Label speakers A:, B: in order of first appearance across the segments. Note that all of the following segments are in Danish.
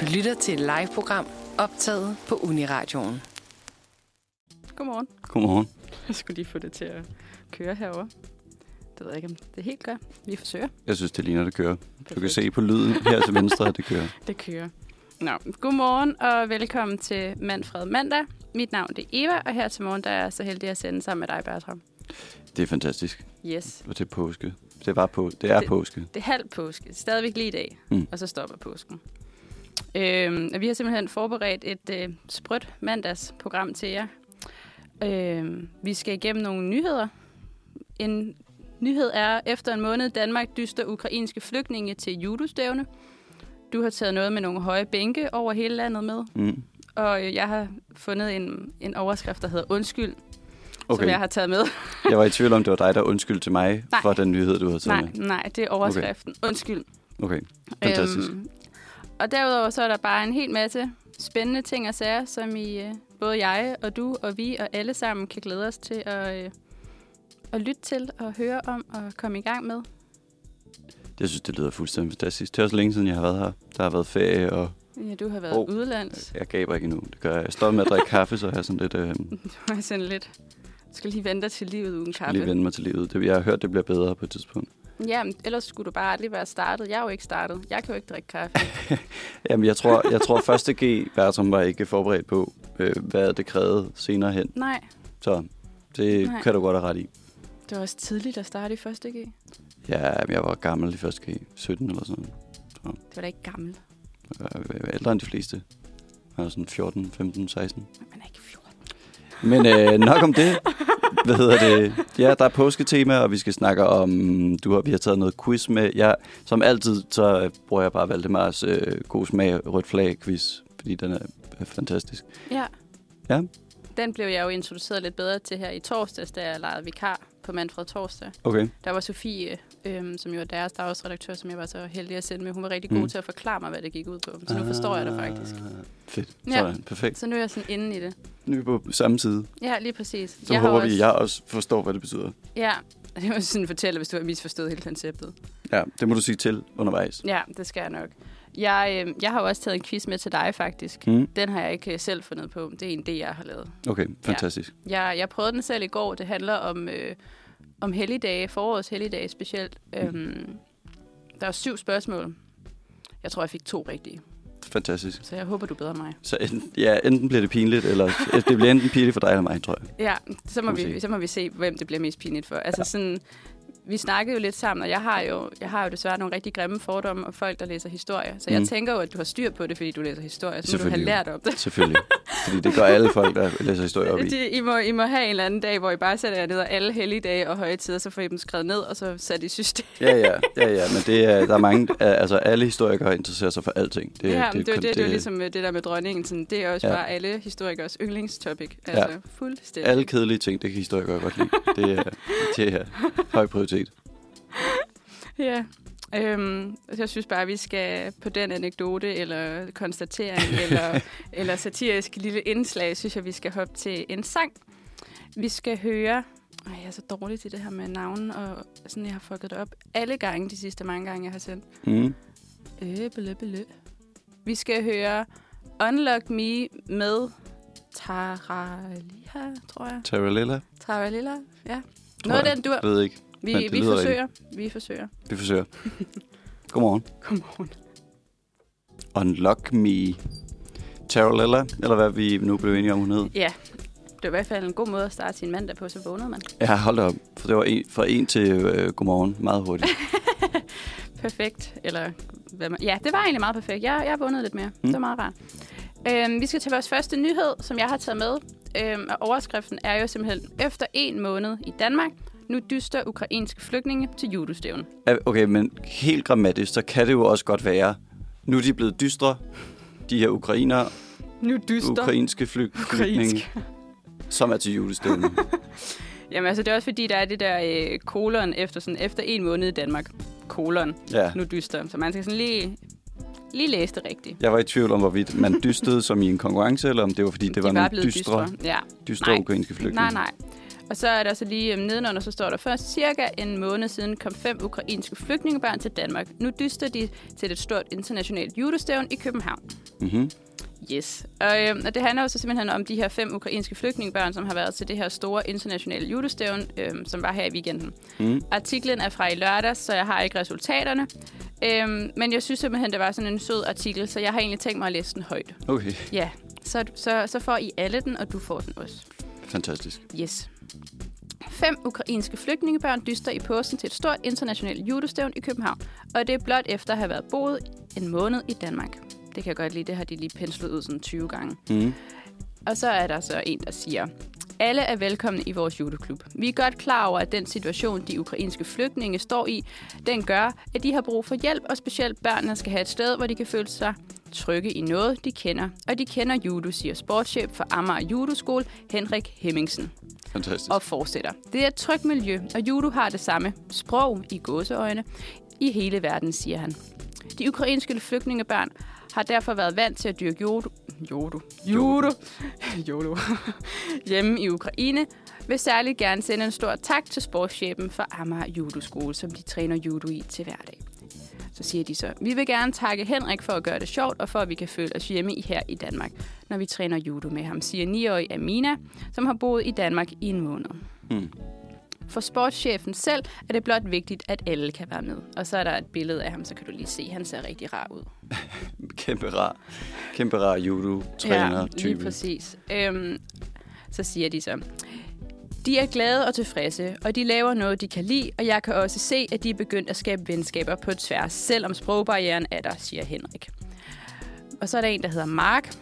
A: Du lytter til et live-program optaget på Uniradioen.
B: Godmorgen.
C: Godmorgen.
B: Jeg skulle lige få det til at køre herover. Det ved jeg ikke, om det helt gør. Vi forsøger.
C: Jeg synes, det ligner, det kører. Du kan
B: Perfekt.
C: se på lyden her til venstre, at det kører.
B: Det kører. Nå, godmorgen og velkommen til Manfred Mandag. Mit navn det er Eva, og her til morgen der er jeg så heldig at sende sammen med dig, Bertram.
C: Det er fantastisk.
B: Yes.
C: Og til påske. Det var på. Det er
B: Det-
C: påske.
B: Det er halv påske. Stadigvæk lige i dag.
C: Mm.
B: Og så stopper påsken. Øhm, og vi har simpelthen forberedt et øh, sprødt mandagsprogram til jer. Øhm, vi skal igennem nogle nyheder. En nyhed er, efter en måned Danmark dyster ukrainske flygtninge til judostævne. Du har taget noget med nogle høje bænke over hele landet med.
C: Mm.
B: Og øh, jeg har fundet en, en overskrift, der hedder Undskyld, som
C: Okay,
B: jeg har taget med.
C: jeg var i tvivl om, det var dig, der undskyldte til mig
B: Nej.
C: for den nyhed, du havde taget
B: nej,
C: med.
B: nej, det er overskriften. Okay. Undskyld.
C: Okay, fantastisk.
B: Øhm, og derudover så er der bare en hel masse spændende ting og sager, som I, øh, både jeg og du og vi og alle sammen kan glæde os til at, øh, at lytte til og høre om og komme i gang med.
C: Jeg synes, det lyder fuldstændig fantastisk. Det er også længe siden, jeg har været her. Der har været ferie, og
B: Ja, du har været oh.
C: Hov.
B: udlands.
C: jeg gaber ikke endnu. Det gør jeg. Jeg står med at drikke kaffe, så jeg har sådan lidt... Øh,
B: Du har sådan lidt... Du skal lige vente til livet uden kaffe.
C: lige vende mig til livet. Det, jeg har hørt, det bliver bedre på et tidspunkt.
B: Ja, men ellers skulle du bare aldrig være startet. Jeg er jo ikke startet. Jeg kan jo ikke drikke kaffe.
C: Jamen, jeg tror, jeg tror første G, Bertram var ikke forberedt på, øh, hvad det krævede senere hen.
B: Nej,
C: Så det
B: Nej.
C: Nej. kan du godt have ret i.
B: det var også tidligt at starte i 1. G.
C: Ja, men jeg var gammel i første G. 17 eller sådan noget.
B: Det var da ikke gammel.
C: Jeg var ældre end de fleste. Jeg var sådan 14, 15, 16.
B: Man er ikke 14.
C: Men øh, nok om det. Hvad hedder det? Ja, der er påsketema, og vi skal snakke om... Du har, vi har taget noget quiz med. Jeg, som altid, så øh, bruger jeg bare Valdemars øh, god smag rødt flag quiz, fordi den er er fantastisk.
B: Ja.
C: Ja.
B: Den blev jeg jo introduceret lidt bedre til her i torsdags, da jeg legede vikar på Manfred Torsdag.
C: Okay.
B: Der var Sofie, øhm, som jo er deres dagsredaktør, som jeg var så heldig at sende med. Hun var rigtig god
C: Mm.
B: til at forklare mig, hvad det gik ud på. Så nu forstår jeg det faktisk.
C: Ah, Fedt.
B: Ja.
C: Sådan, perfekt.
B: Så nu er jeg sådan inde i det.
C: Nu er vi på samme side.
B: Ja, lige præcis.
C: Så
B: jeg har
C: håber
B: også,
C: vi, at jeg også forstår, hvad det betyder.
B: Ja, det må jeg sådan fortælle, hvis du har misforstået hele konceptet.
C: Ja, det må du sige til undervejs.
B: Ja, det skal jeg nok. Jeg, øh, jeg har jo også taget en quiz med til dig, faktisk.
C: Mm.
B: Den har jeg ikke øh, selv fundet på. Det er en, det jeg har lavet.
C: Okay, fantastisk.
B: Jeg, jeg prøvede den selv i går. Det handler om, øh, om helligdage, forårets helligdage specielt. Øhm, der er syv spørgsmål. Jeg tror, jeg fik to rigtige,
C: Fantastisk.
B: så jeg håber, du er bedre end mig.
C: Så enten, ja, enten bliver det pinligt, eller det bliver enten pinligt for dig eller mig, tror jeg.
B: Ja, så må,
C: Må vi
B: vi,
C: se.
B: så må vi se, hvem det bliver mest pinligt for. Altså sådan, vi snakkede jo lidt sammen, og jeg har jo, jeg har jo desværre nogle rigtig grimme fordomme om folk, der læser historie. Så jeg
C: Mm.
B: tænker jo, at du har styr på det, fordi du læser historie, så må du har
C: Selvfølgelig.
B: lært om det.
C: Selvfølgelig. Fordi det gør alle folk, der læser historie op i.
B: De, I, må, I må have en eller anden dag, hvor I bare sætter jer ned og alle helligdage og højtider, så får I dem skrevet ned, og så sat i system.
C: Ja, ja, ja, ja, men det er, der er mange, altså alle historikere interesserer sig for alting.
B: Ja,
C: Det,
B: det, det, det, det,
C: kun-
B: det er jo ligesom øh, det der med dronningen. Sådan, det er også ja.
C: Ja.
B: bare alle historikers yndlingstopic. Altså, ja. fuldstændig.
C: Alle kedelige ting, det kan historikere godt lide. Det er, det er høj prioritet.
B: Ja. Øhm, så jeg synes bare, at vi skal på den anekdote, eller konstatering, eller, eller satirisk lille indslag, synes jeg, vi skal hoppe til en sang. Vi skal høre... Ej, jeg er så dårlig til det her med navnen, og sådan, jeg har fucket det op alle gange, de sidste mange gange, jeg har sendt. Øh,
C: Mm.
B: Æbelebele. Vi skal høre Unlock Me med Taraliha, tror jeg.
C: Taralella?
B: Taralilla, ja. Noget af
C: jeg.
B: den dur.
C: Jeg ved ikke.
B: Vi,
C: men det
B: vi
C: lyder
B: forsøger. Vi forsøger.
C: Vi forsøger. Godmorgen.
B: Godmorgen.
C: Unlock me. Taralella, eller hvad vi nu blev enige om, hun hed.
B: Ja, det er i hvert fald en god måde at starte sin mandag på, så vågnede man.
C: Ja, hold da op. For det var en, fra en til øh, godmorgen. Meget hurtigt.
B: Perfekt, eller hvad man... Ja, det var egentlig meget perfekt. Jeg, jeg vågnede lidt mere. Mm.
C: Mm.
B: Det var meget rart. Øhm, vi skal til vores første nyhed, som jeg har taget med. Øhm, og overskriften er jo simpelthen, efter en måned i Danmark, nu dyster ukrainske flygtninge til judostævn.
C: Ja, Okay, men helt grammatisk, så kan det jo også godt være, nu er de blevet dystre, de her ukrainer,
B: Nu dyster.
C: ukrainske flyg- flygtninge, som er til julestævne.
B: Jamen altså, det er også fordi, der er det der øh, kolon efter, sådan, efter en måned i Danmark. Kolon.
C: Ja.
B: Nu dyster. Så man skal sådan lige, lige læse det rigtigt.
C: Jeg var i tvivl om, hvorvidt man dystede som i en konkurrence, eller om det var, fordi det
B: De
C: var
B: var
C: nogle
B: blevet
C: dystre,
B: Ja.
C: dystre
B: Nej.
C: ukrainske flygtninge.
B: Nej, nej. Og så er der så lige øhm, nedenunder, så står der først, cirka en måned siden kom fem ukrainske flygtningebørn til Danmark. Nu dyster de til et stort internationalt judostævn i København.
C: Mm-hmm.
B: Yes. Og, øhm, og det handler jo så simpelthen om de her fem ukrainske flygtningebørn, som har været til det her store internationale judestævn, øhm, som var her i weekenden.
C: Mm.
B: Artiklen er fra i lørdags, så jeg har ikke resultaterne. Øhm, men jeg synes simpelthen, det var sådan en sød artikel, så jeg har egentlig tænkt mig at læse den højt.
C: Okay,
B: Ja, så, så, så får I alle den, og du får den også.
C: fantastisk.
B: Yes. Fem ukrainske flygtningebørn dyster i påsken til et stort internationalt judostævn i København, og det er blot efter at have været boet en måned i Danmark. Det kan jeg godt lide, det har de lige penslet ud sådan 20 gange.
C: Mm.
B: Og så er der så en, der siger, alle er velkomne i vores judoklub. Vi er godt klar over, at den situation, de ukrainske flygtninge står i, den gør, at de har brug for hjælp, og specielt børnene skal have et sted, hvor de kan føle sig trygge i noget, de kender. Og de kender judo, siger sportschef for Amager Judoskole, Henrik Hemmingsen
C: Fantastisk.
B: og fortsætter. Det er et trygt miljø, og judo har det samme sprog i gåseøjne i hele verden, siger han. De ukrainske flygtningebørn har derfor været vant til at dyrke judo, judo, judo, judo hjemme i Ukraine, vil særligt gerne sende en stor tak til sportschefen for Amager Judoskole, som de træner judo i til hverdag. Så siger de så, vi vil gerne takke Henrik for at gøre det sjovt, og for at vi kan føle os hjemme i her i Danmark, når vi træner judo med ham, siger 9-årige Amina, som har boet i Danmark i en måned.
C: Mm.
B: For sportschefen selv er det blot vigtigt, at alle kan være med. Og så er der et billede af ham, så kan du lige se, han ser rigtig rar ud.
C: Kæmpe rar, kæmpe rar judo-træner
B: lige
C: type.
B: præcis. Øhm, så siger de så, de er glade og tilfredse, og de laver noget, de kan lide, og jeg kan også se, at de er begyndt at skabe venskaber på tværs, selvom sprogbarrieren er der, siger Henrik. Og så er der en, der hedder Mark.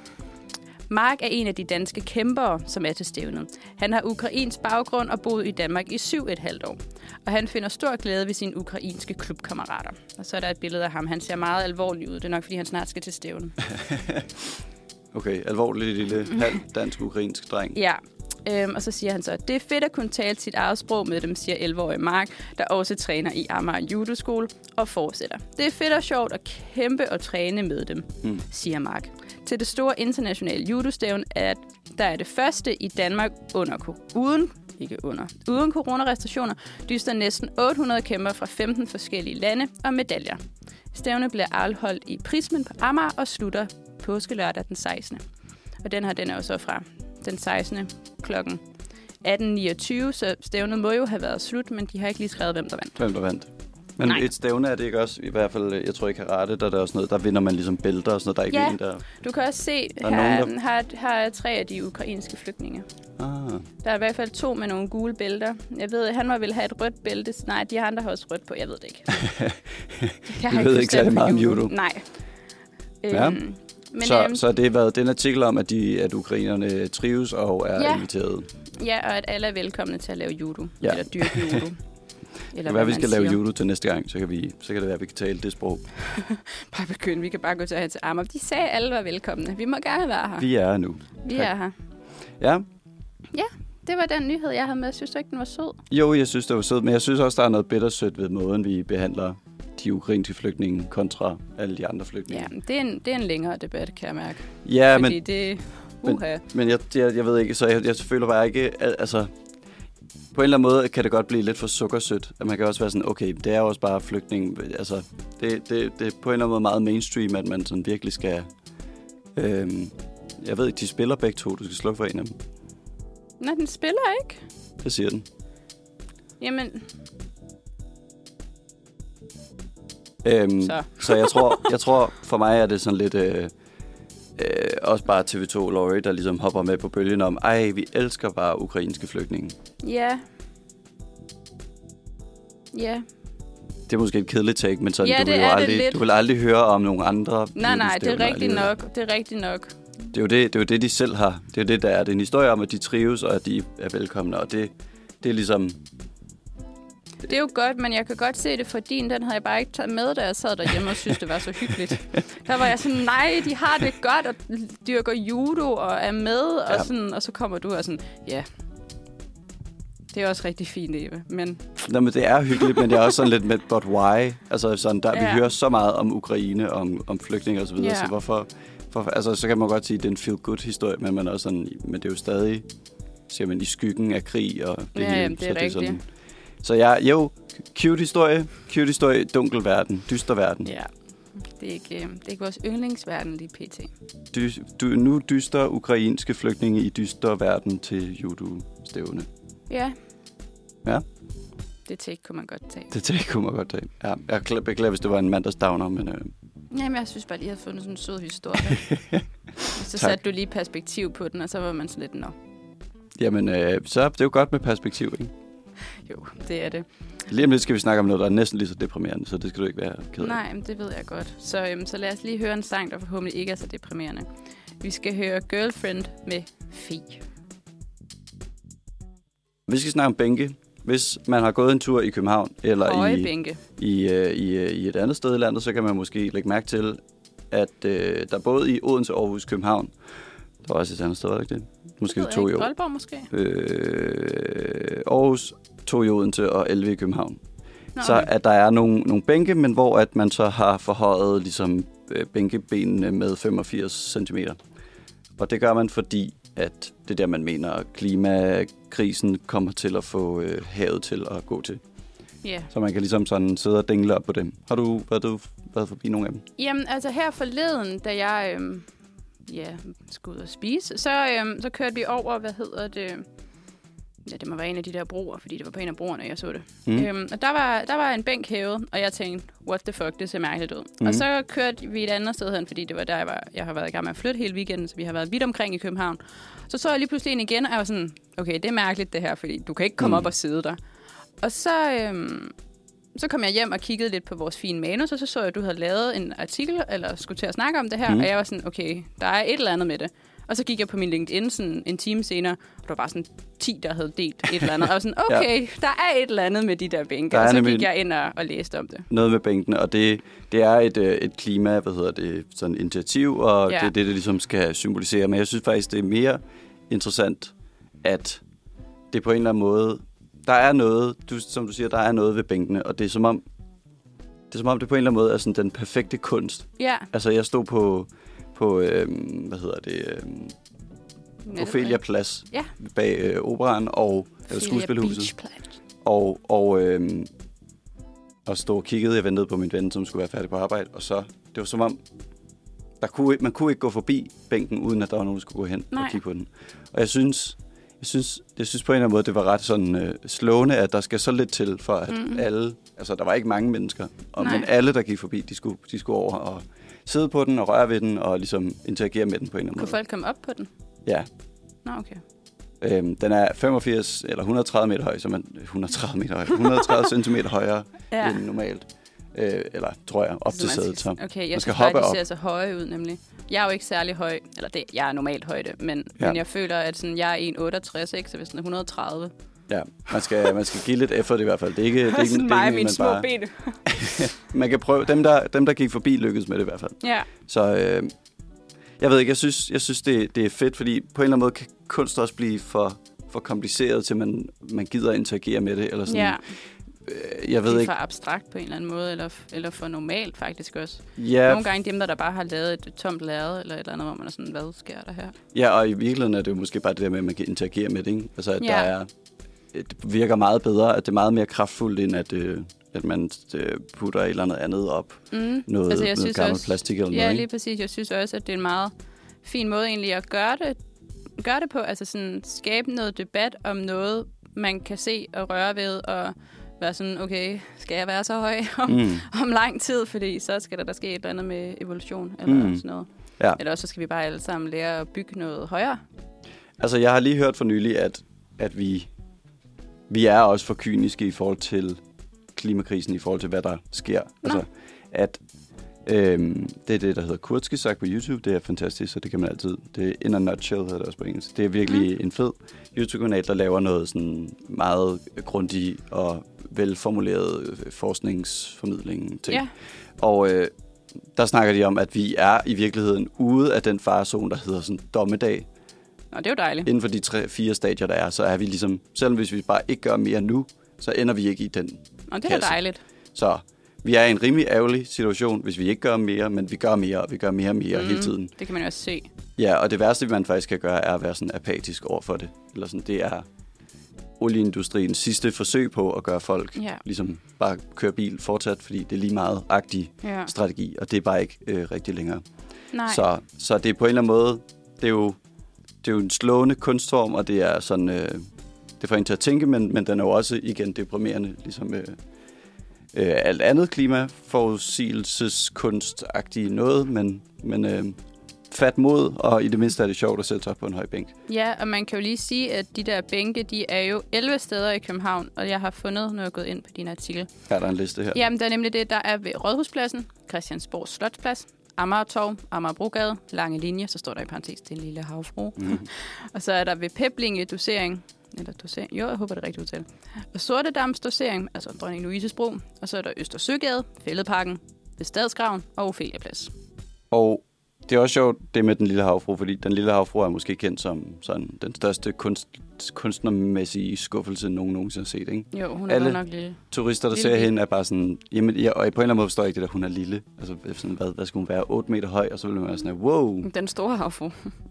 B: Mark er en af de danske kæmpere, som er til stævnet. Han har ukrainsk baggrund og boet i Danmark i syv et halvt år. Og han finder stor glæde ved sine ukrainske klubkammerater. Og så er der et billede af ham. Han ser meget alvorlig ud. Det er nok, fordi han snart skal til stævnen.
C: Okay, alvorlig lille halv dansk-ukrainsk dreng.
B: Ja, øhm, og så siger han så, det er fedt at kunne tale sit eget sprog med dem, siger 11-årige Mark, der også træner i Amager Judoskole, og fortsætter. Det er fedt og sjovt at kæmpe og træne med dem, mm. siger Mark. Til det store internationale judostævn er, der er det første i Danmark under, ko- uden ikke under. Uden coronarestriktioner dyster næsten 800 kæmper fra 15 forskellige lande og medaljer. Stævnet bliver afholdt i Prismen på Amager og slutter påskelørdag den 16. Og den her, den er jo så fra den 16. klokken 18.29, så stævnet må jo have været slut, men de har ikke lige skrevet, hvem der vandt.
C: Hvem der vandt? Men
B: Nej.
C: Nej. et stævne er det ikke også, i hvert fald, øh, jeg tror i karate, der er der også noget, der vinder man ligesom bælter og sådan noget, der er ikke
B: Ja.
C: en, der...
B: Du kan også se,
C: er
B: her,
C: nogen,
B: er- her, er- her er tre af de ukrainske flygtninge.
C: Ah,
B: Der er i hvert fald to med nogle gule bælter. Jeg ved, at han var ville have et rødt bælte. Nej, de andre har også rødt på. Jeg ved det ikke. jeg
C: Vi ved ikke
B: forstand
C: særlig
B: for
C: meget om judo.
B: Nej.
C: Ja.
B: men,
C: så,
B: øhm,
C: så det har været den artikel om, at, de, at ukrainerne trives og er
B: Ja.
C: ja. inviteret.
B: Ja, og at alle er velkomne til at lave judo. Ja.
C: Ja.
B: Eller dyrke judo. Eller
C: Det kan være, vi
B: man
C: skal lave
B: siger.
C: judo til næste gang, så kan, vi, så kan det være, at vi kan tale det sprog.
B: Bare begynd. Vi kan bare gå til her til Amager. De sagde, at alle var velkomne. Vi må gerne være her.
C: Vi er her nu.
B: Vi
C: tak.
B: er her.
C: Ja,
B: Det var den nyhed, jeg havde med. Synes du ikke, den var sød?
C: jo, jeg synes, det var sødt, men jeg synes også, der er noget bittersødt ved måden, vi behandler de ukrainske flygtninge kontra alle de andre flygtninge.
B: Ja, det er en, det er en længere debat, kan jeg mærke.
C: ja men
B: Fordi det...
C: men-
B: Uha.
C: Men jeg, jeg, jeg ved ikke, så jeg, jeg føler bare ikke, al- altså... På en eller anden måde kan det godt blive lidt for sukkersødt. At man kan også være sådan, okay, det er jo også bare flygtning. Altså, det, det, det er på en eller anden måde meget mainstream, at man sådan virkelig skal... Øhm, jeg ved ikke, de spiller begge to. Du skal slukke for en af dem.
B: Nå, den spiller ikke.
C: Det siger den.
B: Jamen,
C: Øhm,
B: så.
C: Så jeg tror, jeg tror for mig er det sådan lidt... Øh, øh, også bare TV2 Laurie, der ligesom hopper med på bølgen om, ej, vi elsker bare ukrainske flygtninge.
B: Ja. Ja.
C: Det er måske et kedeligt take, men sådan,
B: Ja,
C: ja, du,
B: det
C: vil jo
B: er det
C: aldrig,
B: lidt.
C: du vil aldrig høre om nogle andre.
B: Nej, nej, det er
C: stævner
B: rigtigt
C: alligevel.
B: nok. Det er rigtigt nok.
C: Det er, jo det, det er jo det, de selv har. Det er jo det, der er. Det er en historie om, at de trives, og at de er velkomne. Og det, det er ligesom...
B: Det er jo godt, men jeg kan godt se det for din. Den havde jeg bare ikke taget med, da jeg sad derhjemme og synes, det var så hyggeligt. Der var jeg sådan, nej, de har det godt og dyrker judo og er med. Og,
C: Ja.
B: sådan, og så kommer du og sådan, ja. Det er også rigtig fint, Eva. Men
C: Nå, men det er hyggeligt, men det er også sådan lidt med, but why? Altså, sådan, der,
B: Ja.
C: vi hører så meget om Ukraine, om, om flygtninge og så videre,
B: Ja.
C: så hvorfor... For, altså, så kan man godt sige, at det er en feel-good-historie, men, man er også sådan, men det er jo stadig siger man, i skyggen af krig og det
B: Ja,
C: hele.
B: jamen, det er
C: så
B: rigtigt.
C: sådan. Så jeg, jo, cute historie, cute historie, dunkel verden, dyster verden.
B: Ja. Det er ikke, øh, det er ikke vores yndlingsverden lige pt.
C: Dy, du, nu dyster ukrainske flygtninge i dyster verden til judo-stævne.
B: Ja.
C: Ja.
B: Det take kunne man godt tage.
C: Det tænker kunne man godt tage. Ja, jeg kla- beklager, hvis det var en mandagsdowner, men øh,
B: Jamen, jeg synes bare, at I havde fundet sådan en sød historie. så
C: Tak.
B: satte du lige perspektiv på den, og så var man sådan lidt, nå,
C: jamen, øh, så er det jo godt med perspektiv, ikke?
B: jo, det er det.
C: Lige om lidt skal vi snakke om noget, der er næsten lige så deprimerende, så det skal du ikke være ked af.
B: Nej, men det ved jeg godt. Så, øhm, så lad os lige høre en sang, der forhåbentlig ikke er så deprimerende. Vi skal høre Girlfriend med Fe.
C: Vi skal snakke om bænke. Hvis man har gået en tur i København eller
B: Høje
C: i,
B: bænke.
C: i, øh, i, øh, i et andet sted i landet, så kan man måske lægge mærke til, at øh, der både i Odense, Aarhus, København, der var også et andet sted, var det ikke det? Måske
B: Det ved jeg
C: to i
B: ikke.
C: år.
B: Aalborg måske?
C: Øh, Aarhus, to i Odense og 11 i København.
B: Nå,
C: Så
B: okay.
C: at der er nogle, nogle bænke, men hvor at man så har forhøjet ligesom, øh, bænkebenene med 85 cm. Og det gør man, fordi at det er der, man mener, at klimakrisen kommer til at få øh, havet til at gå til.
B: Ja.
C: Så man kan ligesom sådan sidde og dingle op på dem. Har du været, du været forbi nogle af dem?
B: Jamen, altså her forleden, da jeg øhm, ja, skulle ud og spise, så, øhm, så kørte vi over, hvad hedder det? Ja, det må være en af de der broer, fordi det var på en af broerne, jeg så det. Mm. Øhm, og der var, der var en bænk hævet, og jeg tænkte, what the fuck, det ser mærkeligt ud. Mm. Og så kørte vi et andet sted hen, fordi det var der, jeg, var, jeg har været i gang med at flytte hele weekenden, så vi har været vidt omkring i København. Så så jeg lige pludselig en igen, og jeg var sådan, okay, det er mærkeligt det her, fordi du kan ikke komme mm. op og sidde der. Og så, øhm, så kom jeg hjem og kiggede lidt på vores fine manus, og så så jeg, at du havde lavet en artikel, eller skulle til at snakke om det her, mm. og jeg var sådan, okay, der er et eller andet med det. Og så gik jeg på min LinkedIn sådan en time senere, og der var bare sådan 10, der havde delt et eller andet. Og jeg var sådan,
C: Ja.
B: okay, der er et eller andet med de der bænke.
C: Der er
B: og så gik
C: nemlig-
B: jeg ind og, og læste om det.
C: Noget med bænkene, og det, det er et, øh, et klima, hvad hedder det, sådan initiativ, og
B: Ja.
C: ja. det er det, det ligesom skal symbolisere. Men jeg synes faktisk, det er mere interessant, at det på en eller anden måde, der er noget, du, som du siger, der er noget ved bænkene, og det er som om, det er som om, det på en eller anden måde er sådan den perfekte kunst.
B: Ja.
C: Altså, jeg stod på, på øhm, hvad hedder det, øhm, Ophelia Plads
B: Ja.
C: bag øh, operan og eller skuespilhuset
B: Beachplads.
C: og, og, øhm, og stod og kiggede. Jeg ventede på min ven, som skulle være færdig på arbejde, og så, det var som om, der kunne, ikke- man kunne ikke gå forbi bænken, uden at der var nogen, der skulle gå hen Nej.
B: Nej.
C: og kigge på den. Og jeg synes, jeg synes, jeg synes på en eller anden måde, det var ret sådan øh, slående, at der skal så lidt til, for at mm. alle, altså der var ikke mange mennesker, og,
B: Nej.
C: men alle, der gik forbi, de skulle, de skulle over og sidde på den og røre ved den og ligesom interagere med den på en eller anden
B: Kunne
C: måde.
B: folk komme op på den?
C: Ja,
B: Nå, okay.
C: Øhm, den er 85 eller 130 meter høj, så man 130 meter høj, 130 cm højere
B: Ja.
C: ja. end normalt. Øh, eller tror jeg, op til
B: man
C: sædet. Så
B: skal, okay, jeg
C: man skal
B: synes bare,
C: hoppe
B: de
C: op.
B: ser så høje ud, nemlig. Jeg er jo ikke særlig høj, eller det, jeg er normalt højde, men, ja.
C: Ja.
B: men jeg føler, at sådan, jeg er 1,68, ikke? så hvis den er 130.
C: Ja, man skal, man skal give lidt effort i hvert fald. Det er ikke, det er ikke, det er
B: sådan
C: ikke
B: mig og
C: en,
B: mine
C: man,
B: små
C: bare,
B: ben.
C: man kan prøve. Dem der, dem, der gik forbi, lykkedes med det i hvert fald.
B: Ja,
C: Så øh, jeg ved ikke, jeg synes, jeg synes det, det er fedt, fordi på en eller anden måde kan kunst også blive for, for kompliceret, til man, man gider interagere med det. Eller sådan.
B: ja.
C: Øh, jeg
B: det
C: ved
B: er
C: ikke.
B: for abstrakt på en eller anden måde, eller, eller for normalt faktisk også. Ja.
C: Ja,
B: Nogle gange dem, der, der bare har lavet et tomt lærred, eller et eller andet, hvor man er sådan, hvad sker der her?
C: Ja, og i virkeligheden er det jo måske bare det der med, at man kan interagere med det, ikke? Altså, at
B: Ja.
C: ja. der er, det virker meget bedre, at det er meget mere kraftfuldt, end at, øh, at man øh, putter et eller andet andet op.
B: Mm.
C: Noget, altså, noget gammelt også, plastik eller
B: ja,
C: noget,
B: lige
C: ikke?
B: præcis. Jeg synes også, at det er en meget fin måde egentlig at gøre det, gøre det på. Altså sådan skabe noget debat om noget, man kan se og røre ved, og være sådan, okay, skal jeg være så høj om, mm. om lang tid? Fordi så skal der, der ske et eller andet med evolution eller mm.
C: Mm.
B: sådan noget.
C: Ja.
B: Eller også så skal vi bare alle sammen lære at bygge noget højere.
C: Altså, jeg har lige hørt for nylig, at, at vi, vi er også for kyniske i forhold til klimakrisen, i forhold til, hvad der sker. Altså, at øhm, det er det, der hedder Kurtske sagt på YouTube. Det er fantastisk, så det kan man altid. Det er In a Nutshell, hedder det også på engelsk. Det er virkelig mm. en fed YouTube-kanal, der laver noget sådan meget grundig og velformuleret øh, forskningsformidling ting.
B: Ja.
C: Og øh, der snakker de om, at vi er i virkeligheden ude af den farezone, der hedder sådan dommedag
B: Nå, det er jo dejligt.
C: inden for de tre, fire stadier, der er, så er vi ligesom, selvom hvis vi bare ikke gør mere nu, så ender vi ikke i den.
B: Og det er da
C: kasse.
B: dejligt.
C: Så vi er i en rimelig ærgerlig situation, hvis vi ikke gør mere, men vi gør mere, og vi gør mere og mere mm.
B: Mhm.
C: hele tiden.
B: Det kan man jo også se.
C: Ja, og det værste, man faktisk kan gøre, er at være sådan apatisk over for det. Eller sådan, det er olieindustriens sidste forsøg på at gøre folk
B: Ja.
C: ligesom bare køre bil fortsat, fordi det er lige meget agtig
B: Ja.
C: strategi, og det er bare ikke øh, rigtig længere.
B: Nej.
C: Så, så det er på en eller anden måde, det er jo, det er jo en slående kunstform, og det er sådan, øh, det får en til at tænke, men, men den er jo også igen deprimerende, ligesom øh, øh, alt andet klimaforudsigelseskunstagtige noget, men, men øh, fat mod, og i det mindste er det sjovt at sætte sig op på en høj bænk.
B: Ja, og man kan jo lige sige, at de der bænke, de er jo 11 steder i København, og jeg har fundet, når jeg er gået ind på din artikel.
C: Her er der en liste her.
B: Jamen, der er nemlig det, der er ved Rådhuspladsen, Christiansborg Slotsplads, Amagertorv, Amagerbrogade, Lange Linje, så står der i parentes til en lille havfru. Mm. og så er der ved Peblinge dosering, eller dosering, jo, jeg håber det er rigtigt udtale. Og Sorte Dams dosering, altså Dronning Louises Bro, og så er der Østersøgade, Fælledparken, ved Stadsgraven og Opheliaplads.
C: Og det er også sjovt, det med den lille havfru, fordi den lille havfru er måske kendt som sådan, den største kunst, kunstnermæssige skuffelse, nogen nogensinde har set. Ikke?
B: Jo, hun er
C: Alle-
B: godt nok lille.
C: turister, der
B: Lille
C: ser
B: pige.
C: hende, er bare sådan... Jamen, ja, og på en eller anden måde forstår jeg ikke det der, hun er lille. Altså, sådan, hvad, hvad skulle hun være? 8 meter høj, og så ville man være sådan, wow.
B: Den store havfru.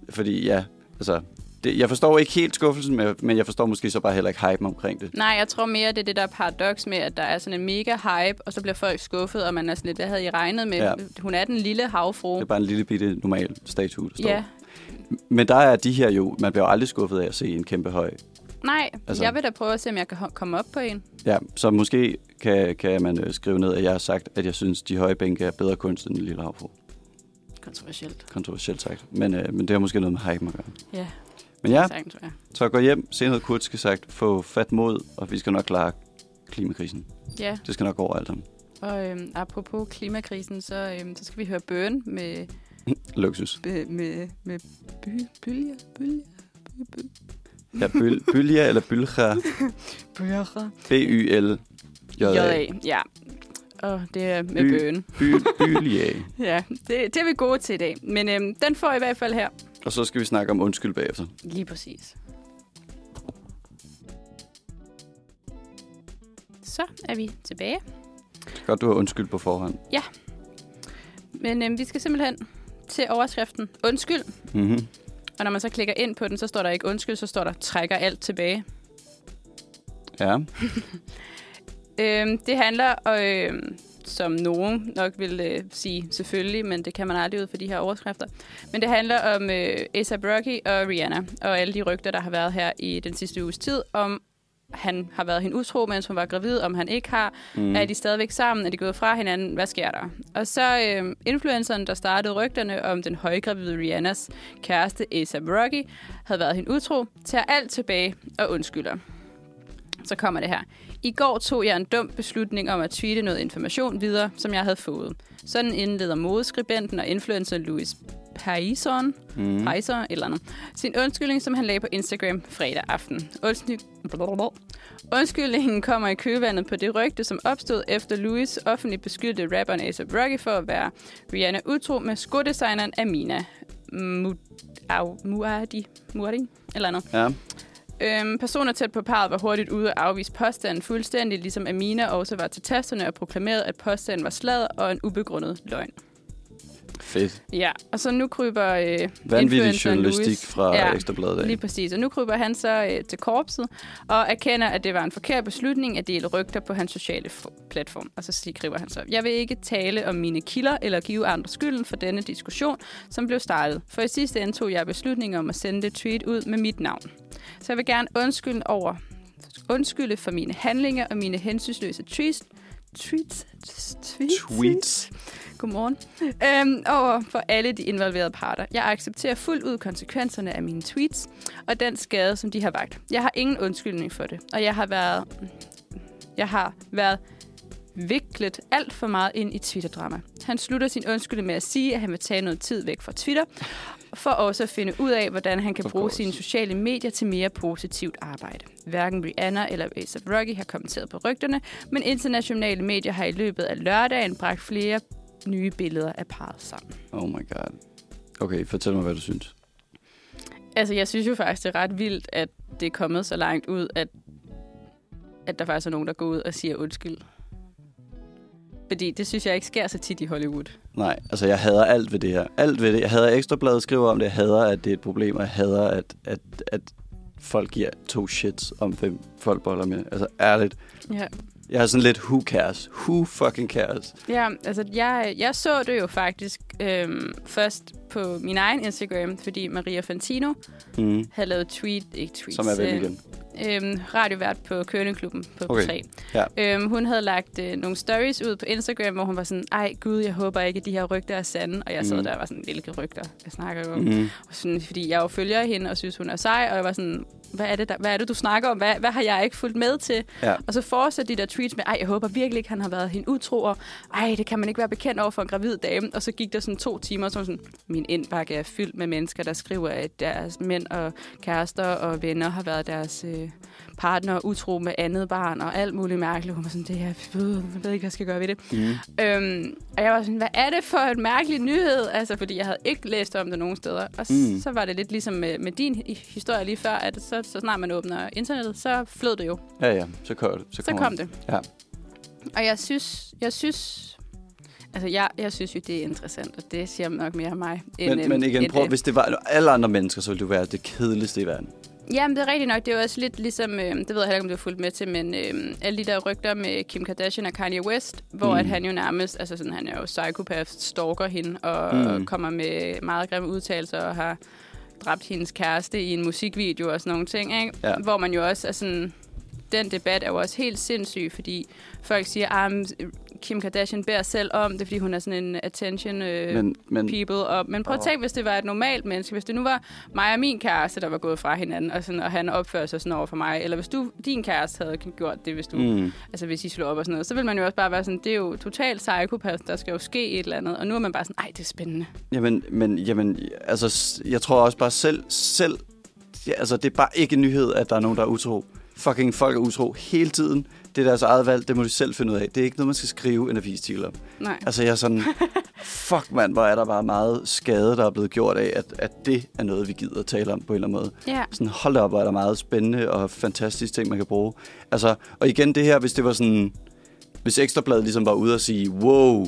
C: Fordi ja, altså... Det, jeg forstår ikke helt skuffelsen, men jeg- men jeg forstår måske så bare heller ikke hypen omkring det.
B: Nej, jeg tror mere, det er det der paradoks med, at der er sådan en mega hype, og så bliver folk skuffet, og man er sådan lidt, hvad havde I regnet med?
C: Ja.
B: Ja. Hun er den lille havfru.
C: Det er bare en lille bitte normal statue, der står.
B: Ja.
C: Men der er de her jo, man bliver jo aldrig skuffet af at se en kæmpe høj.
B: Nej,
C: Altså-
B: altså. jeg vil da prøve at se, om jeg kan ho- komme op på en.
C: Ja, så måske kan, kan man øh, skrive ned, at jeg har sagt, at jeg synes, de høje bænke er bedre kunst end den lille havfru.
B: Kontroversielt.
C: Kontroversielt sagt. Men, øh, men det har måske noget med hypen at gøre.
B: Ja,
C: Men ja,
B: sagtens, tror jeg.
C: Så gå hjem, se noget kurdisk sagt, få fat mod, og vi skal nok klare klimakrisen.
B: Ja,
C: Det skal nok gå over alt sammen.
B: og øhm, apropos klimakrisen, så, øhm, så skal vi høre Burn med,
C: Luksus.
B: med, med, med by, bylje, bylje, bylje,
C: Ja, byl, bylja eller bylcha.
B: bylje,
C: B-Y-L. J-A.
B: J-A. Ja, og det er med
C: By.
B: bøn.
C: By, bylja.
B: Ja, det, det er vi gode til i dag. Men øhm, den får I i hvert fald her.
C: Og så skal vi snakke om undskyld bagefter.
B: Lige præcis. Så er vi tilbage.
C: Godt, du har undskyld på forhånd.
B: Men øhm, vi skal simpelthen til overskriften Undskyld.
C: Mm-hmm.
B: Og når man så klikker ind på den, så står der ikke undskyld, så står der trækker alt tilbage.
C: Ja,
B: Øhm, det handler, øhm, som nogen nok vil øh, sige selvfølgelig, men det kan man aldrig ud for de her overskrifter. Men det handler om øh, A$AP Rocky og Rihanna, og alle de rygter, der har været her i den sidste uges tid, om han har været hende utro, mens hun var gravid, om han ikke har. Mm. Er de stadigvæk sammen? Er de gået fra hinanden? Hvad sker der? Og så øh, influenceren, der startede rygterne om den højgravide Rihannas kæreste A$AP Rocky, havde været hende utro, tager alt tilbage og undskylder. Så kommer det her. I går tog jeg en dum beslutning om at tweete noget information videre, som jeg havde fået. Sådan indleder modeskribenten og influencer Louis Paison, mm. Paiser, et eller andet, sin undskyldning, som han lagde på Instagram fredag aften. Undskyld... blablabla. Undskyldningen kommer i kølvandet på det rygte, som opstod efter Louis offentligt beskyldte rapperen A$AP Rocky for at være Rihanna utro med skodesigneren Amina Mu- Au- Muadi, Muadi, eller andet.
C: ja.
B: Øhm, personer tæt på parret var hurtigt ude og afvise påstanden fuldstændig, ligesom Amina også var til tasterne og proklamerede, at påstanden var sladder og en ubegrundet løgn.
C: Fedt.
B: Ja, og så nu kryber øh,
C: Vanvittig
B: influenceren
C: journalistik
B: Louis-
C: fra ja. Ekstrabladet af.
B: Lige præcis. Og nu kryber han så øh, til korpset og erkender, at det var en forkert beslutning at dele rygter på hans sociale f- platform. Og så skriver han så, jeg vil ikke tale om mine kilder eller give andre skylden for denne diskussion, som blev startet. For i sidste ende tog jeg beslutningen om at sende det tweet ud med mit navn. Så jeg vil gerne undskylde over undskylde for mine handlinger og mine hensynsløse tweets. Tweets? Tweets?
C: Tweets.
B: Godmorgen. Øhm, over for alle de involverede parter. Jeg accepterer fuldt ud konsekvenserne af mine tweets og den skade, som de har vagt. Jeg har ingen undskyldning for det, og jeg har været, jeg har været viklet alt for meget ind i Twitter-drama. Han slutter sin undskyldning med at sige, at han vil tage noget tid væk fra Twitter, for også at finde ud af, hvordan han kan
C: Of
B: bruge
C: course.
B: sine sociale medier til mere positivt arbejde. Hverken Rihanna eller A$AP Rocky har kommenteret på rygterne, men internationale medier har i løbet af lørdagen bragt flere nye billeder af parret sammen.
C: Oh my god. Okay, fortæl mig, hvad du synes.
B: Altså, jeg synes jo faktisk, det er ret vildt, at det er kommet så langt ud, at, at der faktisk er nogen, der går ud og siger undskyld. Fordi det synes jeg ikke sker så tit i Hollywood.
C: Nej, altså jeg hader alt ved det her. Alt ved det. Jeg hader at Ekstrabladet skriver om det. Jeg hader, at det er et problem, og jeg hader, at, at, at folk giver to shits om fem folk boller med. Altså ærligt.
B: Ja.
C: Jeg er sådan lidt, who cares? Who fucking cares?
B: Ja, altså jeg, jeg så det jo faktisk øhm, først på min egen Instagram, fordi Maria Fantino
C: Mm.
B: havde lavet tweet, ikke tweets,
C: Som er vel
B: øh,
C: igen.
B: øhm, radiovært på Køreklubben på
C: Okay.
B: okay. 3.
C: Ja.
B: Øhm, hun havde lagt øh, nogle stories ud på Instagram, hvor hun var sådan, ej gud, jeg håber ikke, at de her rygter er sande. Og jeg sad
C: Mm.
B: der og var sådan, hvilke rygter? Jeg snakker jo om. Mm.
C: Mm.
B: Sådan, fordi jeg jo følger hende og synes, hun er sej, og jeg var sådan, hvad er det, der, hvad er det du snakker om? Hvad, hvad har jeg ikke fulgt med til?
C: Ja.
B: Og så fortsætter de der tweets med, ej, jeg håber virkelig ikke, han har været hende utro, og ej, det kan man ikke være bekendt over for en gravid dame. Og så gik der sådan to timer, så var hun sådan, min indbakke er fyldt med mennesker, der skriver, at deres mænd og kærester og venner har været deres øh, partner utro med andet barn, og alt muligt mærkeligt. Hun var sådan, det her, jeg ved, jeg ved ikke, hvad jeg skal gøre ved det.
C: Mm.
B: Øhm, og jeg var sådan, hvad er det for en mærkelig nyhed? Altså, fordi jeg havde ikke læst om det nogen steder. Og
C: Mm.
B: mm. så var det lidt ligesom med, med din hi- historie lige før, at så, så snart man åbner internettet, så flød det jo.
C: Ja, ja. Så kom det.
B: Så kom det.
C: Ja.
B: Og jeg synes, jeg synes, altså jeg, jeg synes jo, det er interessant, og det siger nok mere mig. End,
C: Men, men
B: øhm,
C: igen,
B: end,
C: prøv,
B: øh,
C: hvis det var alle andre mennesker, så ville du være det kedeligste i verden.
B: Jamen, det er rigtigt nok. Det er jo også lidt ligesom, øh, det ved jeg heller ikke, om du har fulgt med til, men øh, alle de der rygter med Kim Kardashian og Kanye West, hvor
C: Mm.
B: mm. at han jo nærmest, altså sådan, han er jo psykopat, stalker hende og
C: Mm.
B: mm. kommer med meget grimme udtalelser og har dræbt hendes kæreste i en musikvideo og sådan nogle ting, ikke?
C: Ja.
B: Hvor man jo også er sådan, den debat er jo også helt sindssyg, fordi folk siger, at Kim Kardashian bærer selv om det, fordi hun er sådan en attention øh,
C: Men, men
B: people. Og, men prøv at
C: Og-
B: tænke, hvis det var et normalt menneske. Hvis det nu var mig og min kæreste, der var gået fra hinanden, og, sådan, og han opførte sig sådan over for mig. Eller hvis du, din kæreste havde gjort det, hvis, du, mm.
C: Mm.
B: altså, hvis I slog op og sådan noget. Så ville man jo også bare være sådan, det er jo totalt psykopat, der skal jo ske et eller andet. Og nu er man bare sådan, ej, det er spændende.
C: Jamen, men, jamen, altså, s- jeg tror også bare selv, selv, ja, altså, det er bare ikke en nyhed, at der er nogen, der er utro. Fucking folk er utro hele tiden. Det er deres eget valg, det må de selv finde ud af. Det er ikke noget, man skal skrive en avisartikel om.
B: Nej.
C: Altså, jeg er sådan, fuck mand, hvor er der bare meget skade, der er blevet gjort af, at, at det er noget, vi gider at tale om på en eller anden måde.
B: Ja.
C: Sådan, hold da op, hvor er der meget spændende og fantastiske ting, man kan bruge. Altså, og igen det her, hvis det var sådan... Hvis Ekstrabladet ligesom var ude og sige, wow,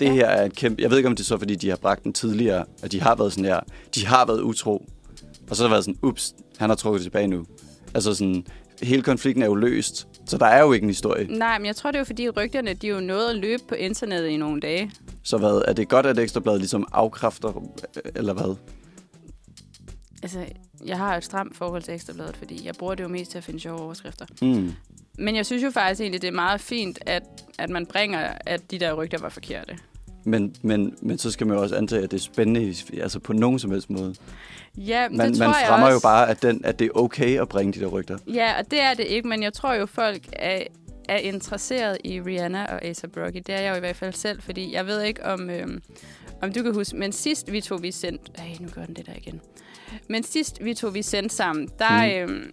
C: det
B: Ja.
C: her er et kæmpe... Jeg ved ikke, om det er så, fordi de har bragt den tidligere, at de har været sådan her. De har været utro. Og så har der været sådan, ups, han har trukket tilbage nu. Altså sådan, hele konflikten er jo løst. Så der er jo ikke en historie.
B: Nej, men jeg tror, det er jo fordi rygterne, de er jo nået at løbe på internettet i nogle dage.
C: Så hvad, er det godt, at Ekstrabladet ligesom afkræfter, eller hvad?
B: Altså, jeg har et stramt forhold til Ekstrabladet, fordi jeg bruger det jo mest til at finde sjove overskrifter.
C: Mm.
B: Men jeg synes jo faktisk egentlig, det er meget fint, at, at man bringer, at de der rygter var forkerte.
C: Men, men, men så skal man jo også antage, at det er spændende altså på nogen som helst måde.
B: Ja, men
C: Man,
B: det tror
C: man
B: jeg
C: fremmer
B: også.
C: jo bare, at, den, at det er okay at bringe de der rygter.
B: Ja, og det er det ikke, men jeg tror jo, folk er, er interesseret i Rihanna og A$AP Rocky. Det er jeg jo i hvert fald selv, fordi jeg ved ikke, om, øhm, om du kan huske, men sidst vi to, vi sendte... Ej, nu gør den det der igen. Men sidst vi to, vi sendte sammen, der, mm. øhm,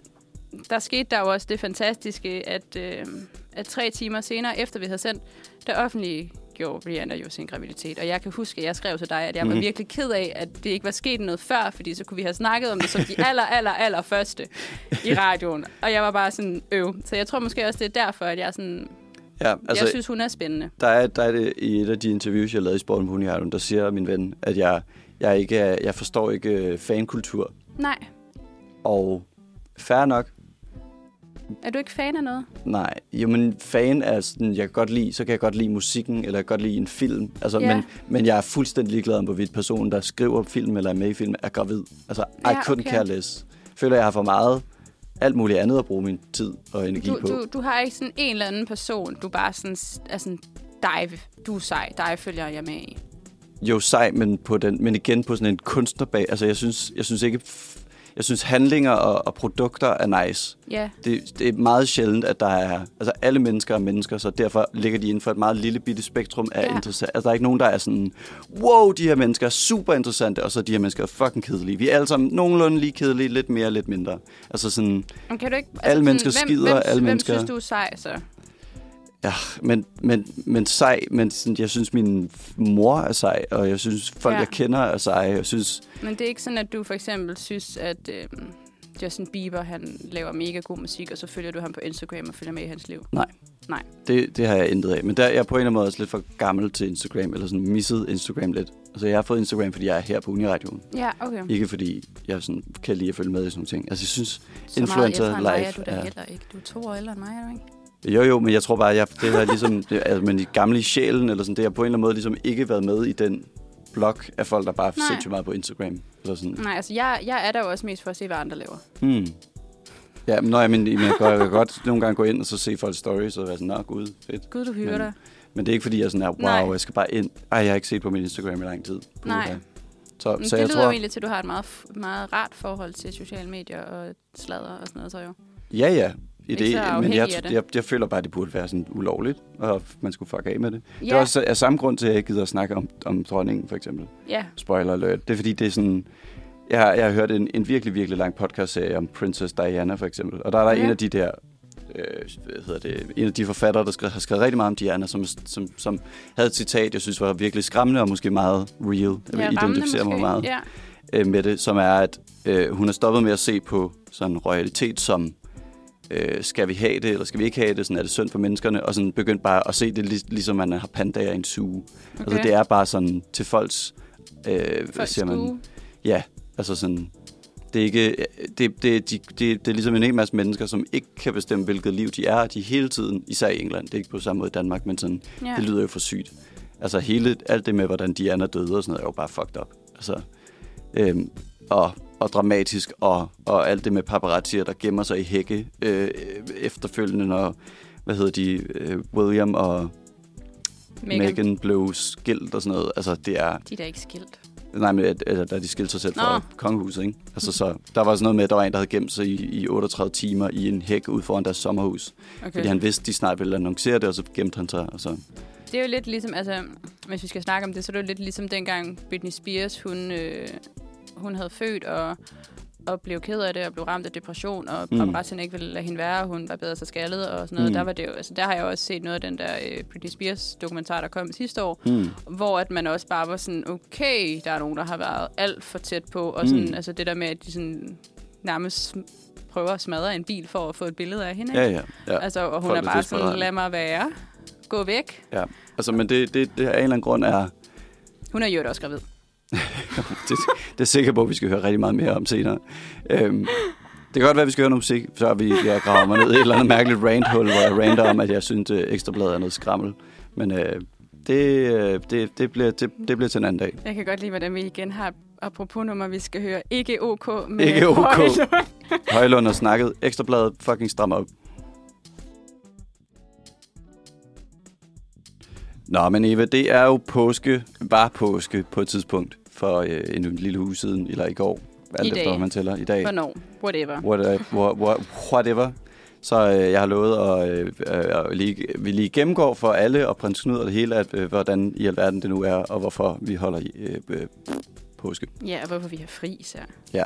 B: der skete der jo også det fantastiske, at, øhm, at tre timer senere, efter vi havde sendt, der offentlige gjorde Rihanna jo sin graviditet. Og jeg kan huske, at jeg skrev til dig, at jeg var
C: Mhm.
B: virkelig ked af, at det ikke var sket noget før, fordi så kunne vi have snakket om det som de aller, aller, aller første i radioen. Og jeg var bare sådan, øv. Så jeg tror måske også, det er derfor, at jeg, er sådan,
C: Ja,
B: altså,
C: altså,
B: jeg synes, hun er spændende.
C: der, er, der er det i et af de interviews, jeg lavede i Sporten på Uniharden, der siger min ven, at jeg, jeg, ikke, er- jeg forstår ikke øh, fankultur.
B: Nej,
C: Og fair nok,
B: er du ikke fan af noget?
C: nej. Jamen, fan er sådan, jeg kan godt lide, så kan jeg godt lide musikken, eller jeg kan godt lide en film. Altså,
B: Ja.
C: men, men jeg er fuldstændig ligeglad om, hvorvidt personen, der skriver film eller er med i film, er gravid. Altså, I
B: Ja,
C: couldn't
B: okay.
C: care less. Føler, jeg har for meget alt muligt andet at bruge min tid og energi
B: Du,
C: på.
B: du, du har ikke sådan en eller anden person, du bare sådan, er sådan, dig, du er sej, dig følger jeg med i.
C: jo sej, men, på den, men igen på sådan en kunstnerbag. Altså, jeg synes, jeg synes ikke... f- Jeg synes, handlinger og, og produkter er nice.
B: Ja,
C: Det, det er meget sjældent, at der er... Altså, alle mennesker er mennesker, så derfor ligger de inden for et meget lille bitte spektrum af ja.
B: Ja.
C: interessant. Altså, der er ikke nogen, der er sådan... Wow, de her mennesker er super interessante, og så de her mennesker er fucking kedelige. Vi er alle sammen nogenlunde lige kedelige, lidt mere, lidt mindre. Altså sådan...
B: men kan du ikke... Altså,
C: Alle mennesker
B: hvem,
C: skider,
B: hvem,
C: alle
B: hvem
C: mennesker-
B: synes du er sej, så?
C: Ja, men, men, men sej, men sådan, jeg synes, min mor er sej, og jeg synes, folk, ja.
B: Ja.
C: jeg kender, er seje. Jeg synes,
B: Men det er ikke sådan, at du for eksempel synes, at øh, Justin Bieber, han laver mega god musik, og så følger du ham på Instagram og følger med i hans liv.
C: Nej.
B: Nej.
C: Det, det har jeg intet af. Men der, jeg er på en eller anden måde også lidt for gammel til Instagram, eller sådan misset Instagram lidt. Altså, jeg har fået Instagram, fordi jeg er her på Uniradioen.
B: Ja, okay.
C: Ikke fordi jeg sådan, kan lide at følge med i sådan nogle ting. Altså, jeg synes,
B: Så meget ældre
C: influencer
B: end mig er du
C: life
B: da
C: er- Mm.
B: heller ikke. Du er to år ældre end mig, er du ikke?
C: Jo, jo, men jeg tror bare, jeg, det var ligesom, det, altså, men i gamle i sjælen, eller sådan, det har på en eller anden måde ligesom ikke været med i den blok af folk, der bare
B: Nej.
C: ser meget på Instagram. Eller sådan.
B: Nej, altså jeg, jeg er der jo også mest for at se, hvad andre laver.
C: Hmm. Ja, men, nå, ja, men men jeg, kan, jeg kan godt nogle gange gå ind og så se folks stories, og være sådan, nå gud, fedt.
B: Gud, du hygger
C: Men-
B: dig.
C: Men det er ikke fordi, jeg er sådan er, wow,
B: Nej.
C: jeg skal bare ind. Ej, jeg har ikke set på min Instagram i lang tid. Puh,
B: Nej.
C: ja. Så,
B: Men
C: så
B: det
C: jeg
B: lyder
C: tror,
B: jo egentlig til, at du har et meget, f- meget rart forhold til sociale medier og sladder og sådan noget, så jo.
C: ja, ja. I
B: Ikke
C: det,
B: så
C: men
B: afhængig
C: jeg,
B: af det.
C: jeg, jeg, føler bare, at det burde være sådan ulovligt, og man skulle fuck af med det. Ja. Det er også af samme grund til, at jeg ikke gider at snakke om, om dronningen, for eksempel.
B: ja,
C: Spoiler alert. Det er fordi, det er sådan... Jeg har, jeg har hørt en, en virkelig, virkelig lang podcastserie om Princess Diana, for eksempel. Og der er der
B: Ja.
C: ja. en af de der... Øh, hvad hedder det? En af de forfattere, der skre, har skrevet rigtig meget om Diana, som, som, som havde et citat, jeg synes var virkelig skræmmende og måske meget real. Jeg vil
B: ja
C: identificere mig meget
B: Ja,
C: øh, med det, som er, at øh, hun er stoppet med at se på sådan royalitet som, øh, skal vi have det, eller skal vi ikke have det, sådan er det synd for menneskerne, og sådan begyndt bare at se det, lig, ligesom man har pandaer i en suge. Okay. Altså
B: Okay.
C: det er bare sådan til folks, øh, hvad
B: folk
C: siger man,
B: stue.
C: ja, altså sådan, det er ikke, det, det, de, det, det er ligesom en hel masse mennesker, som ikke kan bestemme, hvilket liv de er, de hele tiden, især i England, det er ikke på samme måde i Danmark, men sådan,
B: Ja.
C: ja. det lyder jo for sygt. Altså hele, alt det med, hvordan Diana døde og sådan noget, er jo bare fucked up. Altså, øhm, og, og dramatisk, og, og alt det med paparazzier, der gemmer sig i hække øh, efterfølgende, når, hvad hedder de, øh, William og
B: Meghan.
C: Meghan. Meghan blev skilt og sådan noget. Altså det er,
B: De er da ikke skilt.
C: nej, men at- altså, der de skilte sig selv fra
B: Nå.
C: kongehuset, ikke? Altså så, der var sådan noget med, at der var en, der havde gemt sig i, i 38 timer i en hæk ude foran deres sommerhus, okay.
B: Okay.
C: fordi han vidste, de snart ville annoncere det, og så gemte han sig, og så
B: Det er jo lidt ligesom, altså, hvis vi skal snakke om det, så er det jo lidt ligesom dengang Britney Spears, hun, øh, hun havde født og, og blev ked af det, og blev ramt af depression, og mm.
C: Mm.
B: paparazzierne ikke ville lade hende være, og hun var bedre så skaldet og sådan noget. Mm.
C: Mm.
B: Der, var det jo, altså, der har jeg også set noget af den der øh, Britney Spears dokumentar, der kom sidste år,
C: hmm.
B: hvor at man også bare var sådan, okay, der er nogen, der har været alt for tæt på, og sådan, mm.
C: Mm.
B: altså det der med, at de sådan nærmest sm- prøver at smadre en bil for at få et billede af hende. ikke?
C: ja, ja, ja.
B: Altså, og hun
C: Folk
B: er
C: er
B: bare sådan,
C: desperate.
B: lad mig være. Gå væk.
C: Ja, altså, men det, det, det af en eller anden grund er,
B: Hun er jo også gravid.
C: det, det er sikkert på, at vi skal høre rigtig meget mere om senere. Øhm, det kan godt være, at vi skal høre noget musik, så er vi, jeg graver mig ned i et eller andet mærkeligt ranthul, hvor jeg ranter om, at jeg synes, at Ekstrabladet er noget skrammel. Men øh, det, øh, det, det, bliver, det, det bliver til en anden dag.
B: Jeg kan godt lide, hvordan vi igen har et apropos nummer, vi skal høre. Ikke OK med
C: Ikke OK.
B: Højlund.
C: Højlund har snakket. Ekstrabladet fucking strammer op. Nå, men Eva, det er jo påske, var påske på et tidspunkt for øh, en lille uge siden, eller i går, alt
B: I dag.
C: efter, hvad man tæller, i dag.
B: Hvornår? Whatever.
C: What, uh, what, what, whatever. Så øh, jeg har lovet, at øh, øh, lige, vi lige gennemgår for alle og prins Knud og det hele, at, øh, hvordan i alverden det nu er, og hvorfor vi holder øh, øh, påske.
B: Ja, og hvorfor vi har fri især.
C: Ja.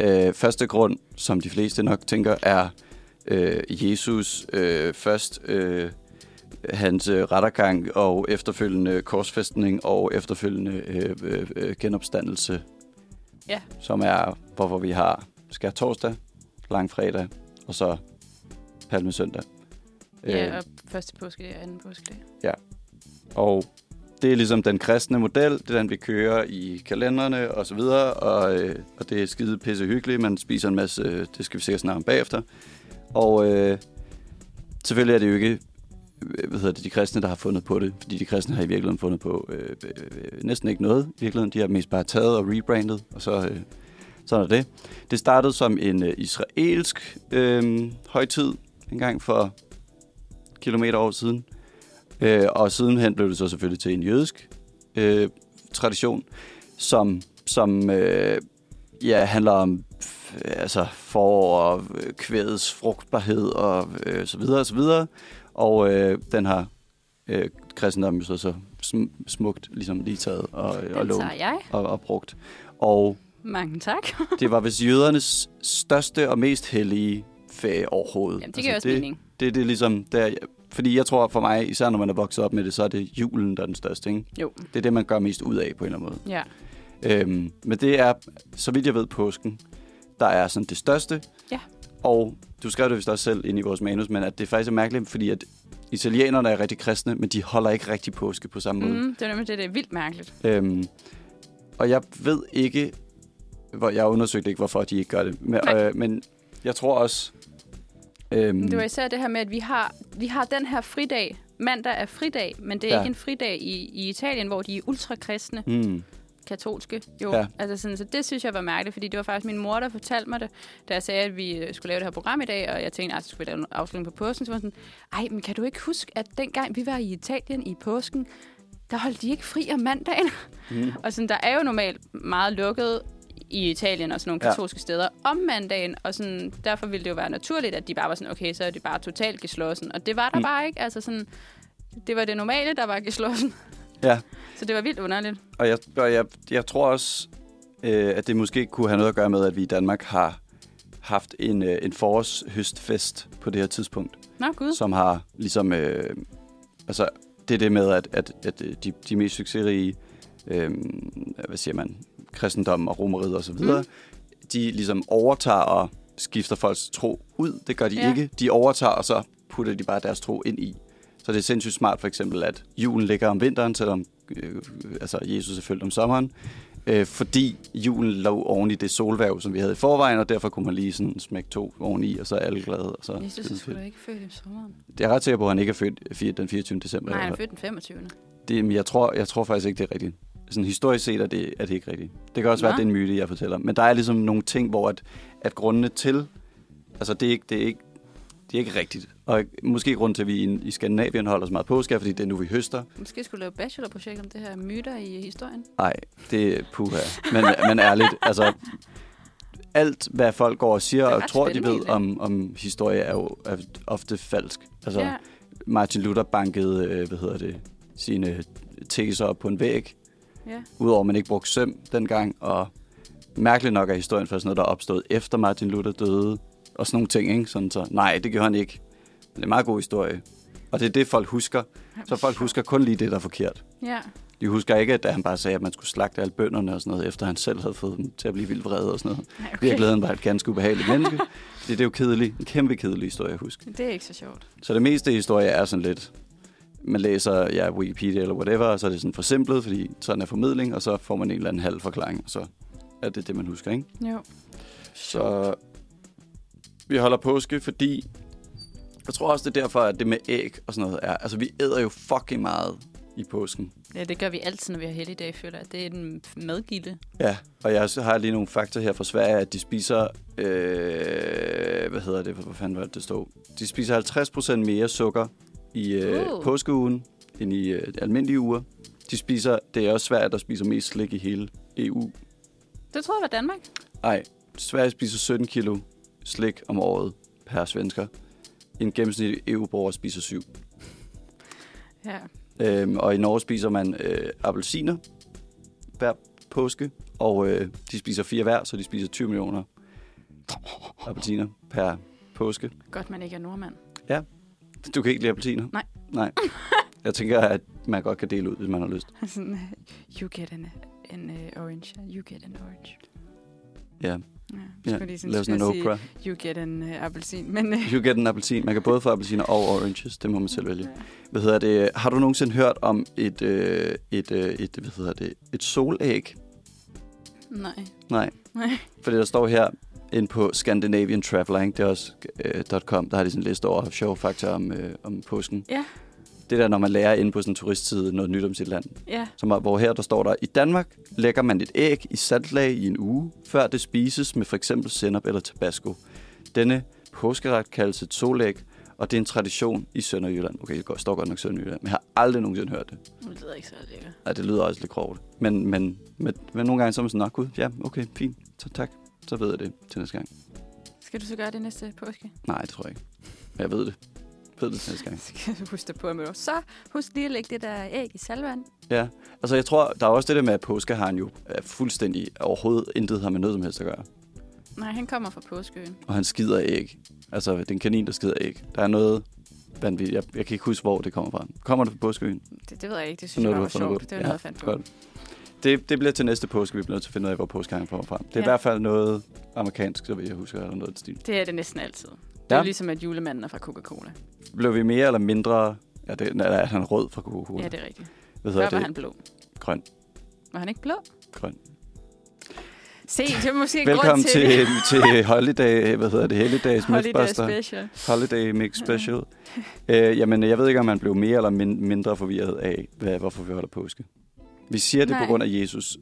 C: Øh, første grund, som de fleste nok tænker, er øh, Jesus øh, først øh, hans øh, rettergang og efterfølgende korsfæstning og efterfølgende øh, øh, øh, genopstandelse.
B: Ja.
C: Som er, hvorfor vi har skær torsdag, langfredag og så palmesøndag. Øh,
B: Ja, og første påske og anden påske.
C: Og det er ligesom den kristne model, det er den, vi kører i kalenderne og så videre, og, øh, og det er skide pisse hyggeligt, man spiser en masse, øh, det skal vi sikkert snakke om bagefter. Og øh, selvfølgelig er det jo ikke, øh, hvad hedder det, de kristne, der har fundet på det, fordi de kristne har i virkeligheden fundet på øh, øh, øh, næsten ikke noget, i virkeligheden, de har mest bare taget og rebrandet, og så... Øh, sådan er det. Det startede som en øh, israelsk øh, højtid, en gang for kilometer år siden. Øh, og sidenhen blev det så selvfølgelig til en jødisk øh, tradition, som, som øh, ja, handler om f- altså forår og øh, kvædets frugtbarhed og øh, så videre og så videre. Og øh, den har øh, kristendommen jo så, så sm- smukt ligesom lige taget og, og
B: Den
C: lånt
B: tager jeg.
C: og, og brugt. Og
B: Mange tak.
C: det var vist jødernes største og mest hellige ferie overhovedet.
B: Jamen, det giver også
C: Altså, det,
B: mening.
C: Det, det er ligesom der, fordi jeg tror for mig, især når man er vokset op med det, så er det julen, der er den største. Ikke?
B: Jo.
C: Det er det, man gør mest ud af på en eller anden
B: Ja.
C: måde. Øhm, men det er, så vidt jeg ved, påsken, der er sådan det største.
B: Ja.
C: Og du skrev det vist også selv ind i vores manus, men at det faktisk er mærkeligt, fordi at italienerne er rigtig kristne, men de holder ikke rigtig påske på samme måde.
B: Mm, det er nemlig det, det er vildt mærkeligt.
C: Øhm, og jeg ved ikke, hvor jeg undersøgte ikke, hvorfor de ikke gør det. Men,
B: Nej.
C: øh, men jeg tror også... Øhm,
B: Mm. Det var især det her med, at vi har, vi har den her fridag. Mandag er fridag, men det er
C: Ja.
B: ja. ikke en fridag i, i Italien, hvor de er ultrakristne.
C: mm,
B: katolske. Jo,
C: Ja.
B: ja. altså sådan, så det synes jeg var mærkeligt, fordi det var faktisk min mor, der fortalte mig det, da jeg sagde, at vi øh, skulle lave det her program i dag, og jeg tænkte, at så skulle vi lave en afslutning på påsken. Så var hun sådan, ej, men kan du ikke huske, at dengang vi var i Italien i påsken, der holdt de ikke fri om mandagen. Mm. Og sådan, der er jo normalt meget lukket i Italien og sådan nogle
C: Ja.
B: katolske ja. steder om mandagen, og sådan, derfor ville det jo være naturligt, at de bare var sådan, okay, så er det bare totalt geslossen. Og det var der mm. bare ikke, altså sådan, det var det normale, der var geslossen.
C: ja,
B: Så det var vildt underligt.
C: og jeg, og jeg, jeg tror også, øh, at det måske kunne have noget at gøre med, at vi i Danmark har haft en, øh, en forårs-høstfest på det her tidspunkt,
B: Nå, gud.
C: som har ligesom... Øh, altså, det er det med, at, at, at øh, de, de mest succesrige, øh, hvad siger man, kristendommen og romeriet og så videre, mm. de ligesom overtager og skifter folks tro ud. Det gør de
B: Ja.
C: ikke. De overtager, og så putter de bare deres tro ind i. Så det er sindssygt smart for eksempel, at julen ligger om vinteren, selvom øh, altså Jesus er født om sommeren. Øh, fordi julen lå oven i det solværv, som vi havde i forvejen, og derfor kunne man lige sådan smække to oveni, og så er alle glade. Og så
B: Jesus er sgu da ikke født i sommeren.
C: jeg er ret sikker på, at han ikke er født fir- den 24. december.
B: Nej, han
C: Eller-
B: er født den 25.
C: det, men jeg, tror, jeg tror faktisk ikke, det er rigtigt. Sådan historisk set er det, er det ikke rigtigt. Det kan også Nå.
B: Nå.
C: være, at det er en myte, jeg fortæller. Men der er ligesom nogle ting, hvor at, at grundene til... Altså, det er ikke, det er ikke, det er ikke rigtigt. Og måske grund til, at vi i, i Skandinavien holder så meget påske, er, fordi det er nu, vi høster.
B: Måske skulle du lave et bachelorprojekt om det her myter i historien.
C: Nej, det er puha. Men, men ærligt, altså... Alt, hvad folk går og siger
B: Det er
C: og
B: ret
C: tror, de
B: spændende
C: ved om, om historie, er jo er ofte falsk. Altså,
B: Ja.
C: Martin Luther bankede, øh, hvad hedder det, sine teser op på en væg,
B: ja.
C: Udover at man ikke brugte søm dengang, og mærkeligt nok er historien for sådan noget, der er opstået efter Martin Luther døde, og sådan nogle ting, ikke? Sådan så, nej, det gjorde han ikke. Men det er en meget god historie. Og det er det, folk husker. Så folk husker kun lige det, der er forkert.
B: Ja.
C: De husker ikke, at han bare sagde, at man skulle slagte alle bønderne og sådan noget, efter han selv havde fået dem til at blive vildt vrede og sådan noget.
B: Nej,
C: I
B: okay.
C: virkeligheden var han et ganske ubehageligt menneske. Fordi det er jo kedeligt. En kæmpe kedelig historie at huske.
B: Det er ikke så sjovt.
C: Så det meste historie er sådan lidt, man læser ja, Wikipedia eller whatever, og så er det sådan forsimplet, fordi sådan er formidling, og så får man en eller anden halv forklaring, og så er det det, man husker, ikke?
B: Jo.
C: Så vi holder påske, fordi jeg tror også, det er derfor, at det med æg og sådan noget er. Altså, vi æder jo fucking meget i påsken.
B: Ja, det gør vi altid, når vi har helligdag, føler jeg. Det er den medgilde.
C: Ja, og jeg har lige nogle fakta her fra Sverige, at de spiser, øh, hvad hedder det, hvor fanden var det, det stod? De spiser 50% mere sukker i øh,
B: Uh.
C: påskeugen end i øh, de almindelige uger. De spiser, det er også Sverige, der spiser mest slik i hele EU.
B: Det troede jeg var Danmark.
C: Nej, Sverige spiser 17 kilo slik om året per svensker. En gennemsnitlig EU-borger spiser 7.
B: Ja.
C: Øhm, og i Norge spiser man øh, appelsiner hver påske, og øh, de spiser fire hver, så de spiser 20 millioner appelsiner per påske.
B: Godt, man ikke er nordmand.
C: Ja, du kan ikke lide appelsiner?
B: Nej.
C: Nej. Jeg tænker, at man godt kan dele ud, hvis man har lyst.
B: Sådan, øh, you get an, an uh, orange, you get an orange.
C: Ja,
B: Ja,
C: ja.
B: skulle lige sådan,
C: lav sådan en
B: skulle sige,
C: okra.
B: You get an uh, appelsin, men... Uh,
C: You get en appelsin. Man kan både få appelsiner og oranges. Det må man selv vælge. Hvad hedder det? Har du nogensinde hørt om et, øh, et, øh, et, hvad hedder det? et solæg?
B: nej.
C: Nej.
B: Nej.
C: Fordi der står her ind på Scandinavian Traveler, ikke? det er også øh, .com, der har de sådan en liste over sjove fakta om, øh, om påsken.
B: Ja,
C: Det der, når man lærer inde på sådan en turistside noget nyt om sit land.
B: ja.
C: Som, er- hvor her der står der, i Danmark lægger man et æg i saltlag i en uge, før det spises med for eksempel sennep eller tabasco. Denne påskeret kaldes et solæg, og det er en tradition i Sønderjylland. Okay, det går- står godt nok Sønderjylland, men jeg har aldrig nogensinde hørt det.
B: Det lyder ikke så lækkert.
C: Ej, det lyder også lidt grovt. Men, men, men, men nogle gange så er man sådan, nok gud, ja, okay, fint, så tak. Så ved jeg det til næste gang.
B: Skal du så gøre det næste påske?
C: Nej, det tror jeg ikke. Men jeg ved det. Jeg ved det til næste gang.
B: Så kan du huske det på, men så husk lige at lægge det der æg i salvand.
C: Ja, altså jeg tror, der er også det der med, at påskeharen jo er fuldstændig overhovedet intet har med noget som helst at gøre.
B: Nej, han kommer fra påskeøen.
C: Og han skider æg. Altså, det er en kanin, der skider æg. Der er noget vanvittigt. Jeg, jeg kan ikke huske, hvor det kommer fra. Kommer det fra påskeøen?
B: Det, det ved jeg ikke, det
C: Så
B: synes jeg
C: noget,
B: bare
C: du
B: var
C: har
B: sjovt.
C: fundet på.
B: Det var
C: Ja,
B: noget, jeg fandt på.
C: Godt. Det, det bliver til næste påske, vi bliver nødt til at finde ud af, hvor påskeharen kommer fra. Det er ja.
B: Ja.
C: i hvert fald noget amerikansk, så vil jeg huske, eller noget i den stil.
B: Det er det næsten altid. Det er
C: Ja.
B: jo ligesom, at julemanden er fra Coca-Cola.
C: Blev vi mere eller mindre... Ja, det, nej, er han rød fra Coca-Cola?
B: Ja, det er rigtigt.
C: Hvad
B: Før
C: hedder
B: var
C: det?
B: han blå.
C: Grøn.
B: Var han ikke blå?
C: Grøn.
B: Se, det er måske en grund
C: Velkommen
B: til,
C: til,
B: det.
C: til, til Holiday, hvad hedder det, Helligdags
B: Holiday
C: Mythbuster.
B: Special.
C: Holiday Mix Special. øh, jamen, jeg ved ikke, om han blev mere eller min- mindre forvirret af, hvad, hvorfor vi holder påske. Vi siger det
B: Nej.
C: på grund af Jesus.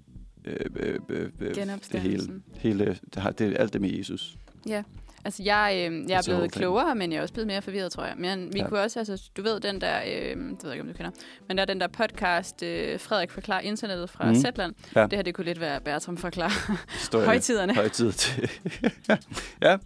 C: Øh, øh, øh, øh, det hele,
B: Genopstandelsen.
C: hele, det, har, det er alt det med Jesus.
B: Ja. Altså, jeg, øh, jeg er
C: It's the whole
B: blevet
C: thing.
B: klogere, men jeg er også blevet mere forvirret, tror jeg. Men vi
C: Ja.
B: ja. kunne også, altså, du ved den der, øh, det ved jeg ikke, om du kender, men der er den der podcast, øh, Frederik forklarer internettet fra
C: Mhm.
B: mm. Zetland.
C: Ja.
B: Ja. Det her, det kunne lidt være Bertram forklarer
C: Historie.
B: højtiderne.
C: Højtid til. ja,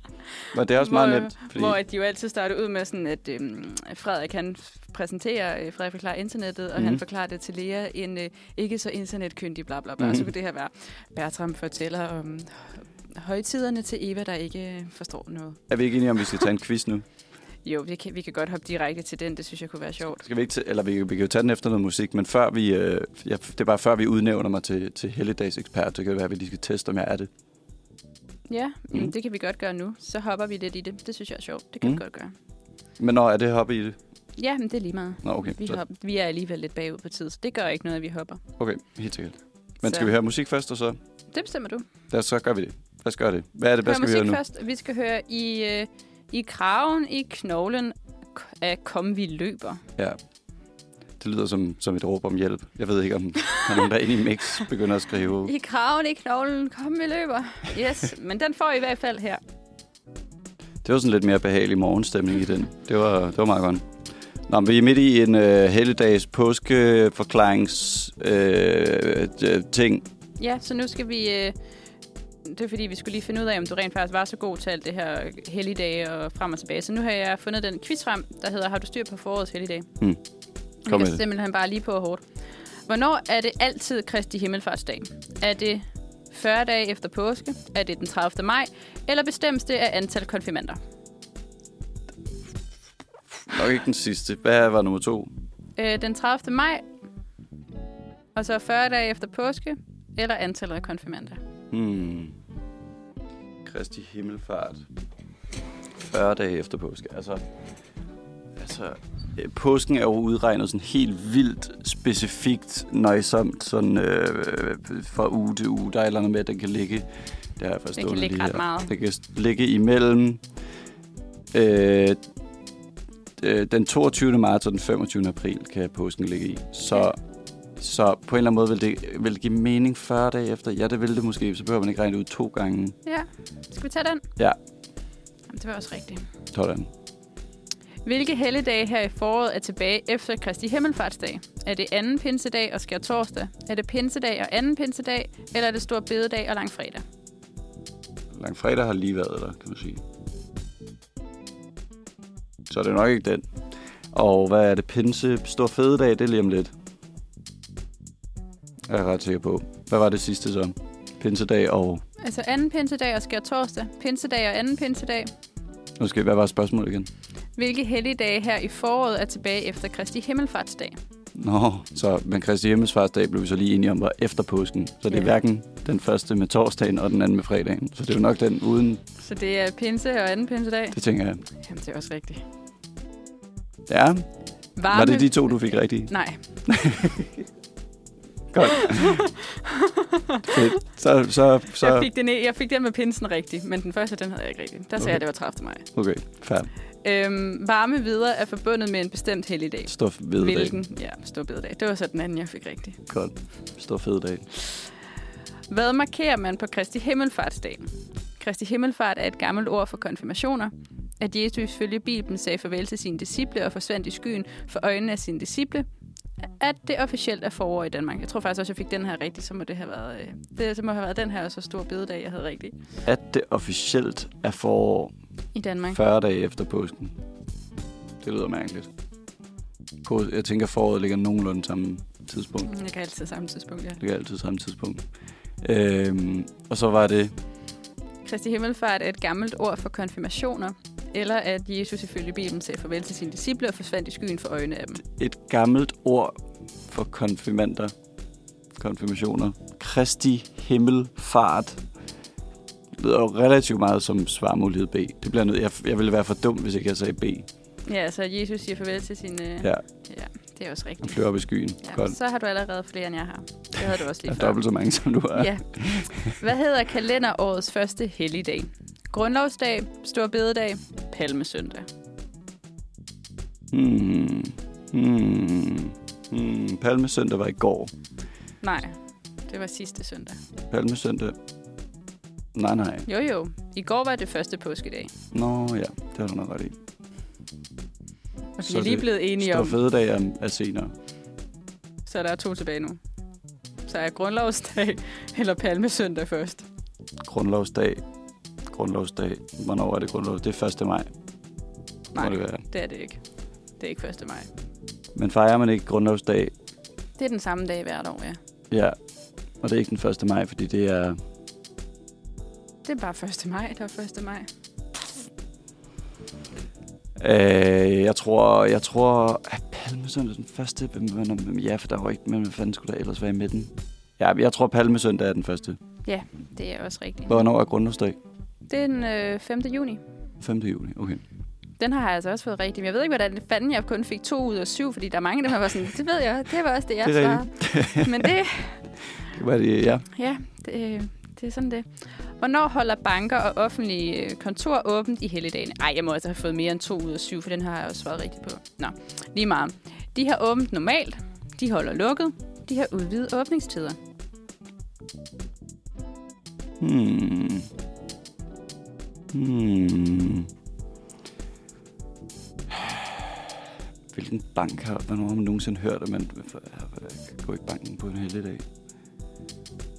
C: men det er også meget
B: Hvor-
C: nemt. Fordi,
B: Hvor at de jo altid starter ud med sådan, at øhm, Frederik han f- præsenterer, øh, Frederik forklarer internettet, og mm.
C: Mhm.
B: han forklarer det til Lea, en øh, ikke så internetkyndig bla bla bla. Mm. Og
C: Mhm.
B: så kunne det her være, Bertram fortæller om højtiderne til Eva, der ikke øh, forstår noget.
C: er vi ikke enige om, vi skal tage en quiz nu?
B: Jo, vi kan, vi kan godt hoppe direkte til den, det synes jeg kunne være sjovt.
C: Skal vi ikke t- eller vi, vi kan jo tage den efter noget musik, men før vi, øh, jeg, det er bare før vi udnævner mig til, til helligdags ekspert, så kan det være, at vi lige skal teste, om jeg er det.
B: Ja,
C: Mm.
B: mm. det kan vi godt gøre nu. Så hopper vi lidt i det. Det synes jeg er sjovt. Det kan
C: Mm.
B: vi godt gøre.
C: Men når er det hoppe i det?
B: Ja, men det er lige meget.
C: Nå, okay.
B: Vi,
C: så-
B: hopper, vi er alligevel lidt bagud på tid, så det gør ikke noget, at vi hopper.
C: Okay, helt sikkert. Men
B: Så-
C: skal vi høre musik først, og så,
B: Det bestemmer du.
C: der, så gør vi det. Lad os gøre det. Hvad er det, hvad
B: Hør
C: skal vi
B: musik
C: høre nu?
B: først. Vi skal høre i, øh, i kraven, i knoglen k- af Kom vi løber.
C: Ja. Det lyder som, som et råb om hjælp. Jeg ved ikke, om der er nogen, der inde i mix begynder at skrive.
B: I kraven, i knoglen, kom vi løber. Yes, men den får I i hvert fald her.
C: Det var sådan lidt mere behagelig morgenstemning i den. Det var, det var meget godt. Nå, men vi er midt i en øh, helligdags påskeforklarings øh, øh, ting.
B: Ja, så nu skal vi... Øh, det er fordi, vi skulle lige finde ud af, om du rent faktisk var så god til alt det her helligdage og frem og tilbage. Så nu har jeg fundet den quiz frem, der hedder, har du styr på forårets helligdag?
C: Hmm. Kom
B: Kom
C: med
B: det er
C: det.
B: simpelthen bare lige på og hårdt. Hvornår er det altid Kristi Himmelfartsdag? Er det 40 dage efter påske? Er det den 30. maj? Eller bestemmes det af antal konfirmander?
C: Nok ikke den sidste. Hvad var nummer to?
B: Øh, den 30. maj, og så 40 dage efter påske, eller antallet af konfirmander?
C: Hmm. Kristi Himmelfart. 40 dage efter påske. Altså, altså øh, påsken er jo udregnet sådan helt vildt specifikt, nøjsomt, sådan øh, fra uge til uge. Der er et eller andet med, at den kan ligge. Det har jeg forstået
B: Den kan ligge
C: lige
B: ret
C: her.
B: meget.
C: Den kan ligge imellem øh, øh, den 22. marts og den 25. april, kan påsken ligge i. Så så på en eller anden måde vil det, vil det give mening 40 dage efter. Ja, det vil det måske. Så behøver man ikke regne det ud to gange.
B: Ja, skal vi tage den?
C: Ja,
B: Jamen, det var også rigtigt.
C: sådan.
B: Hvilke helligdage her i foråret er tilbage efter Kristi Himmelfartsdag? Er det anden pinsedag og skær torsdag? Er det pinsedag og anden pinsedag? Eller er det stor bededag og langfredag?
C: Langfredag har lige været der, kan man sige. Så er det nok ikke den. Og hvad er det? Pinse? Stor fededag? Det er lige om lidt. Jeg er ret sikker på. Hvad var det sidste så? Pinsedag og...
B: Altså anden pinsedag og skær torsdag, pinsedag og anden pinsedag.
C: Nu skal hvad var spørgsmålet igen?
B: Hvilke helligdage her i foråret er tilbage efter Kristi Himmelfartsdag?
C: Nå, så, men Kristi Himmelsfarsdag blev vi så lige enige om, var efter påsken. Så det er
B: Ja.
C: hverken den første med torsdagen og den anden med fredagen. Så det er jo nok den uden,
B: Så det er pinse og anden pinsedag?
C: det tænker jeg.
B: Jamen, det er også rigtigt.
C: Ja,
B: Varme...
C: var det de to, du fik rigtigt?
B: Nej,
C: Godt. Fedt. Så, så,
B: så... jeg,
C: så,
B: fik den, jeg fik den med pinsen rigtig, men den første, den havde jeg ikke rigtig. Der sagde
C: Okay.
B: okay. jeg, det var 30. maj.
C: okay, fair.
B: Øhm, varme videre er forbundet med en bestemt helligdag.
C: Stor fed dag.
B: Hvilken? Ja, stor bededag. Det var så den anden, jeg fik rigtigt.
C: Godt. Stor fed dag.
B: Hvad markerer man på Kristi Himmelfartsdag? Kristi Himmelfart er et gammelt ord for konfirmationer. At Jesus ifølge Bibelen sagde farvel til sine disciple og forsvandt i skyen for øjnene af sine disciple. At det officielt er forår i Danmark. Jeg tror faktisk også, jeg fik den her rigtig, så må det have været, øh, det, så må have været den her og så stor bededag, jeg havde rigtig
C: At det officielt er forår
B: i Danmark.
C: 40 dage efter påsken. Det lyder mærkeligt. Pås- Jeg tænker, foråret ligger nogenlunde samme tidspunkt.
B: Jeg kan altid samme tidspunkt, ja.
C: Det ligger altid samme tidspunkt. Øhm, og så var det...
B: Kristi Himmelfart er et gammelt ord for konfirmationer, eller at Jesus ifølge Bibelen sagde farvel til sine disciple og forsvandt i skyen for øjnene af dem.
C: et gammelt ord for konfirmander. Konfirmationer. Kristi himmelfart. relativt meget som svarmulighed B. Det bliver nødt, jeg, jeg ville være for dum, hvis ikke jeg sagde B.
B: Ja, så Jesus siger farvel til sin... Øh,
C: Ja,
B: ja. det er også
C: og
B: rigtigt.
C: flyver op i skyen. Ja, Godt.
B: Ja, så har du allerede flere, end jeg har. Det havde du også
C: Jeg
B: lige
C: er
B: før.
C: dobbelt så mange, som du er.
B: Ja. Hvad hedder kalenderårets første helligdag? Grundlovsdag, Stor Bededag, Palmesøndag.
C: Hmm. Hmm. Hmm. Palmesøndag var i går.
B: Nej, det var sidste søndag.
C: Palmesøndag. Nej, nej.
B: Jo jo, i går var det første påskedag.
C: Nå ja, det har du nok ret i.
B: Og vi
C: Så
B: er lige
C: det
B: blevet enige
C: Stor
B: om,
C: fededag er, er senere.
B: så der er to tilbage nu. Så er grundlovsdag eller palmesøndag først.
C: Grundlovsdag. Grundlovsdag. Hvornår er det grundlov? Det er 1. maj.
B: Nej,
C: Må det være.
B: det er det ikke. Det er ikke 1. maj.
C: Men fejrer man ikke grundlovsdag?
B: Det er den samme dag hvert år, ja.
C: Ja. Og det er ikke den 1. maj, fordi det er...
B: Det er bare 1. maj, der er 1. maj.
C: Øh, jeg tror... Jeg tror... Er Palmesøndag den første? Hvem- hvem- hvem- Ja, for der var ikke... Men hvad fanden skulle der ellers være i midten? Ja, jeg tror Palmesøndag er den første.
B: Det er også rigtigt.
C: Hvornår er grundlovsdag?
B: Det er den øh, 5. juni.
C: 5. juli, okay.
B: Den har jeg altså også fået rigtig. Men jeg ved ikke, hvordan fanden jeg kun fik to ud af syv, fordi der er mange af dem, der var sådan, det ved jeg, det var også det, jeg
C: Det er
B: svarede. Men det,
C: Hvad er det? Ja.
B: ja, det, øh, det er sådan det. Hvornår holder banker og offentlige øh, kontor åbent i helligdagen? Ej, jeg må altså have fået mere end to ud af syv, for den har jeg også svaret rigtigt på. Nå, lige meget. De har åbent normalt, de holder lukket, de har udvidet åbningstider.
C: Hmm. Hmm. Hvilken bank har... Hvornår har man nogensinde hørt, at man går i banken på en heldig dag?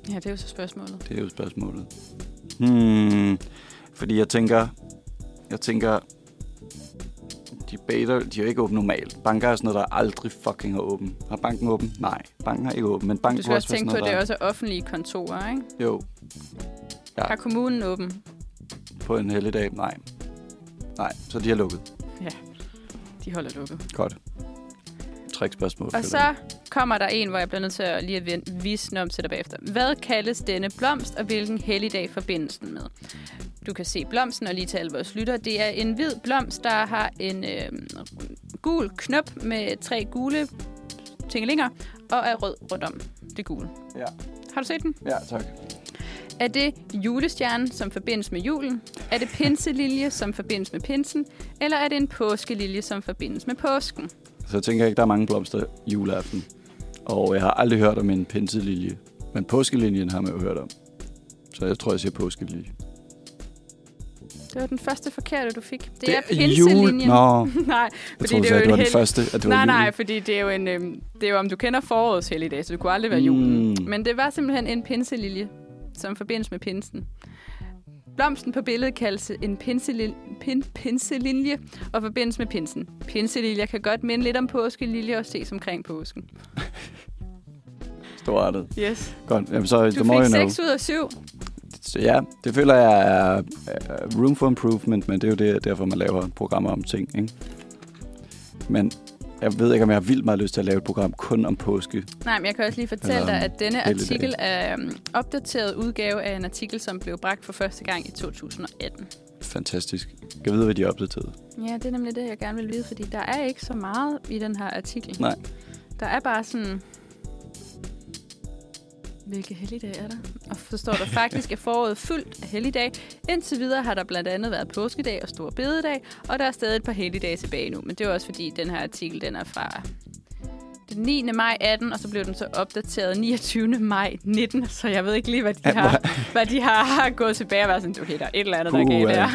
B: Ja, det er jo så spørgsmålet.
C: Det er jo spørgsmålet. Hmm. Fordi jeg tænker... Jeg tænker... De bader, de er ikke åbent normalt. Banker er sådan noget, der aldrig fucking er åben. Har banken åben? Nej, banken er ikke åben. Men banken
B: Du skal
C: kunne
B: også
C: være
B: tænke på,
C: sådan
B: at det er
C: noget,
B: også offentlige kontorer, ikke?
C: der- Jo, Ja.
B: Har kommunen åben?
C: på en heldig dag. Nej. Nej, så de har lukket.
B: De holder lukket.
C: Godt. Tre spørgsmål.
B: Og så kommer der en, hvor jeg bliver nødt til at lige at vende- vise den om til dig bagefter. Hvad kaldes denne blomst, og hvilken helligdag forbindes den med? Du kan se blomsten, og lige til alle vores lytter. Det er en hvid blomst, der har en øh, gul knop med tre gule tingelinger, og er rød rundt om det gule.
C: Ja.
B: Har du set den?
C: ja, tak.
B: Er det julestjernen, som forbindes med julen? Er det pinselilje, som forbindes med pinsen? Eller er det en påskelilje, som forbindes med påsken?
C: Så jeg tænker ikke, der er mange blomster juleaften. Og jeg har aldrig hørt om en pinselilje. Men påskelinjen har man jo hørt om. Så jeg tror, jeg siger påskelilje.
B: Det var den første forkerte, du fik. Det,
C: Det
B: det er
C: er
B: pinselinjen.
C: jul. Nå.
B: nej,
C: Jeg
B: fordi
C: troede,
B: det
C: du
B: er jo en
C: sagde, det var den
B: hel-
C: første, at det var
B: Nej,
C: jul.
B: nej, fordi det er jo en, øhm, det er jo, om du kender forårets helligdag, så det kunne aldrig være julen.
C: Mm.
B: Men det var simpelthen en pinselilje, som forbindes med pinsen. Blomsten på billedet kaldes en pinselil, pin, pinselilje og forbindes med pinsen. Pinseliljer kan godt minde lidt om påskelilje og ses omkring påsken.
C: Storartet.
B: Yes.
C: Godt. Jamen, så
B: Du
C: the more
B: fik
C: you know.
B: 6 ud af 7.
C: Så ja, det føler jeg er er room for improvement, men det er jo det, derfor, man laver programmer om ting. Ikke? Men jeg ved ikke, om jeg har vildt meget lyst til at lave et program kun om påske.
B: Nej, men jeg kan også lige fortælle
C: Eller,
B: dig, at denne
C: helligdag.
B: artikel er um, opdateret udgave af en artikel, som blev bragt for første gang i 2018.
C: Fantastisk. Jeg ved, hvad de er opdateret.
B: Ja, det er nemlig det, jeg gerne vil vide, fordi der er ikke så meget i den her artikel.
C: Nej.
B: Der er bare sådan... Hvilke helligdage er der? Og så står der faktisk, at foråret er fyldt af helligdage. Indtil videre har der blandt andet været påskedag og stor bededag, og der er stadig et par helligdage tilbage nu. Men det er også fordi, den her artikel den er fra den 9. maj 18, og så blev den så opdateret 29. maj 19, så jeg ved ikke lige, hvad de
C: Ja,
B: har, hvad de har gået tilbage og været sådan, okay, der er et eller andet, der er galt
C: Puha.
B: der.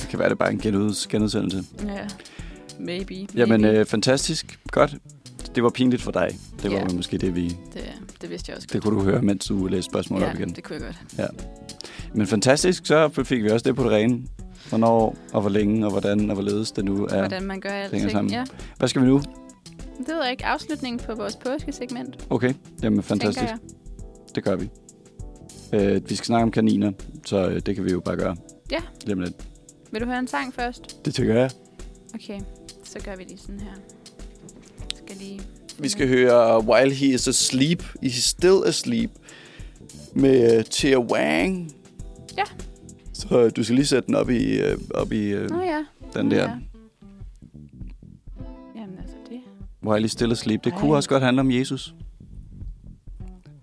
C: Det kan være, det er bare en genuds- genudsendelse.
B: Ja, maybe. maybe.
C: Jamen, øh, fantastisk. Godt. Det var pinligt for dig. Det var
B: Ja.
C: yeah. måske det, vi...
B: det, det vidste jeg også godt.
C: Det kunne du høre, mens du læste spørgsmålet op
B: ja,
C: igen.
B: det kunne jeg godt.
C: Men fantastisk, så fik vi også det på det rene. Hvornår, og hvor længe, og hvordan, og hvorledes det nu er.
B: Ja. Hvordan man gør
C: hænger
B: alting.
C: sammen.
B: Ja.
C: Hvad skal vi nu?
B: Det ved jeg ikke. Afslutningen på vores påskesegment,
C: Okay, jamen
B: Fantastisk.
C: fantastisk.
B: tænker jeg.
C: Det gør vi. Øh, vi skal snakke om kaniner, så øh, det kan vi jo bare gøre.
B: Ja.
C: Lige om lidt.
B: Vil du høre en sang først?
C: Det tænker jeg.
B: Okay, så gør vi lige sådan her. Skal lige...
C: Vi skal høre While He Is Asleep, He's Still Asleep med Tia øh, Wang.
B: Ja.
C: Så øh, du skal lige sætte den op i, øh, op i øh,
B: Nå ja.
C: den
B: Nå
C: der.
B: Ja. Jamen altså det.
C: While you still asleep. Det kunne
B: Ej.
C: også godt handle om Jesus.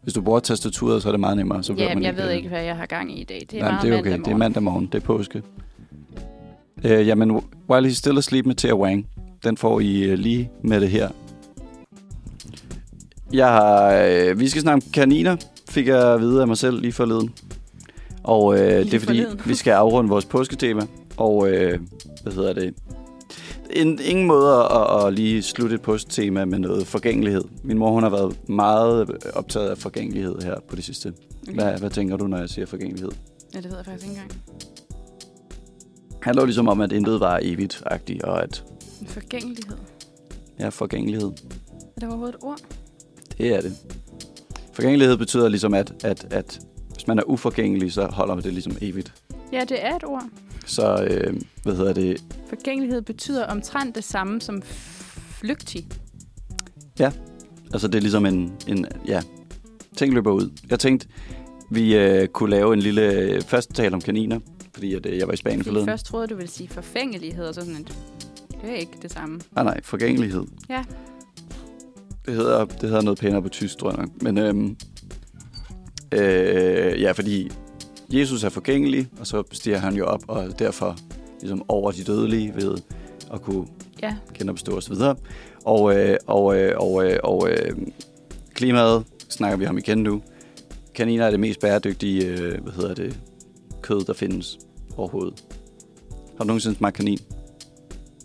C: Hvis du bruger tastaturet, så er det meget nemmere. Så behøver
B: Jamen,
C: man
B: jeg ved
C: øh,
B: ikke, hvad jeg har gang i i dag. Det er
C: Jamen,
B: meget
C: det er
B: mandag
C: okay. Det er
B: morgen.
C: mandag morgen. Det er påske. Øh, jamen, While He's Still Asleep med Thea Wang. Den får I øh, lige med det her. Jeg har, øh, vi skal snakke om kaniner, fik jeg at vide af mig selv lige forleden. Og øh, det er fordi,
B: forleden.
C: vi skal afrunde vores påsketema. Og øh, hvad hedder det? En, ingen måde at, at lige slutte et posttema med noget forgængelighed. Min mor hun har været meget optaget af forgængelighed her på det sidste.
B: Mm.
C: Hvad, hvad tænker du, når jeg siger forgængelighed?
B: Ja, det ved jeg faktisk ikke engang.
C: handler jo ligesom om, at intet var evigt og at
B: En Forgængelighed.
C: ja, forgængelighed,
B: Er det overhovedet et ord?
C: det er det. Forgængelighed betyder ligesom, at, at, at hvis man er uforgængelig, så holder man det ligesom evigt.
B: Ja, det er et ord.
C: Så, øh, hvad hedder det?
B: Forgængelighed betyder omtrent det samme som flygtig.
C: Altså, det er ligesom en, en ja, ting løber ud. Jeg tænkte, vi øh, kunne lave en lille øh, første tale om kaniner, fordi at, øh, jeg var i Spanien
B: Fordi
C: forleden.
B: først troede jeg, du ville sige forfængelighed, og så sådan et... Det er ikke det samme.
C: Nej, nej, forgængelighed.
B: Ja.
C: Det hedder, det hedder noget pænere på tysk, tror jeg nok. Men øhm, øh, ja, fordi Jesus er forgængelig, og så stiger han jo op, og er derfor ligesom over de dødelige ved at kunne
B: Ja,
C: genopstå osv. Og, øh, og, øh, og, øh, og øh, klimaet snakker vi om igen nu. Kaniner er det mest bæredygtige, øh, hvad hedder det, kød, der findes overhovedet. Har du nogensinde smagt kanin?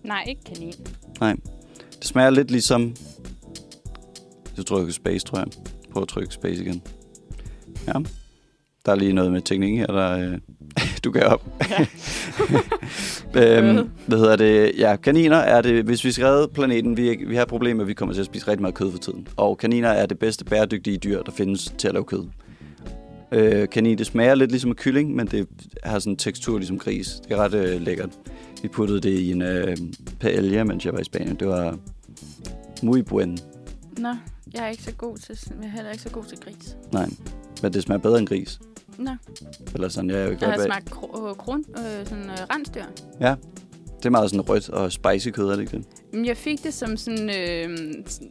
B: nej, ikke kanin.
C: Nej. Det smager lidt ligesom... Jeg trykker space, tror jeg. Prøv at trykke space igen. Ja. Der er lige noget med teknik her, der... Øh, du gav op. Ja. øhm, hvad hedder det? Ja, kaniner er det... Hvis vi skal redde planeten, vi, vi har et problem med, at vi kommer til at spise rigtig meget kød for tiden. Og kaniner er det bedste bæredygtige dyr, der findes til at lave kød. Øh, kanin, det smager lidt ligesom af kylling, men det har sådan en tekstur ligesom gris. Det er ret øh, lækkert. Vi puttede det i en øh, paella, mens jeg var i Spanien. Det var muy buen.
B: Nå, jeg er ikke så god til, jeg er heller ikke så god til gris.
C: Nej, men det smager bedre end gris.
B: Nå,
C: Eller sådan, jeg er jo ikke
B: jeg har
C: godt bag-
B: smagt kro- øh, grund, øh, sådan øh, rensdyr.
C: Ja, det er meget sådan rødt og spicy kød, er det ikke det?
B: Men Jeg fik det som sådan, øh,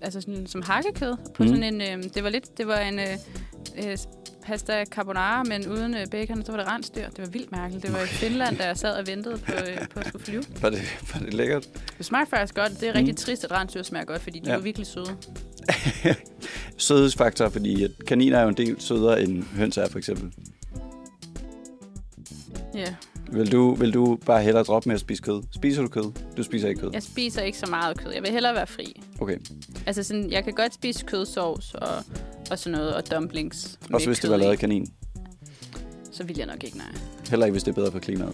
B: altså sådan, som hakkekød på
C: Mm.
B: mm. sådan en, øh, det var lidt, det var en øh, øh, pasta carbonara, men uden øh, bacon, og så var det rensdyr. Det var vildt mærkeligt. Det var i Finland, da jeg sad og ventede på, øh, på at skulle flyve.
C: Var det, var det lækkert?
B: Det smagte faktisk godt. Det er rigtig trist, at rensdyr smager godt, fordi de
C: Mhm. Ja.
B: ja. er jo virkelig søde.
C: Sødhedsfaktor, fordi at kaniner er jo en del sødere end høns er, for eksempel.
B: Ja.
C: Vil du, vil du bare hellere droppe med at spise kød? Spiser du kød? Du spiser ikke kød?
B: Jeg spiser ikke så meget kød. Jeg vil hellere være fri.
C: Okay.
B: Altså sådan, jeg kan godt spise kødsovs og, og sådan noget, og dumplings med
C: Også hvis det
B: kød
C: var lavet
B: i.
C: af kanin.
B: Så vil jeg nok ikke, nej.
C: Heller ikke, hvis det er bedre for klimaet.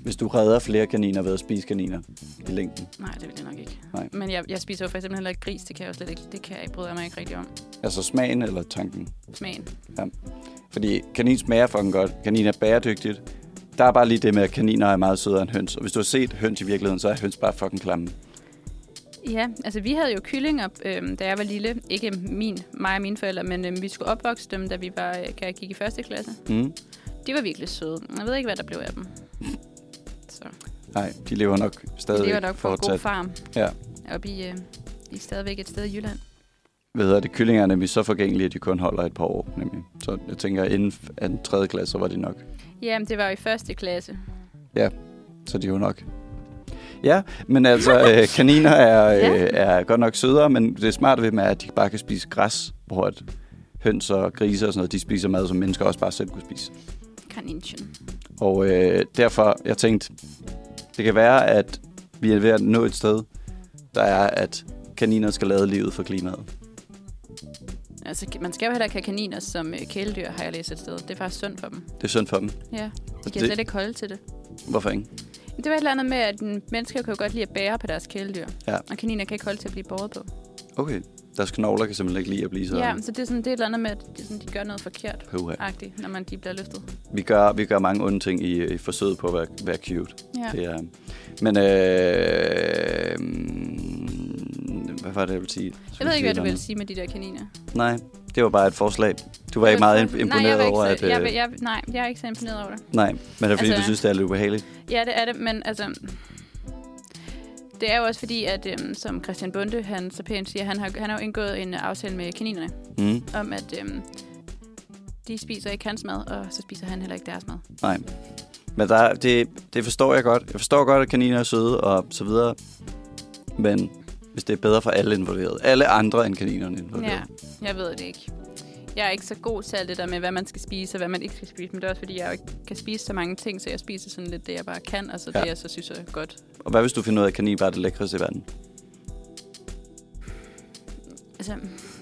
C: Hvis du redder flere kaniner ved at spise kaniner i længden.
B: Nej, det vil jeg nok ikke.
C: Nej.
B: Men jeg, jeg spiser jo for eksempel heller ikke gris. Det kan jeg jo slet ikke. Det kan jeg, bryder jeg mig ikke rigtig om.
C: Altså smagen eller tanken?
B: Smagen.
C: Fordi kanin smager fucking godt. Kanin er bæredygtigt. Der er bare lige det med, at kaniner er meget sødere end høns. Og hvis du har set høns i virkeligheden, så er høns bare fucking klamme.
B: Ja, altså vi havde jo kyllinger, øhm, da jeg var lille. Ikke min, mig og mine forældre, men øhm, vi skulle opvokse dem, da vi var, øh, da jeg gik i første klasse.
C: Mm.
B: De var virkelig søde. Jeg ved ikke, hvad der blev af dem. Så
C: Nej, de lever nok stadig
B: de lever nok på en god
C: fortsat.
B: farm
C: Ja.
B: oppe i, øh, de er stadigvæk et sted i Jylland.
C: Hvad hedder det? Kyllinger er nemlig så forgængelige, at de kun holder et par år. Nemlig. Så jeg tænker, inden f- anden tredje klasse, så var det nok.
B: Jamen, det var jo i første klasse.
C: Så de er jo nok. Ja, men altså, øh, kaniner er, øh,
B: Ja.
C: er godt nok sødere, men det smarte ved dem er, at de bare kan spise græs, hvor at høns og grise og sådan noget, de spiser mad, som mennesker også bare selv kunne spise.
B: Kaninchen.
C: Og øh, derfor, jeg tænkte, det kan være, at vi er ved at nå et sted, der er, at kaniner skal lade livet for klimaet.
B: Altså, man skal jo heller ikke have kaniner som øh, kæledyr, har jeg læst et sted. Det er faktisk sundt for dem.
C: Det er synd for dem.
B: Ja, de kan
C: Altså, Det-
B: det... slet ikke holde til det.
C: Hvorfor ikke?
B: Det var et eller andet med, at mm, mennesker kan jo godt lide at bære på deres kæledyr.
C: Ja.
B: Og kaniner kan ikke holde til at blive båret på.
C: Okay. Deres knogler kan simpelthen ikke lide at blive så...
B: Så... Ja, så det er, sådan, det er et eller andet med, at de, sådan, de gør noget forkert.
C: Puha.
B: Agtigt, når man de bliver løftet.
C: Vi gør, vi gør mange onde ting i, i forsøget på at være, være cute.
B: Ja.
C: Det er, men øh, mm, hvad var det, jeg ville sige?
B: Jeg ved ikke, hvad du
C: ville
B: vil sige med de der kaniner.
C: Nej, det var bare et forslag. Du var ikke meget imp-
B: nej, jeg
C: imponeret
B: var ikke
C: over,
B: så,
C: at...
B: jeg,
C: øh,
B: var- jeg, nej, jeg er ikke så imponeret over det.
C: Nej, men det er fordi,
B: Altså-
C: du synes, det er lidt ubehageligt.
B: Ja, det er det, men altså... Det er jo også fordi, at øhm, som Christian Bunde, han så pænt siger, han har, han har jo indgået en øh, aftale med kaninerne,
C: Mm.
B: om at øhm, de spiser ikke hans mad, og så spiser han heller ikke deres mad.
C: Nej. Men der, er- det, det forstår jeg godt. Jeg forstår godt, at kaniner er søde og så videre. Men hvis det er bedre for alle involveret. Alle andre end kaninerne involveret.
B: Ja, jeg ved det ikke. Jeg er ikke så god til alt det der med, hvad man skal spise og hvad man ikke skal spise, men det er også fordi, jeg jo ikke kan spise så mange ting, så jeg spiser sådan lidt det, jeg bare kan, og så
C: Ja.
B: det, jeg så synes er godt.
C: Og hvad hvis du finder ud af, at kanin bare er det lækreste i verden?
B: Altså,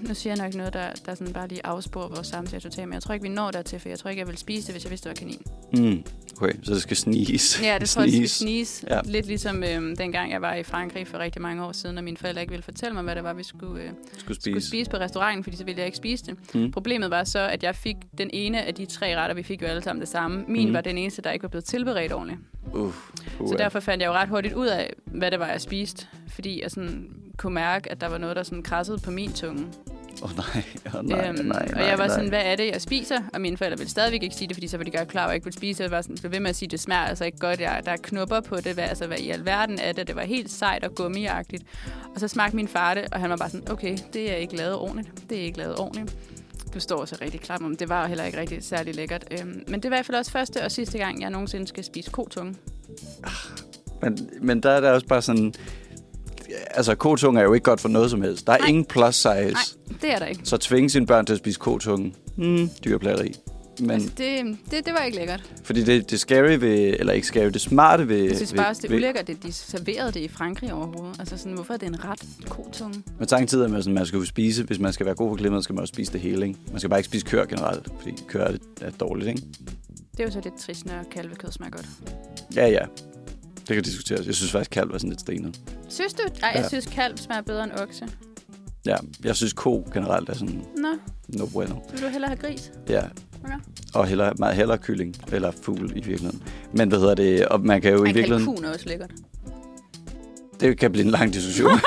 B: nu siger jeg nok noget, der, der sådan bare lige afsporer vores samtale totalt, men jeg tror ikke, vi når dertil, for jeg tror ikke, jeg ville spise det, hvis jeg vidste, det var kanin.
C: Mm. Okay, så det skal sniges.
B: Ja, det tror jeg, det skal snise.
C: Ja.
B: Ja. Lidt ligesom øh, dengang jeg var i Frankrig for rigtig mange år siden, og mine forældre ikke ville fortælle mig, hvad det var, vi skulle, øh,
C: Skulle spise.
B: skulle spise på restauranten, fordi så ville jeg ikke spise det.
C: Mm.
B: Problemet var så, at jeg fik den ene af de tre retter, vi fik jo alle sammen det samme. Min
C: Mm.
B: var den eneste, der ikke var blevet tilberedt ordentligt.
C: Uh, uh,
B: Så derfor fandt jeg jo ret hurtigt ud af, hvad det var, jeg spiste, fordi jeg sådan kunne mærke, at der var noget, der sådan krassede på min tunge.
C: Åh oh, nej, oh, nej, nej, nej,
B: Øhm, og jeg var
C: nej.
B: sådan, hvad er det, jeg spiser? Og mine forældre ville stadigvæk ikke sige det, fordi så var de godt klar, at jeg ikke ville spise. det. Jeg var sådan, blev ved med at sige, det smager altså ikke godt. Jeg, der er knupper på det. Hvad, altså, hvad i alverden er det? Det var helt sejt og gummiagtigt. Og så smagte min far det, og han var bare sådan, okay, det er ikke lavet ordentligt. Det er ikke lavet ordentligt. Du står så rigtig klam om. Det var jo heller ikke rigtig særlig lækkert. Øhm, men det var i hvert fald også første og sidste gang, jeg nogensinde skal spise kotunge.
C: Men, men der er der også bare sådan... Altså, kotunge er jo ikke godt for noget som helst. Der er
B: Nej.
C: ingen plus size.
B: Nej, det er der ikke.
C: Så tvinge sine børn til at spise kotunge. Mm, dyrplageri. Men,
B: Altså, det, det, det var ikke lækkert.
C: fordi det, det scary ved, eller ikke scary, det smarte ved...
B: Jeg synes
C: ved,
B: Altså, bare også, det er
C: ved-
B: ulækkert, at de serverede det i Frankrig overhovedet. Altså sådan, hvorfor er det en ret kotunge?
C: Men samtidig med, at man skal jo spise, hvis man skal være god for klimaet, skal man også spise det hele, ikke? Man skal bare ikke spise køer generelt, fordi køer er, er dårligt, ikke?
B: Det er jo så lidt trist, når kalvekød smager godt.
C: Ja, ja. Det kan diskuteres. Jeg synes faktisk, kalv er sådan lidt stenet.
B: Synes du? Ej, ja.
C: Ja.
B: jeg synes, kalv smager bedre end okse.
C: Ja, jeg synes, ko generelt er sådan
B: Nå,
C: no bueno.
B: vil du hellere have gris?
C: Ja,
B: Okay.
C: og hellere, meget hellere kylling, eller fugl i virkeligheden. Men hvad hedder det? Og man kan jo i
B: Ej,
C: virkeligheden...
B: kalkun er også lækkert.
C: Det kan blive en lang diskussion.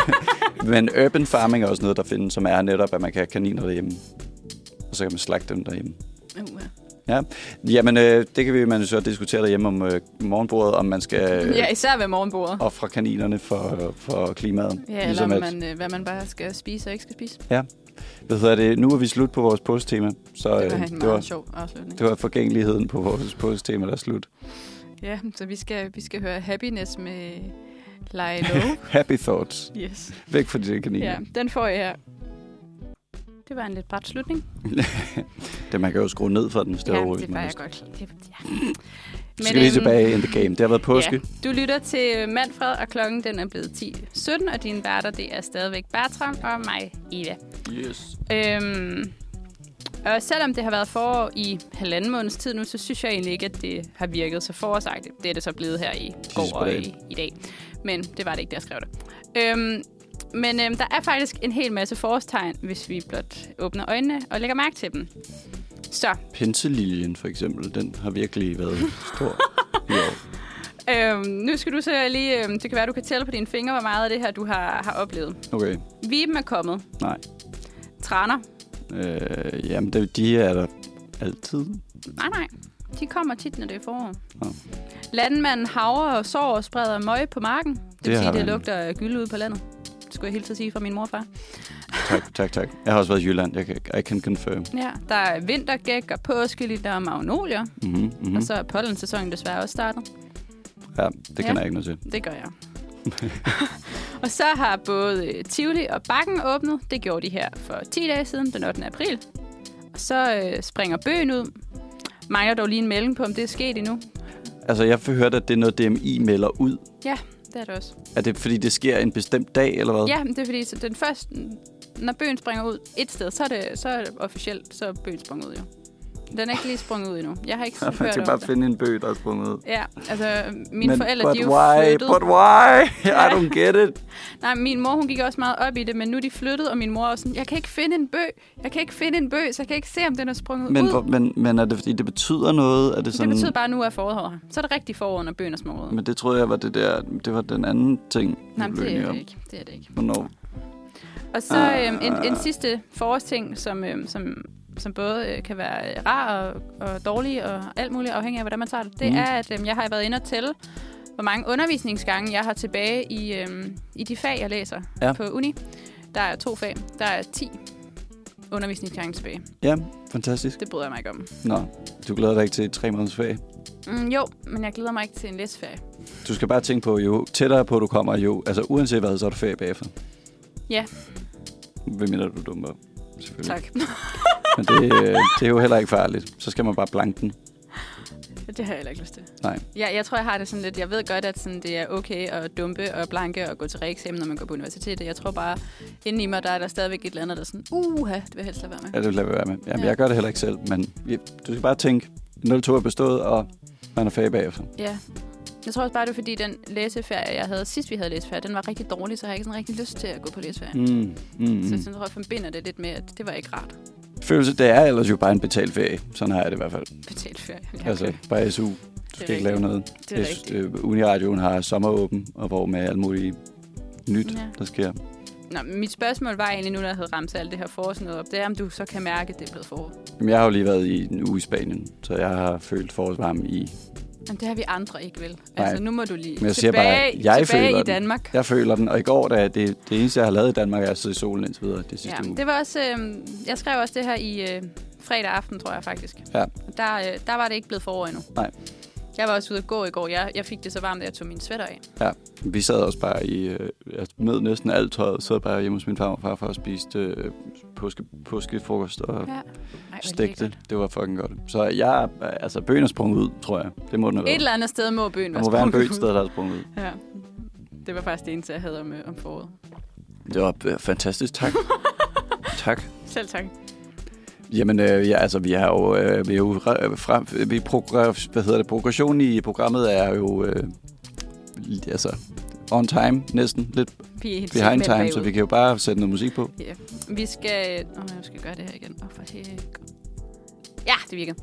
C: Men urban farming er også noget, der findes, som er netop, at man kan have kaniner derhjemme. Og så kan man slagte dem derhjemme.
B: Uh, ja.
C: Ja, jamen øh, det kan vi man jo så diskutere derhjemme om øh, morgenbordet, om man skal øh,
B: ja, især ved morgenbordet.
C: ofre kaninerne for, for klimaet. Ligesom
B: Ja, eller om man, øh, hvad man bare skal spise og ikke skal spise.
C: Ja, hvad hedder det? Nu er vi slut på vores posttema, så
B: Det var en
C: øh, det,
B: meget
C: var,
B: sjov afslutning.
C: det var forgængeligheden på vores posttema, der er slut.
B: Ja, så vi skal, vi skal høre Happiness med Lie Low.
C: Happy thoughts.
B: yes.
C: Væk fra de der kaniner.
B: Ja, den får jeg her. Det var en lidt bræt slutning.
C: Det, man kan jo skrue ned for den, hvis det
B: ja,
C: overhovedet
B: det
C: man
B: var
C: har
B: jeg
C: lyst.
B: godt. Det, ja.
C: Vi skal lige
B: øhm,
C: tilbage in the game. Det har været påske.
B: Ja. Du lytter til øh, Manfred, og klokken den er blevet 10.17, og dine værter, det er stadigvæk Bertram og mig, Eva.
C: Yes.
B: Øhm, og selvom det har været forår i halvanden måneds tid nu, så synes jeg egentlig ikke, at det har virket så forårsagtigt. Det er det så blevet her i går
C: par
B: og
C: dage.
B: i, i dag. Men det var det ikke, der skrev det. Øhm, men øhm, der er faktisk en hel masse forårstegn, hvis vi blot åbner øjnene og lægger mærke til dem. Så,
C: Pinseliljen for eksempel, den har virkelig været stor i år.
B: øhm, nu skal du så lige... Øhm, det kan være, du kan tælle på dine fingre, hvor meget af det her, du har, har oplevet.
C: Okay,
B: Viben er kommet.
C: nej.
B: Træner.
C: Øh, jamen, det, de er der altid.
B: Nej, nej. De kommer tit, når det er forår.
C: Nå.
B: Landmanden havrer og sår og spreder møg på marken. Det,
C: Det
B: vil
C: har
B: sige, det
C: man.
B: lugter af gylde ude på landet. Det skulle jeg helt til sige fra min morfar.
C: Tak, tak, tak. Jeg har også været i Jylland. Jeg kan, I can confirm.
B: Ja, der er vintergæk og påskeliljer og magnolier. Mm.
C: Mm-hmm, mm-hmm.
B: Og så er pollensæsonen desværre også startet.
C: Ja, det kan
B: Ja.
C: jeg ikke noget til.
B: Det gør jeg. og så har både øh, Tivoli og Bakken åbnet. Det gjorde de her for 10 dage siden, den 8. april. Og så øh, springer bøgen ud. Mangler dog lige en melding på, om det er sket endnu.
C: Altså, jeg har hørt, at det er noget, DMI melder ud.
B: Ja, det er det også.
C: Er det, fordi det sker en bestemt dag, eller hvad?
B: Ja, men det er fordi, så den første, når bøgen springer ud et sted, så er det, så er det officielt, så er bøgen sprunget ud jo. Den er ikke lige sprunget ud endnu. Jeg har ikke
C: Man
B: hørt
C: skal
B: om
C: bare
B: det.
C: finde en bøg, der er sprunget ud.
B: Ja, altså mine men, forældre,
C: but
B: de er jo
C: why?
B: flyttet.
C: But why? I don't get it.
B: Nej, min mor, hun gik også meget op i det, men nu er de flyttet, og min mor er sådan, jeg kan ikke finde en bøg, jeg kan ikke finde en bøg, så jeg kan ikke se, om den er sprunget
C: Men,
B: ud.
C: hvor, men, men er det, fordi det betyder noget? Er det sådan...
B: Det betyder bare, at nu er foråret her. Så er det rigtig forår, når bøgen er smået.
C: Men det troede jeg var det der... Det var den anden ting, vi
B: Nej, men
C: blev
B: det
C: enige
B: er
C: om.
B: det ikke. Det er det ikke.
C: Hvornår?
B: Og så
C: Ah.
B: øhm, en, en sidste forårsting, som, øhm, som som både øh, kan være øh, rar og, og dårlig og alt muligt, afhængig af, hvordan man tager det, det
C: Mm.
B: mm. er, at øh, jeg har været inde og tælle, hvor mange undervisningsgange jeg har tilbage i, øh, i de fag, jeg læser
C: Ja.
B: ja. på uni. Der er to fag. Der er 10 undervisningsgange tilbage.
C: Ja, fantastisk.
B: Det bryder jeg mig ikke om.
C: Nå, du glæder dig ikke til et tre måneders ferie.
B: Mm, jo, men jeg glæder mig ikke til en læsferie.
C: Du skal bare tænke på, jo tættere på du kommer, jo... Altså uanset hvad, så er du ferie bagefter.
B: Ja.
C: Hvem mindre du dummer, selvfølgelig.
B: Tak.
C: Men det, øh, det er jo heller ikke farligt. Så skal man bare blanke den.
B: Det har jeg heller ikke lyst til.
C: Nej.
B: Jeg, jeg tror, jeg har det sådan lidt... Jeg ved godt, at sådan, det er okay at dumpe og blanke og gå til reeksamen, når man går på universitetet. Jeg tror bare, inden i mig, der er der stadigvæk et eller andet, der er sådan... Uha, det vil jeg helst lade være med.
C: Ja, det lader vi være med. Jamen, ja.
B: Ja.
C: jeg gør det heller ikke selv, men ja, du skal bare tænke, 0-2 er bestået, og man er fag bagefter.
B: Ja. Jeg tror også bare, det er fordi, den læseferie, jeg havde sidst, vi havde læseferie, den var rigtig dårlig, så har jeg ikke sådan rigtig lyst til at gå på læseferie. Mm.
C: Mm,
B: Så
C: mm, mm.
B: sådan tror jeg, jeg forbinder det lidt med, at det var ikke rart
C: Følelse, det er ellers jo bare en betalt ferie. Sådan har jeg det i hvert fald.
B: betalt ferie.
C: Ja, altså, bare SU. Du skal ikke lave noget.
B: Det er
C: Jeg synes,
B: rigtigt.
C: øh, Uniradioen har sommeråben, og hvor med alt muligt nyt, ja.
B: Ja.
C: der sker.
B: Nå, men mit spørgsmål var egentlig nu, når jeg havde ramt alt det her forår og sådan noget op, det er, om du så kan mærke, at det er blevet forår.
C: Jamen, jeg har jo lige været i en uge i Spanien, så jeg har følt forårsvarme i.
B: Jamen, det har vi andre ikke, vel?
C: Nej.
B: Altså, nu må du lige
C: Men jeg siger
B: tilbage,
C: bare, jeg
B: tilbage
C: føler
B: i
C: den.
B: Danmark.
C: Jeg føler den, og i går, da det, det eneste, jeg har lavet i Danmark, er at sidde i solen indtil videre det sidste
B: Ja,
C: uge.
B: det var også, øh, jeg skrev også det her i øh, fredag aften, tror jeg faktisk.
C: Ja.
B: Og Der, øh, der var det ikke blevet forår endnu.
C: Nej.
B: Jeg var også ude at gå i går. Jeg, jeg fik det så varmt, at jeg tog min sweater af.
C: Ja, vi sad også bare i... Øh, jeg smed næsten alt tøjet, sad bare hjemme hos min far og far for at spise øh, påske, påskefrokost og ja.
B: Ja. Ej,
C: stegte. Det var fucking godt. Så jeg... Altså, bøgen er sprunget ud, tror jeg. Det må den have
B: Et
C: været.
B: eller andet sted må bøen
C: Der må være en bøg
B: sprunget
C: et sted, der er sprunget ud.
B: ud. Ja. Det var faktisk det eneste, jeg havde om, øh, om foråret.
C: Det var øh, fantastisk. Tak. tak.
B: Selv tak.
C: Jamen, øh, ja, altså, vi har jo... Øh, vi er jo re- frem, vi progr- hvad hedder det? Progressionen i programmet er jo... Øh, li- altså, on time næsten. Lidt
B: Vi er helt
C: behind
B: simpelthen
C: time, så vi
B: bagud.
C: kan jo bare sætte noget musik på.
B: Ja. Vi skal... Åh, jeg skal gøre det her igen. Åh, for hæk. Ja, det virker.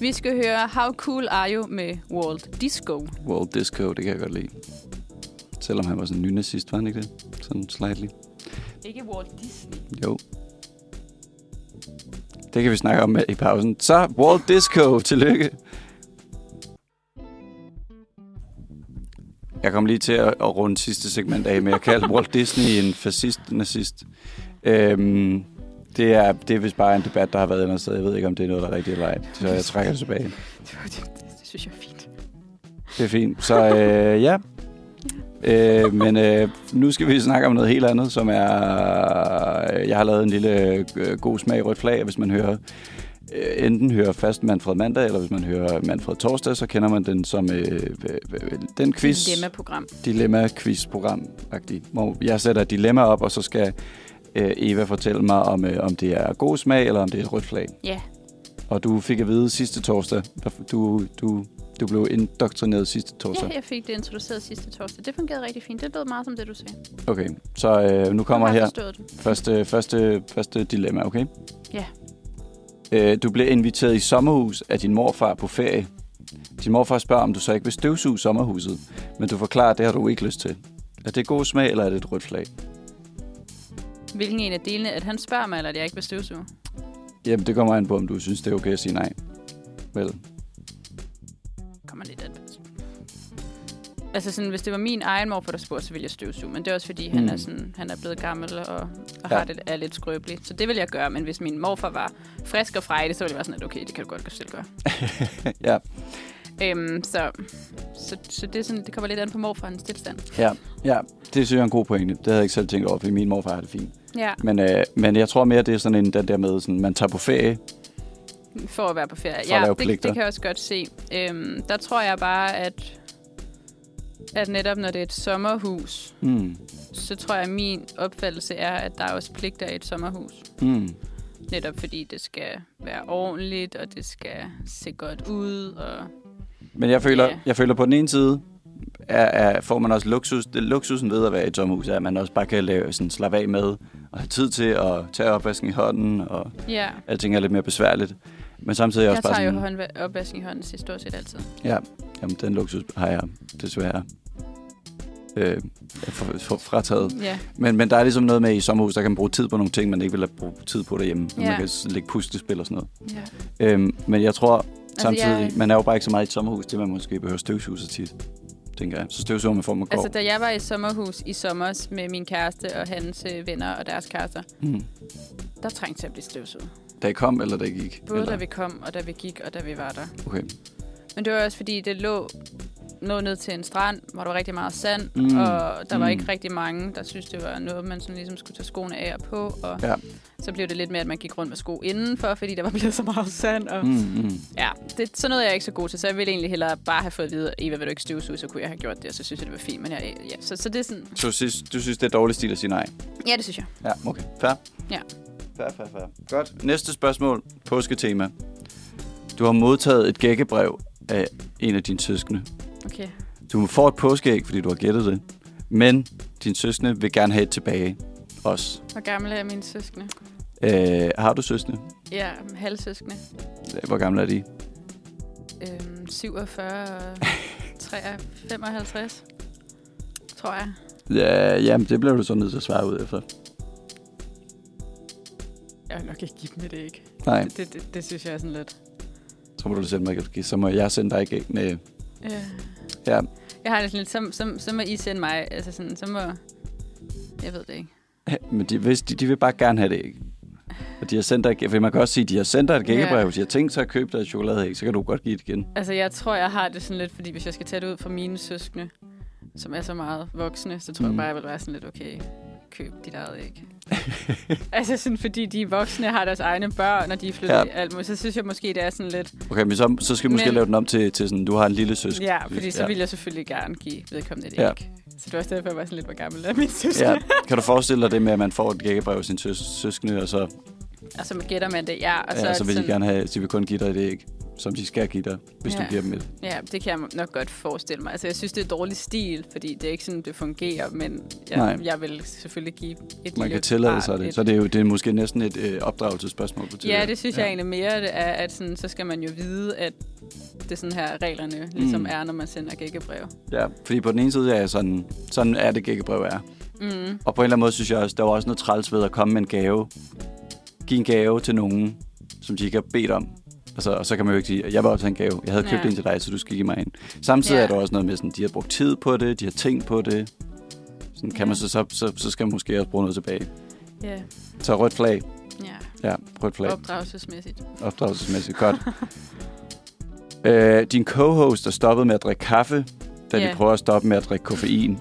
B: Vi skal høre How Cool Are You med World Disco.
C: World Disco, det kan jeg godt lide. Selvom han var sådan en nynazist, var han ikke det? Sådan slightly.
B: Ikke Walt Disney.
C: Jo. Det kan vi snakke om i pausen. Så World Disco, tillykke. Jeg kom lige til at, at runde sidste segment af med at kalde Walt Disney en fascist, nazist. Øhm, det, er, det er vist bare en debat, der har været et eller andet sted. Jeg ved ikke, om det er noget, der er rigtigt eller ej. Så jeg trækker det tilbage.
B: Det, var- det, det synes jeg er fint.
C: Det er fint. Så øh, ja. Øh, men øh, nu skal vi snakke om noget helt andet, som er... øh, Jeg har lavet en lille øh, god smag rødt flag, og hvis man hører øh, enten hører fast Manfred Mandag, eller hvis man hører Manfred Torsdag, så kender man den som øh, øh, øh, den quiz,
B: Dilemma-program.
C: dilemma-quiz-program-agtig, hvor jeg sætter et dilemma op, og så skal øh, Eva fortælle mig, om, øh, om det er god smag, eller om det er et rødt flag.
B: Ja.
C: Og du fik at vide sidste torsdag, der- du, du, du blev indoktrineret sidste torsdag.
B: ja, jeg fik det introduceret sidste torsdag. Det fungerede rigtig fint. Det lød meget som det, du sagde.
C: Okay, så øh, nu kommer
B: Jeg har
C: her
B: forstået det.
C: første, første, første dilemma, okay?
B: Ja.
C: Øh, du bliver inviteret i sommerhus af din morfar på ferie. Din morfar spørger, om du så ikke vil støvsuge sommerhuset, men du forklarer, at det har du ikke lyst til. Er det god smag, eller er det et rødt flag?
B: Hvilken en af delene, at han spørger mig, eller at jeg ikke vil støvsuge?
C: Jamen, det kommer an på, om du synes, det er okay at sige nej. Vel,
B: Kommer lidt an. på. Altså sådan, hvis det var min egen morfar, der spurgte, så ville jeg støvsuge. Men det er også fordi, mm. han,
C: Mm.
B: er sådan, han er blevet gammel og, og
C: Ja.
B: ja. har det, er lidt skrøbelig. Så det vil jeg gøre. Men hvis min morfar var frisk og frejdig, så ville jeg være sådan, at okay, det kan du godt selv gøre.
C: ja,
B: Øhm, så, så, så det, er sådan, det kommer lidt an på morfarens tilstand.
C: ja, ja. Det synes jeg er en god pointe. Det havde jeg ikke selv tænkt over, fordi min morfar har det fint.
B: Ja,
C: Men, øh, men jeg tror mere, det er sådan en, den der med, sådan, man tager på ferie.
B: for at være på ferie.
C: For at lave
B: det, det
C: pligter.
B: kan jeg også godt se. Øhm, der tror jeg bare, at, at netop når det er et sommerhus,
C: Mm,
B: så tror jeg, at min opfattelse er, at der er også pligter i et sommerhus.
C: mm,
B: Netop fordi det skal være ordentligt, og det skal se godt ud. Og...
C: Men jeg føler,
B: Ja.
C: jeg føler på den ene side, er, er, får man også luksus. Det, luksusen ved at være i et sommerhus, er, at man også bare kan lave, sådan, slappe af med, og have tid til at tage opvasken i hånden, og
B: Ja,
C: alting er lidt mere besværligt. Men samtidig er jeg
B: jeg
C: også bare
B: tager jo
C: sådan,
B: håndva- opvasken i hånden til stort set altid.
C: ja, jamen, den luksus har jeg desværre. øh, for, for, frataget.
B: Ja,
C: Men, men der er ligesom noget med, at i sommerhus, der kan man bruge tid på nogle ting, man ikke vil have brugt tid på derhjemme. Ja. Man
B: Ja.
C: kan s- lægge puslespil og sådan noget.
B: ja.
C: Øhm, men jeg tror samtidig,
B: Altså, jeg-
C: man er jo bare ikke så meget i et sommerhus, til man måske behøver støvsuge så tit, tænker jeg. Så støvsuger man for, man går.
B: Altså, da jeg var i sommerhus i sommer med min kæreste og hans øh, venner og deres kærester,
C: mm.
B: der trængte til at blive støvsuget.
C: Da I kom, eller da I gik?
B: Både
C: eller?
B: da vi kom, og da vi gik, og da vi var der.
C: Okay.
B: Men det var også, fordi det lå, lå ned til en strand, hvor der var rigtig meget sand,
C: Mm.
B: mm. og der var
C: Mm.
B: ikke rigtig mange, der synes det var noget, man sådan ligesom skulle tage skoene af og på. Og
C: Ja.
B: så blev det lidt mere, at man gik rundt med sko indenfor, fordi der var blevet så meget sand. Og... Mm.
C: Mm, mm.
B: Ja, det, sådan noget er jeg ikke så god til, så jeg ville egentlig hellere bare have fået at vide, Eva, vil du ikke støvsuge, så kunne jeg have gjort det, og så synes jeg, det var fint. Men jeg, ja, så, så det er sådan,
C: Så du synes, du synes, det er dårlig stil at sige nej?
B: ja, det synes jeg.
C: Ja, okay. Fair?
B: Ja.
C: Fair, fair, fair. Godt. Næste spørgsmål. Påsketema. Du har modtaget et gækkebrev af en af dine søskende.
B: Okay.
C: Du får et påskeæg, fordi du har gættet det. Men din søskende vil gerne have et tilbage. Også.
B: Hvor gamle er mine søskende?
C: Øh, har du søskende?
B: Ja, halvsøskende.
C: Hvor gamle er de?
B: Øhm, 47 og 53, 55, tror jeg.
C: Ja, jamen, det bliver du så nødt til at svare ud efter.
B: Jeg vil nok ikke give dem et æg.
C: Nej,
B: Det, det, det, det synes jeg er sådan lidt.
C: så må du sende mig et gæt. Så må jeg sende dig et gæt. Nej,
B: Øh.
C: ja.
B: Jeg har det sådan lidt, så, så, så må I sende mig, altså sådan, så må... Jeg ved det ikke.
C: Men de, hvis de, de vil bare gerne have det æg. Og de har sendt dig, et- for man kan også sige, at de har sendt dig et gækkebrev.
B: Ja.
C: Hvis de har tænkt sig at købe dig et chokoladeæg, så kan du godt give det igen.
B: Altså, jeg tror, jeg har det sådan lidt, fordi hvis jeg skal tage det ud fra mine søskende, som er så meget voksne, så tror mm. jeg
C: Mm.
B: bare, jeg vil være sådan lidt, okay, køb dit eget æg. altså sådan, fordi de voksne har deres egne børn, og de er flyttet
C: Ja.
B: ja. alt muligt, så synes jeg måske, det er sådan lidt,
C: Okay, men så, så skal vi måske men...
B: Men-
C: lave den om til, til sådan, du har en lille søsk.
B: ja, fordi så
C: ja.
B: ja. vil jeg selvfølgelig gerne give vedkommende et æg.
C: Ja.
B: Ja. Så det var også derfor, jeg var sådan lidt, hvor gammel er min søskende.
C: Ja. Kan du forestille dig det med, at man får et gækkebrev af sin søs, søskende, og så,
B: Og så gætter man det, ja. Og
C: og så, ja,
B: er
C: så
B: det
C: vil de
B: sådan-
C: gerne have, de vil kun give dig et æg, som de skal give dig, hvis ja.
B: Ja.
C: du giver dem et.
B: Ja, det kan jeg nok godt forestille mig. Altså, jeg synes, det er dårlig stil, fordi det er ikke sådan, det fungerer, men
C: Nej.
B: jeg, jeg vil selvfølgelig give et lille
C: Man kan tillade
B: barn
C: sig det.
B: et-
C: Så det er jo det er måske næsten et øh, opdragelsesspørgsmål. på
B: Ja,
C: tidligere.
B: det synes ja. jeg egentlig mere, det er, at sådan, så skal man jo vide, at det er sådan her, reglerne ligesom
C: Mm.
B: mm. er, når man sender gækkebrev.
C: Ja, fordi på den ene side er jeg sådan, sådan er det gækkebrev er.
B: Mm.
C: Og på en eller anden måde synes jeg også, der var også noget træls ved at komme med en gave. Giv en gave til nogen, som de ikke har bedt om. Og så, og så kan man jo ikke sige, jeg vil også have en gave. Jeg havde købt
B: Nej.
C: en til dig, så du skal give mig en. Samtidig ja.
B: Ja.
C: er der også noget med, sådan, de har brugt tid på det, de har tænkt på det. Sådan kan
B: Ja.
C: man så, så, så, så skal man måske også bruge noget tilbage.
B: Ja,
C: Så rødt flag.
B: ja.
C: Ja, rødt flag.
B: opdragelsesmæssigt.
C: Opdragelsesmæssigt godt. øh, din co-host er stoppet med at drikke kaffe, da yeah.
B: Ja.
C: vi prøver at stoppe med at drikke koffein.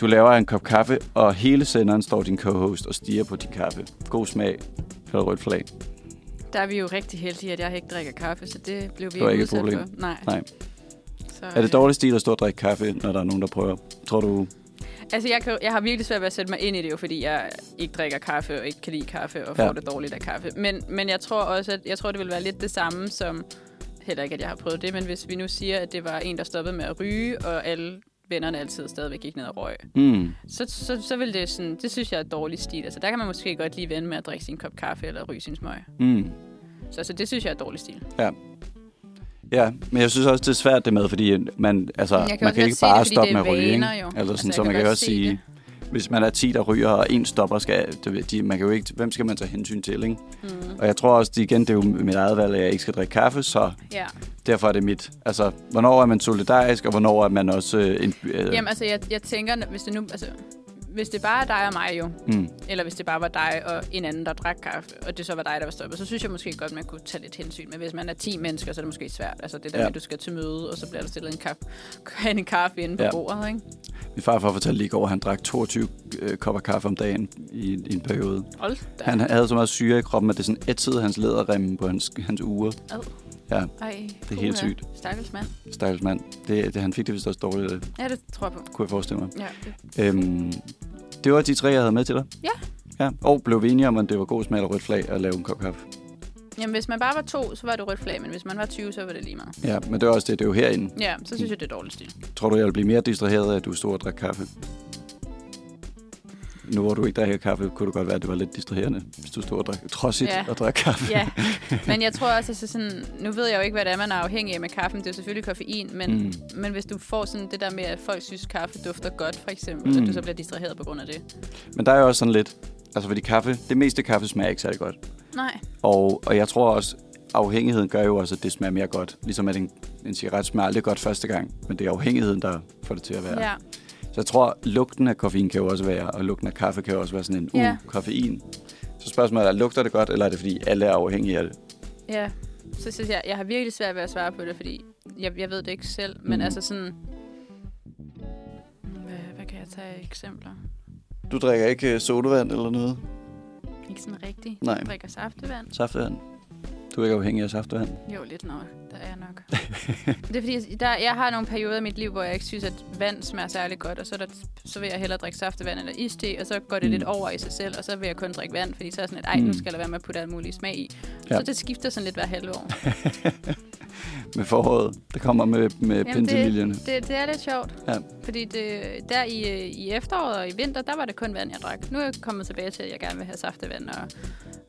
C: Du laver en kop kaffe, og hele senderen står din co-host og stiger på din kaffe. God smag. Eller rødt flag.
B: Der er vi jo rigtig heldige, at jeg ikke drikker kaffe, så det blev vi
C: var
B: ikke
C: ikke
B: udsat
C: et problem.
B: for. Nej.
C: Nej.
B: Så,
C: Er det
B: øh,
C: dårlig stil at stå og drikke kaffe, når der er nogen, der prøver? Tror du...
B: Altså, jeg, kan, jeg har virkelig svært ved at sætte mig ind i det, jo, fordi jeg ikke drikker kaffe og ikke kan lide kaffe og får
C: Ja.
B: ja. det dårligt af kaffe. Men, men jeg tror også, at jeg tror, det vil være lidt det samme som, heller ikke, at jeg har prøvet det, men hvis vi nu siger, at det var en, der stoppede med at ryge, og alle vennerne altid stadigvæk gik ned og røg,
C: Mm.
B: så, så, så vil det sådan, det synes jeg er dårlig stil. Altså, der kan man måske godt lige vende med at drikke sin kop kaffe eller ryge sin smøg.
C: Mm.
B: Så altså, det synes jeg er dårlig stil.
C: Ja, men jeg synes også, det er svært det med, fordi man, altså,
B: Jeg kan
C: man
B: også
C: kan
B: godt
C: ikke
B: se det,
C: bare
B: fordi
C: stoppe
B: det
C: med
B: er
C: at ryge.
B: vaner
C: ikke?
B: jo.
C: Altså,
B: Altså,
C: sådan,
B: jeg
C: så
B: kan
C: man kan
B: godt
C: også
B: se
C: sige,
B: det.
C: hvis man er 10, der ryger, og en stopper, skal, du ved, de, man kan jo ikke, hvem skal man tage hensyn til, ikke?
B: Mm.
C: Og jeg tror også, det igen, det er jo mit eget valg, at jeg ikke skal drikke kaffe, så
B: Ja.
C: derfor er det mit. Altså, hvornår er man solidarisk, og hvornår er man også... Øh, en, øh,
B: Jamen, altså, jeg, jeg tænker, hvis det nu... Altså, hvis det bare er dig og mig jo,
C: mm,
B: Eller hvis det bare var dig og en anden, der drak kaffe, og det så var dig, der var stoppet, så synes jeg måske godt, man kunne tage lidt hensyn. Men hvis man er 10 mennesker, så er det måske svært. Altså det der
C: Ja.
B: ja. med, at du skal til møde, og så bliver der stillet en kaffe, en kaffe inde på
C: Ja.
B: ja. bordet, ikke?
C: min farfar fortalte lige i går, at han drak 22 øh, kopper kaffe om dagen i, en- i en periode.
B: Hold da.
C: Han havde så meget syre i kroppen, at det sådan ætsede hans læderremme på hans, hans ure.
B: Ad.
C: Ja,
B: Ej,
C: er helt
B: puha.
C: sygt.
B: Stakkels mand.
C: stakkels mand. Det, det, han fik det vist også dårligt, af,
B: Ja, det tror jeg på.
C: kunne jeg forestille mig.
B: Ja, det.
C: Øhm, det var de tre, jeg havde med til dig.
B: Ja.
C: ja. Og blev vi enige om, at det var god smag eller rødt flag at lave en kop kaffe.
B: Jamen, hvis man bare var to, så var det rødt flag, men hvis man var 20, så var det lige meget.
C: Ja, men det var også det, det er jo herinde.
B: Ja, så synes jeg, det er dårligt stil.
C: Tror du, jeg vil blive mere distraheret af, at du stod og drak kaffe? nu hvor du ikke drikker kaffe, kunne det godt være, at det var lidt distraherende, hvis du stod og drak, trodsigt
B: Ja.
C: og drak kaffe.
B: Ja, men jeg tror også, at så sådan, nu ved jeg jo ikke, hvad det er, man er afhængig af med kaffen. Det er jo selvfølgelig koffein, men, mm. men hvis du får sådan det der med, at folk synes, kaffe dufter godt, for eksempel, mm. så
C: Mm.
B: du så bliver distraheret på grund af det.
C: Men der er jo også sådan lidt, altså fordi kaffe, det meste kaffe smager ikke særlig godt.
B: Nej,
C: Og, og jeg tror også, afhængigheden gør jo også, at det smager mere godt. Ligesom at en, en cigaret smager aldrig godt første gang, men det er afhængigheden, der får det til at være.
B: ja.
C: Så jeg tror, lugten af koffein kan jo også være, og lugten af kaffe kan jo også være sådan en, uh,
B: Ja.
C: koffein. Så spørgsmålet er, lugter det godt, eller er det fordi, alle er afhængige af det?
B: Ja, så synes jeg, jeg har virkelig svært ved at svare på det, fordi jeg, jeg ved det ikke selv, men
C: Mhm.
B: altså sådan... Hvad, hvad kan jeg tage af eksempler?
C: Du drikker ikke øh, sodavand eller noget?
B: Ikke sådan rigtigt.
C: Nej.
B: Jeg drikker saftevand.
C: Saftevand? Du er ikke afhængig af saftevand?
B: Jo, lidt nok. Der er jeg nok. det er fordi, der, jeg har nogle perioder i mit liv, hvor jeg ikke synes, at vand smager særlig godt, og så, er der, så vil jeg hellere drikke saftevand eller iste, og så går det
C: Mm.
B: mm. lidt over i sig selv, og så vil jeg kun drikke vand, fordi så er jeg sådan, at ej,
C: Mm.
B: nu skal der være med at putte alt muligt smag i.
C: Ja.
B: Ja. Så det skifter sådan lidt hver halve år.
C: Med foråret, der kommer med, med
B: det-
C: penseliljerne.
B: Det, det er lidt sjovt.
C: Ja.
B: Fordi det, der i, øh, i efteråret og i vinter, der var det kun vand, jeg drak. Nu er jeg kommet tilbage til, at jeg gerne vil have saftevand og,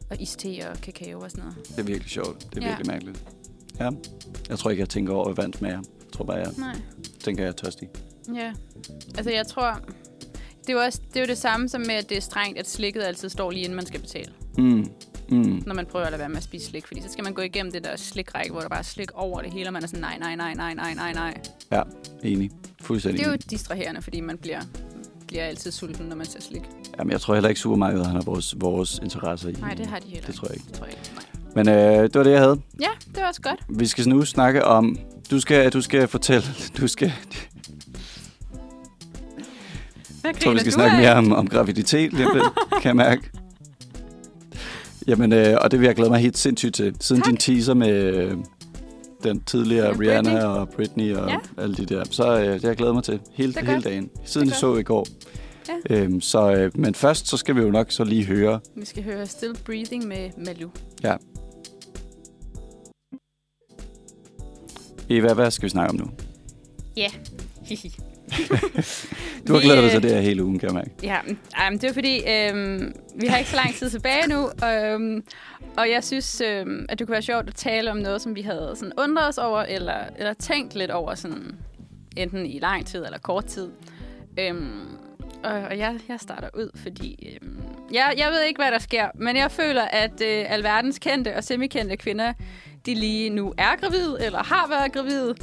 B: og iste og kakao og sådan noget.
C: Det er virkelig sjovt. Det
B: Ja.
C: er virkelig mærkeligt. Ja. Jeg tror ikke, jeg tænker over, hvad vand smager. Jeg tror bare, jeg
B: Nej.
C: tænker, jeg er tørstig.
B: Ja. Altså, jeg tror... Det er, jo også, det er jo det samme som med, at det er strengt, at slikket altid står lige inden man skal betale.
C: Mm. Mm.
B: Når man prøver at lade være med at spise slik. Fordi så skal man gå igennem det der slikrække, hvor der bare er slik over det hele, og man er sådan, nej, nej, nej, nej, nej, nej, nej.
C: Ja, enig.
B: Det
C: Fuldstændig
B: er jo
C: enig.
B: distraherende, fordi man bliver, bliver altid sulten, når man ser slik.
C: Jamen, jeg tror heller ikke, supermarkedet har vores, vores interesser i.
B: Nej, det har de heller
C: Det tror jeg ikke.
B: Det tror jeg ikke. Nej.
C: Men øh, det var det, jeg havde.
B: Ja, det var også godt.
C: Vi skal nu snakke om... Du skal, du skal fortælle... Du skal,
B: Hvad
C: Jeg tror, vi skal snakke mere om, om graviditet, lige om lidt, kan jeg mærke. Jamen, øh, og det vil jeg glæde mig helt sindssygt til. Siden tak.
B: Tak.
C: din teaser med øh, den tidligere
B: Ja,
C: ja, Rihanna
B: Britney.
C: og Britney og
B: Ja.
C: ja. alle de der, så øh, det har jeg glædet mig til hele,
B: Det er
C: hele
B: godt.
C: dagen. Siden
B: Det
C: det
B: er
C: så i går.
B: Ja.
C: Øhm, så, øh, men først, så skal vi jo nok så lige høre.
B: Vi skal høre Still Breathing med Malou.
C: Eva, hvad skal vi snakke om nu? Du har
B: Vi,
C: glædet dig
B: øh,
C: til det her hele ugen, kan jeg mærke.
B: Ja, ej, men det er fordi, øhm, vi har ikke så lang tid tilbage nu, øhm, og jeg synes, øhm, at det kunne være sjovt at tale om noget, som vi havde sådan undret os over, eller, eller tænkt lidt over, sådan, enten i lang tid eller kort tid. Øhm, og, og jeg, jeg starter ud, fordi øhm, jeg, jeg ved ikke, hvad der sker, men jeg føler, at øh, alverdens kendte og semikendte kvinder, de lige nu er gravide, eller har været gravide.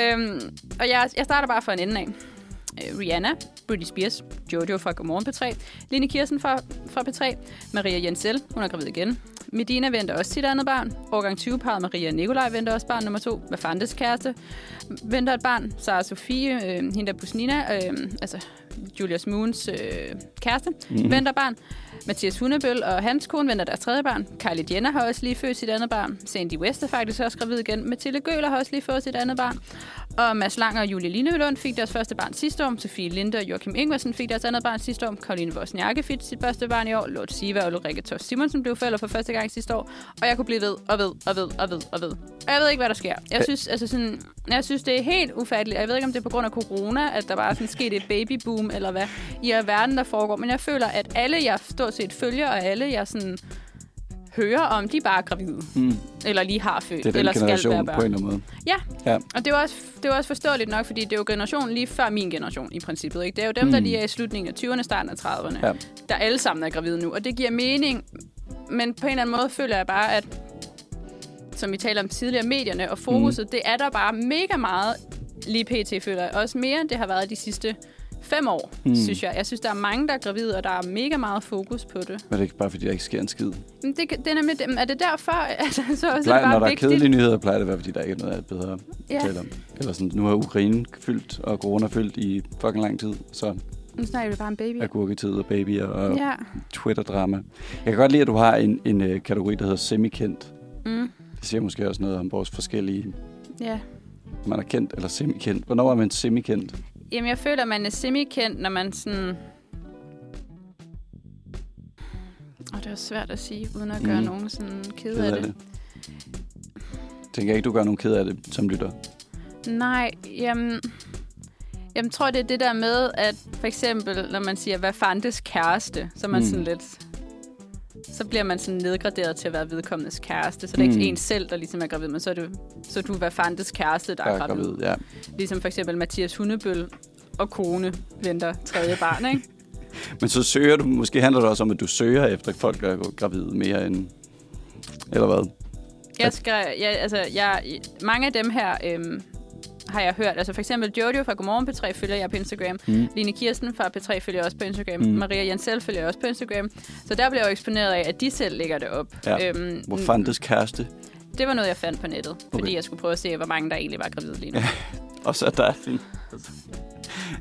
B: Øhm, og jeg, jeg starter bare fra en ende af. Øh, Rihanna, Britney Spears, Jojo fra Godmorgen P3, Line Kirsten fra, fra P3, Maria Jensel, hun er gravid igen. Medina venter også sit andet barn. Årgang 20 parret Maria og Nikolaj venter også barn nummer to. Hvad fandtes kæreste? Venter et barn. Sara Sofie, øh, hende der Busnina, øh, altså Julius Moons øh, kæreste, mm-hmm. venter barn. Mathias Hundebøl og hans kone venter deres tredje barn. Kylie Jenner har også lige født sit andet barn. Sandy West er faktisk også gravid igen. Mathilde Gøler har også lige fået sit andet barn. Og Mads Lang og Julie Linelund fik deres første barn sidste år. Sofie Linde og Joachim Ingvarsen fik deres andet barn sidste år. Karoline Vosniakke fik sit første barn i år. Lort Siva og Ulrike Toft Simonsen blev forældre for første gang sidste år. Og jeg kunne blive ved og ved og ved og ved og ved. Og jeg ved ikke, hvad der sker. Jeg synes, altså sådan, jeg synes det er helt ufatteligt. Og Jeg ved ikke, om det er på grund af corona, at der bare er sådan sket et babyboom, eller hvad i verden, der foregår. Men jeg føler, at alle, jeg stort set følger, og alle, jeg sådan hører om, de bare er gravide.
C: Mm,
B: Eller lige har født.
C: det er den
B: eller skal være
C: generation på
B: børn.
C: en eller anden måde.
B: Ja.
C: Ja.
B: Og det er, jo også, det er jo også forståeligt nok, fordi det er jo generationen lige før min generation i princippet. Ikke? Det er jo dem,
C: Mm.
B: der lige er i slutningen af 20'erne, starten af 30'erne,
C: Ja.
B: der alle sammen er gravide nu. Og det giver mening, men på en eller anden måde føler jeg bare, at som vi taler om tidligere, medierne og fokuset, mm. det er der bare mega meget lige pt, føler jeg. Også mere, end det har været de sidste fem år, mm. synes jeg. Jeg synes, der er mange, der er gravide, og der er mega meget fokus på det.
C: Men det er ikke bare, fordi der ikke sker en skid.
B: Men det, det er nemlig, det- er det derfor, at så også er det
C: Plejer,
B: bare
C: når der er
B: vigtigt?
C: kedelige nyheder, plejer det at være, fordi der ikke er noget at bedre
B: Ja.
C: at tale om. Eller sådan, nu har Ukraine fyldt, og corona fyldt i fucking lang tid, så
B: Nu snakker vi bare om baby.
C: er gurketid og babyer og
B: Ja.
C: Twitter-drama. Jeg kan godt lide, at du har en, en øh, kategori, der hedder semikendt.
B: Mm.
C: Det siger måske også noget om vores forskellige,
B: Ja.
C: om man er kendt eller semikendt. Hvornår er man semikendt?
B: Jamen, jeg føler, man er semi-kendt, når man sådan... Og det er også svært at sige, uden at gøre
C: Mm.
B: mm. nogen sådan ked
C: Ked
B: af
C: af
B: det.
C: Tænker jeg ikke, du gør nogen ked af det som lytter.
B: Nej, jamen... Jeg tror, det er det der med, at for eksempel, når man siger, hvad fandtes kæreste, så er man mm. sådan lidt... Så bliver man sådan nedgraderet til at være vedkommendes kæreste. Så det er mm.
C: Mm.
B: ikke en selv, der ligesom er gravid, men så er, du, så er du, hvad fandtes kæreste, der
C: Jeg
B: er
C: er
B: gravid.
C: gravid, ja.
B: Ligesom for eksempel Mathias Hundebøl og kone venter tredje barn, ikke?
C: Men så søger du, måske handler det også om, at du søger efter folk, der er gravide mere end... Eller hvad?
B: Jeg skal, jeg, altså, jeg, mange af dem her øhm, har jeg hørt. Altså for eksempel Jojo fra Godmorgen P3 følger jeg på Instagram. Mm. Line Kirsten fra P3 følger jeg også på Instagram. Mm. Maria Jansel følger jeg også på Instagram. Så der blev jeg jo eksponeret af, at de selv lægger det op.
C: Ja.
B: Øhm,
C: Hvor fandtes kæreste?
B: Det var noget, jeg fandt på nettet. Okay. Fordi
C: Okay.
B: jeg skulle prøve at se, hvor mange der egentlig var gravide lige nu.
C: Og så er der en...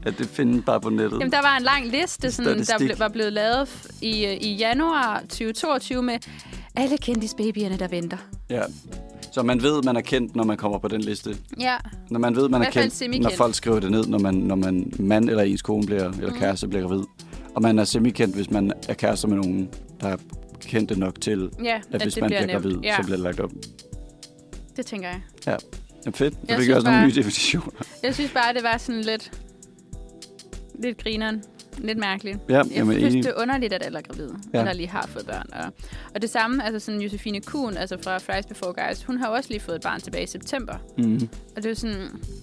C: At det findes bare på nettet.
B: Jamen, der var en lang liste, sådan, der
C: Statistik.
B: ble, var blevet lavet f- i, øh, i januar 2022 med alle kendisbabyerne, der venter.
C: Ja. Så man ved, man er kendt, når man kommer på den liste.
B: Ja,
C: Når man ved, man
B: I
C: er
B: hvert fald
C: kendt, når
B: semikendt.
C: folk skriver det ned, når man, når man mand eller ens kone bliver,
B: Mm.
C: eller kæreste bliver gravid. Og man er semikendt, hvis man er kærester med nogen, der er kendte nok til,
B: Ja,
C: at
B: at
C: hvis
B: det
C: man
B: bliver
C: bliver
B: nævnt.
C: gravid,
B: Ja.
C: så bliver det lagt op.
B: det tænker jeg.
C: Ja. Jamen fedt. Så
B: Jeg
C: fik
B: synes
C: jeg også nogle
B: bare-
C: nye definitioner.
B: Jeg synes bare, det var sådan lidt... Lidt grineren. Lidt mærkeligt.
C: Ja,
B: jeg
C: jamen,
B: synes,
C: enig.
B: det er underligt, at alle er gravide,
C: Ja.
B: ja. eller lige har fået børn. Og, og det samme, altså sådan Josefine Kuhn, altså fra Fries Before Guys, hun har jo også lige fået et barn tilbage i september.
C: Mm.
B: Og det er jo sådan,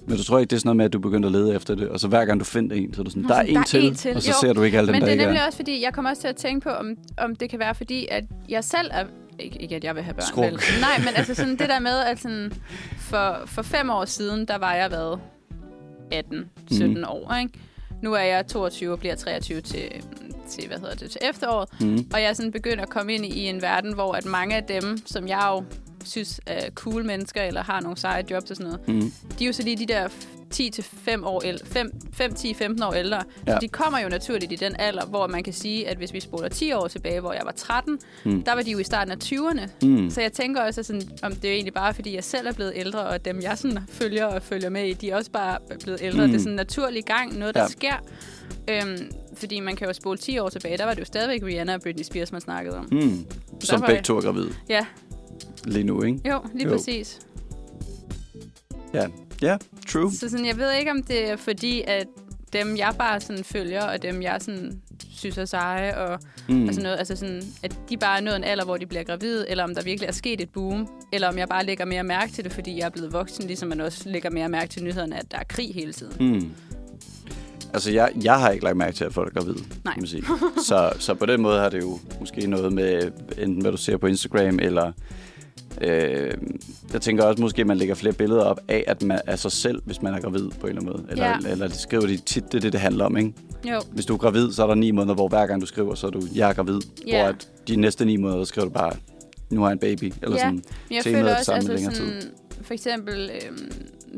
C: Men du tror ikke, det er sådan noget med, at du begynder at lede efter det, og så hver gang du finder en, så er du sådan,
B: Nå,
C: der er
B: sådan,
C: en
B: der er
C: til,
B: en til.
C: og så
B: Jo,
C: ser du ikke alle dem,
B: men
C: der
B: det er
C: ikke
B: nemlig
C: er.
B: også fordi, jeg kommer også til at tænke på, om, om det kan være fordi, at jeg selv er... Ikke, ikke at jeg vil have børn.
C: Skruk.
B: vel? Nej, men altså sådan det der med, at sådan, for, for fem år siden, der var jeg været
C: Mhm.
B: 18-17 mm. år, ikke? Nu er jeg 22 og bliver 23 til, til, hvad hedder det, til efteråret. Mm.
C: Mhm.
B: Og jeg er sådan begyndt at komme ind i en verden, hvor at mange af dem, som jeg jo synes er cool mennesker, eller har nogle seje jobs og sådan noget,
C: Mhm.
B: mm. de er jo så lige de der 10-5 år ældre, 5-10-15 år ældre. Ja.
C: Ja.
B: Så de kommer jo naturligt i den alder, hvor man kan sige, at hvis vi spoler 10 år tilbage, hvor jeg var 13,
C: Hmm.
B: mm. der var de jo i starten af 20'erne. Mm. Så jeg tænker også, at sådan, om det er egentlig bare, fordi jeg selv er blevet ældre, og dem jeg sådan følger og følger med i, de er også bare blevet ældre. Mm. Det er sådan en naturlig gang, noget der
C: Hmm. Ja.
B: ja. sker. Øhm, fordi man kan jo spole 10 år tilbage, der var det jo stadigvæk Rihanna og Britney Spears, man snakkede om. Mm.
C: Mm. Som
B: var
C: begge
B: jeg-
C: to er gravide
B: Ja,
C: lige nu, ikke?
B: jo, lige
C: Jo.
B: jo. præcis.
C: Ja, ja true.
B: Så sådan, jeg ved ikke, om det er fordi, at dem, jeg bare sådan følger, og dem, jeg sådan synes er seje, og, mm. og sådan noget, altså sådan, at de bare er nået en alder, hvor de bliver gravide, eller om der virkelig er sket et boom, eller om jeg bare lægger mere mærke til det, fordi jeg er blevet voksen, ligesom man også lægger mere mærke til nyhederne, at der er krig hele tiden. Mm.
C: Altså, jeg, jeg har ikke lagt mærke til, at folk er gravide.
B: Nej.
C: kan man sige. Så, så på den måde har det jo måske noget med, enten hvad du ser på Instagram, eller... Øh, jeg tænker også måske, at man lægger flere billeder op af, at man er sig selv, hvis man er gravid på en eller anden måde. Eller,
B: Ja.
C: eller det skriver de tit, det er det, det handler om, ikke?
B: Jo,
C: Hvis du er gravid, så er der ni måneder, hvor hver gang du skriver, så er du, jeg er gravid.
B: Ja.
C: Hvor at de næste ni måneder, der skriver du bare, nu har jeg en baby. Eller
B: ja.
C: sådan.
B: Men jeg
C: Temaet er
B: føler
C: det
B: også,
C: samme
B: altså
C: længere
B: sådan, for eksempel øhm,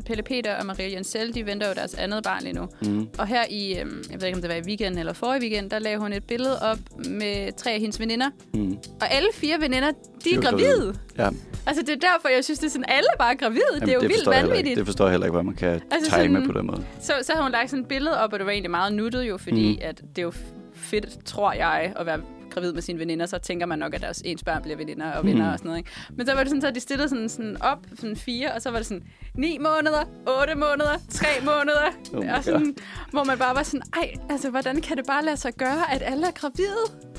B: Pelle Peter og Maria Jensel, de venter jo deres andet barn lige nu. Mm. Og her i, øhm, jeg ved ikke om det var i weekenden eller forrige weekend, der lagde hun et billede op med tre af hendes veninder. Mm. Og alle fire veninder, de er
C: jo
B: gravide.
C: Ja.
B: Altså det er derfor, jeg synes, det er sådan, alle bare er gravide. Jamen, det er jo
C: Jamen,
B: vildt
C: forstår jeg heller ikke.
B: vanvittigt.
C: Det forstår jeg heller ikke, hvordan man kan altså,
B: Altså
C: time
B: sådan-
C: på den måde.
B: Så, så havde hun lagt sådan et billede op, og det var egentlig meget nuttet jo, fordi mm. at det er jo fedt, tror jeg, at være gravid med sine veninder, så tænker man nok, at deres ens børn bliver veninder og venner mm. og sådan noget. Ikke? Men så var det sådan, så de stillede sådan, sådan op, sådan fire, og så var det sådan ni måneder, otte måneder, tre måneder,
C: Oh my
B: og sådan, hvor man bare var sådan, ej, altså, hvordan kan det bare lade sig gøre, at alle er gravide?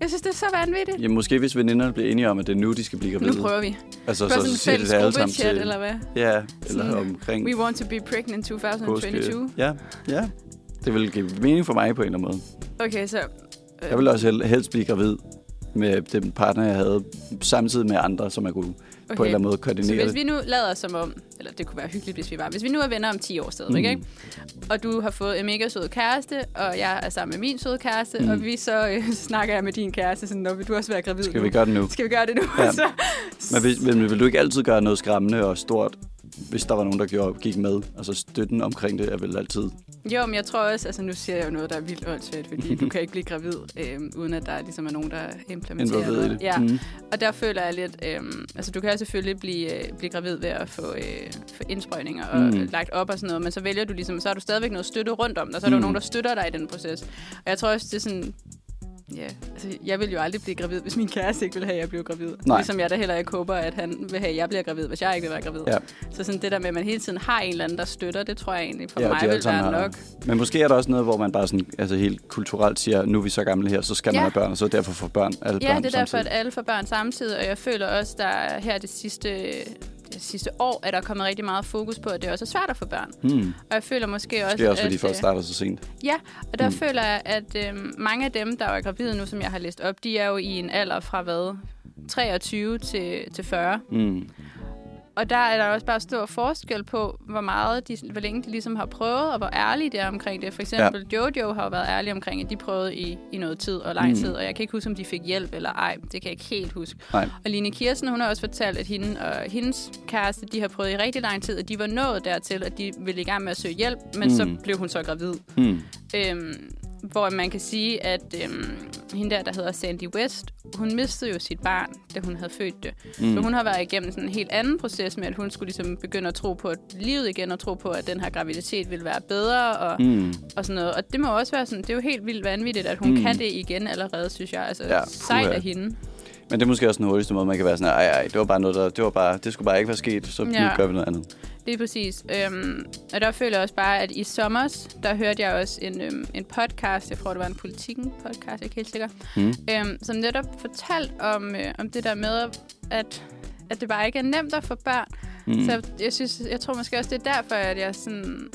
B: Jeg synes, det er så vanvittigt.
C: Ja, måske hvis veninderne bliver enige om, at det er nu, de skal blive gravide.
B: Nu prøver vi.
C: Altså,
B: Det var sådan
C: så, så
B: en
C: siger de
B: fælles
C: det alle sammen
B: gruppechat,
C: til...
B: eller hvad?
C: Ja, eller
B: Sådan,
C: omkring
B: We want to be pregnant in
C: påske.
B: 2022.
C: Ja, ja. Det vil give mening for mig på en eller anden måde.
B: Okay, så
C: Jeg ville også hel- helst blive gravid med den partner, jeg havde, samtidig med andre, som jeg kunne okay. på en eller anden måde
B: Så
C: koordinere
B: hvis vi
C: det.
B: nu lader som om, eller det kunne være hyggeligt, hvis vi var, hvis vi nu er venner om 10 år stadigvæk, mm. ikke? og du har fået en mega sød kæreste, og jeg er sammen med min søde kæreste, mm. og vi så øh, snakker jeg med din kæreste, sådan, når vil du også være gravid
C: Skal
B: nu?
C: vi gøre det nu?
B: Skal vi gøre det nu?
C: Ja.
B: Ja. så,
C: Men vil, men vil du ikke altid gøre noget skræmmende og stort, hvis der var nogen, der gjorde, gik med? Altså støtten omkring det er vel altid...
B: jo, men jeg tror også, altså nu siger jeg jo noget, der er vildt åndssvagt, fordi du kan ikke blive gravid, øh, uden at der ligesom er nogen, der implementerer
C: Involveret i
B: noget.
C: det.
B: Ja.
C: Mhm.
B: Mm. Og der føler jeg lidt, øh, altså du kan jo selvfølgelig blive, øh, blive gravid ved at få, øh, få indsprøjninger og
C: Mm.
B: mm. lagt op og sådan noget, men så vælger du ligesom, så har du stadigvæk noget støtte rundt om dig, så er der jo
C: Mm.
B: nogen, der støtter dig i den proces. Og jeg tror også, det er sådan, Ja, altså, jeg vil jo aldrig blive gravid, hvis min kæreste ikke vil have, at jeg bliver gravid.
C: Nej.
B: Ligesom jeg da heller ikke håber, at han vil have, at jeg bliver gravid, hvis jeg ikke vil være gravid.
C: Ja.
B: Så sådan det der med, at man hele tiden har en eller anden, der støtter, det tror jeg egentlig for
C: Ja,
B: ja,
C: og
B: mig
C: de alle
B: vil
C: sammen
B: være
C: har-
B: nok.
C: Men måske er der også noget, hvor man bare sådan, altså helt kulturelt siger, nu er vi så gamle her, så skal man
B: Ja.
C: have børn, og så derfor får børn alle
B: Ja,
C: børn
B: det er derfor, at
C: samtidig.
B: alle får børn samtidig, og jeg føler også, der er her det sidste, det sidste år, at der er kommet rigtig meget fokus på, at det også er svært at få børn.
C: Hmm.
B: Og jeg føler måske også,
C: Det er også, fordi
B: at,
C: folk
B: øh,
C: starter så sent.
B: Ja, og der mm. føler jeg, at øh, mange af dem, der er gravide nu, som jeg har læst op, de er jo i en alder fra hvad? 23 til, til 40.
C: Mm.
B: Og der er der også bare stor forskel på, hvor meget de, hvor længe de ligesom har prøvet, og hvor ærlige de er omkring det. For eksempel ja. Mm. Jojo har jo været ærlig omkring, at de prøvede i, i noget tid og lang tid, og jeg kan ikke huske, om de fik hjælp eller ej. Det kan jeg ikke helt huske.
C: Nej.
B: Og Line Kirsten, hun har også fortalt, at hende og hendes kæreste, de har prøvet i rigtig lang tid, og de var nået dertil, at de ville i gang med at søge hjælp, men mm. så blev hun så gravid.
C: Mm.
B: Øhm, hvor man kan sige, at øhm, hende der, der hedder Sandy West, hun mistede jo sit barn, da hun havde født det. Mm. Så hun har været igennem sådan en helt anden proces med, at hun skulle ligesom begynde at tro på at livet igen, og tro på, at den her graviditet ville være bedre, og, mm.
C: Mm.
B: og sådan noget. Og det må også være sådan, det er jo helt vildt vanvittigt, at hun mm. kan det igen allerede, synes jeg. Altså,
C: Ja,
B: ja, sejt
C: puha.
B: af hende.
C: Men det er måske også den hurtigste måde, man kan være sådan, ej, ej, det var bare noget, der, det, var bare, det skulle bare ikke være sket, så ja. nu
B: Ja.
C: gør vi noget andet.
B: Det er præcis. Øhm, og der føler jeg også bare, at i sommer, der hørte jeg også en, øhm, en podcast, jeg tror, det var en politikken podcast, jeg er ikke helt sikker,
C: Mm.
B: øhm, som netop fortalte om, øh, om det der med, at, at det bare ikke er nemt at få børn. Mm. Så jeg, synes, jeg tror måske også, det er derfor, at jeg sådan,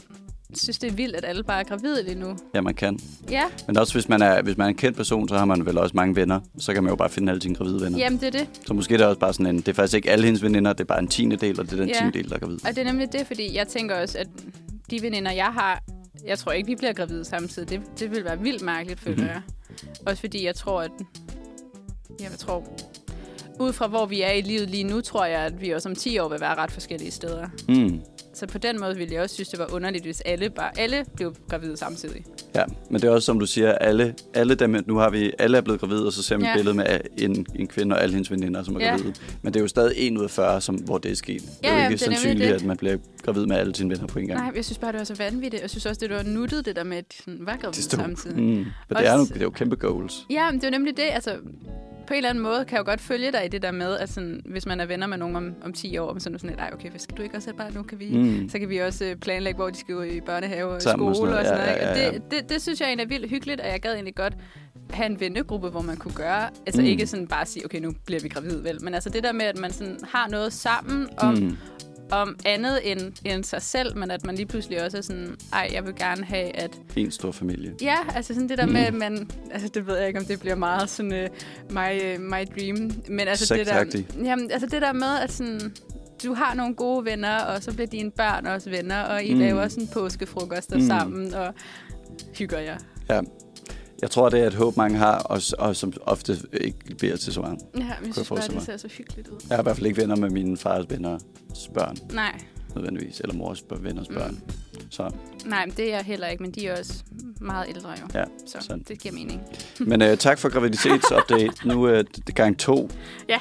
B: synes, det er vildt, at alle bare er gravide lige nu.
C: Ja, man kan.
B: Ja,
C: Men også hvis man, er, hvis man er en kendt person, så har man vel også mange venner. Så kan man jo bare finde alle sine gravide venner.
B: jamen det er det.
C: Så måske er det også bare sådan en, det er faktisk ikke alle hendes veninder, det er bare en tiende del, og det er den
B: Ja.
C: tiende del, der er gravid.
B: Og det er nemlig det, fordi jeg tænker også, at de veninder, jeg har, jeg tror ikke, vi bliver gravide samtidig. Det, det vil være vildt mærkeligt, føler
C: Mhm.
B: jeg. Også fordi jeg tror, at... Jeg tror... Ud fra hvor vi er i livet lige nu, tror jeg, at vi også om 10 år vil være ret forskellige steder.
C: Mm.
B: Så på den måde ville jeg også synes, det var underligt, hvis alle, bare, alle blev gravide samtidig.
C: Ja, men det er også som du siger, alle, alle dem, nu har vi, alle er blevet gravide, og så ser man ja.
B: Ja.
C: et billede med en, en kvinde og alle hendes veninder, som er ja.
B: Ja.
C: gravide. Men det er jo stadig 1 ud af 40, som, hvor det er sket. Det
B: Ja,
C: er jo
B: ja,
C: ikke
B: det er nemlig
C: sandsynligt,
B: det.
C: at man bliver gravid med alle sine venner på en gang.
B: Nej, jeg synes bare, det var så vanvittigt. Jeg synes også, det var nuttet, det der med, at de sådan var gravide
C: det stod.
B: samtidig.
C: Mm. Men det er,
B: Også-
C: jo, det er jo kæmpe goals.
B: Ja, men det er jo nemlig det. Altså, på en eller anden måde kan jeg jo godt følge dig i det der med, at sådan, hvis man er venner med nogen om, om 10 år, så er det sådan, at okay, hvad skal du ikke også have bare nu kan vi,
C: Mm.
B: mm. så kan vi også øh, planlægge, hvor de skal ud i børnehave og
C: Sammen
B: skole
C: og
B: og
C: sådan
B: sådan
C: noget.
B: noget.
C: Ja,
B: ikke?
C: ja, ja, ja.
B: Og det, det, det, synes jeg egentlig er vildt hyggeligt, og jeg gad egentlig godt have en vennegruppe, hvor man kunne gøre, altså
C: Mm.
B: mm. ikke sådan bare sige, okay, nu bliver vi gravid, vel, men altså det der med, at man sådan har noget sammen om,
C: Mm.
B: mm. om andet end, end sig selv, men at man lige pludselig også er sådan, ej, jeg vil gerne have, at
C: En stor familie.
B: Ja, altså sådan det der mm. med, at man... Altså, det ved jeg ikke, om det bliver meget sådan uh, my, uh, my dream. Men altså det, der,
C: Sektagtigt.
B: jamen, altså det der med, at sådan, du har nogle gode venner, og så bliver dine børn også venner, og I mm. laver sådan påskefrokoster mm. sammen, og hygger jer.
C: Ja. Jeg tror, det er et håb, mange har, og, s- og som ofte ikke bliver til så meget.
B: Ja, men jeg synes bare,
C: forestille
B: det
C: mig.
B: ser så hyggeligt ud.
C: Jeg er i hvert fald ikke venner med mine fars venners børn,
B: Nej,
C: nødvendigvis, eller mors bør- venners
B: Mm.
C: børn. Så,
B: nej, men det er jeg heller ikke, men de er også meget ældre jo.
C: ja,
B: Så
C: sådan.
B: det giver mening.
C: Men øh, tak for graviditetsupdate. Nu er øh, det er gang to.
B: Ja.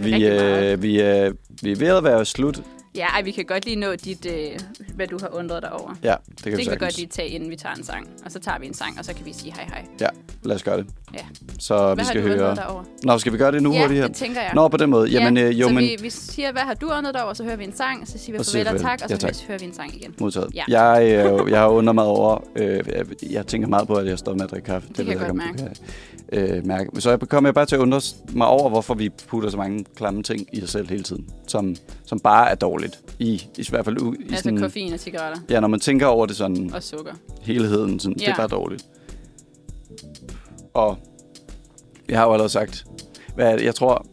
C: Vi,
B: Rigtig meget.
C: øh, vi, øh, vi er ved at være slut.
B: Ja, ej, vi kan godt lige nå dit, øh, hvad du har undret dig over.
C: Ja, det kan vi
B: Det kan vi
C: sagtens.
B: godt lige tage, inden vi tager en sang. Og så tager vi en sang, og så kan vi sige hej hej.
C: Ja, lad os gøre det.
B: Ja.
C: Så vi
B: Hvad
C: skal
B: har du
C: høre...
B: undret dig over?
C: Nå, skal vi gøre det nu
B: ja,
C: hurtigt her?
B: det tænker jeg.
C: Nå, på den måde. Jamen,
B: ja,
C: øh, jo,
B: så
C: men...
B: vi, vi siger, hvad har du undret dig over, så hører vi en sang, så siger vi
C: Og siger
B: farvel og
C: farvel.
B: tak, og
C: Ja,
B: så
C: tak.
B: hører vi en sang igen.
C: Modtaget. Ja.
B: Ja.
C: Jeg, øh, jeg har undret mig over, øh, jeg- jeg tænker meget på, at jeg står med at drikke kaffe.
B: Det kan jeg
C: ved
B: godt
C: ikke, om du kan, øh, mærke. Så jeg kommer jeg bare til at undre mig over, hvorfor vi putter så mange klamme ting i os selv hele tiden, som, som bare er dårligt. I, i hvert fald u, i
B: Altså
C: sådan,
B: koffein og cigaretter
C: Ja, når man tænker over det sådan,
B: og sukker.
C: helheden, sådan, ja. det
B: Ja.
C: er bare dårligt. Og jeg har jo allerede sagt, hvad er det? jeg tror,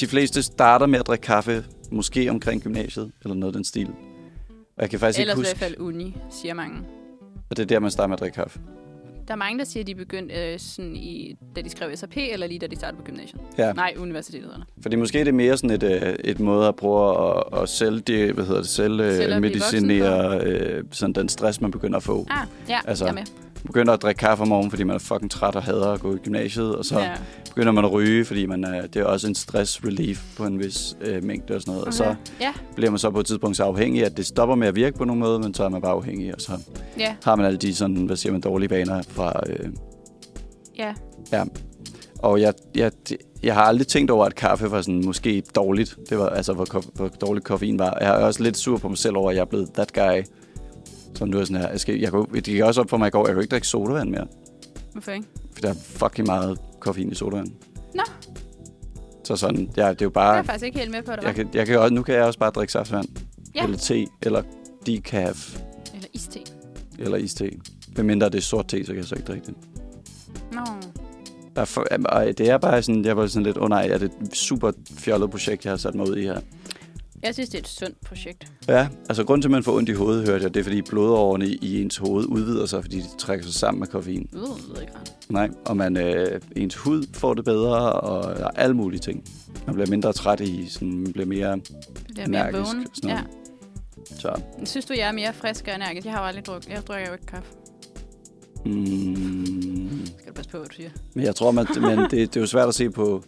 C: de fleste starter med at drikke kaffe, måske omkring gymnasiet, eller noget af den stil. Og jeg kan faktisk
B: Ellers i
C: ikke
B: hvert
C: huske,
B: fald uni, siger mange.
C: at det er der, man starter med at drikke kaffe.
B: Der er mange, der siger, at de begyndte, øh, sådan i, da de skrev SAP, eller lige da de startede på gymnasiet.
C: Ja.
B: Nej, universiteterne.
C: Fordi måske er det mere sådan et, øh, et måde at prøve at, at selv, det, hvad hedder det, selv, øh,
B: Selv at blive
C: medicinere øh, sådan den stress, man begynder at få.
B: Ah, ja,
C: Altså,
B: altså, jeg er med.
C: Begynder at drikke kaffe om morgenen, fordi man er fucking træt og hader at gå i gymnasiet, og så
B: Ja.
C: begynder man at ryge, fordi man er, det er også en stress relief på en vis øh, mængde og sådan noget. Okay. Og så
B: Ja,
C: bliver man så på et tidspunkt så afhængig, at det stopper med at virke på nogen måde, men så er man bare afhængig, og så
B: ja,
C: har man alle de sådan, hvad siger man, dårlige vaner fra, øh,
B: ja.
C: Ja. Og jeg, jeg, jeg har aldrig tænkt over, at kaffe var sådan måske dårligt. Det var altså, hvor, ko- hvor dårligt koffein var. Jeg er også lidt sur på mig selv over, at jeg er blevet that guy. Som nu er sådan her. Jeg skal, jeg kan, jo- det gik også op for mig i går, jeg kan jo ikke drikke sodavand mere.
B: Hvorfor ikke?
C: For der er fucking meget koffein i sodavand.
B: Nå,
C: Så sådan, ja, det er jo
B: det er
C: bare...
B: jeg faktisk ikke helt med på, det var.
C: Ah. Jeg kan, jeg kan, også- nu kan jeg også bare drikke saftvand.
B: Ja.
C: Eller te, eller decaf,
B: Eller iste.
C: eller iste. Hvem det er sort te, så kan jeg så ikke drikke det.
B: Nå.
C: Der er for, am- og det er bare sådan, jeg var sådan lidt, åh oh, nej, er det et super fjollet projekt, jeg har sat mig ud i her.
B: Jeg synes, det er et sundt projekt.
C: Ja, altså grunden til, at man får ondt i hovedet, hørte jeg, det er, fordi blodårene i ens hoved udvider sig, fordi de trækker sig sammen med koffein.
B: Øh, det lyder ikke rart.
C: Nej, og man, øh, ens hud får det bedre, og der er alle mulige ting. Man bliver mindre træt i, sådan, man bliver mere,
B: Det er mere
C: Energisk,
B: vågen.
C: sådan
B: Ja.
C: noget. så,
B: Synes du, jeg er mere frisk og energisk? Jeg har jo aldrig drukket. Jeg drikker jo ikke kaffe.
C: mm,
B: Skal du passe på, hvad du siger?
C: men jeg tror, man, men det, det er jo svært at se på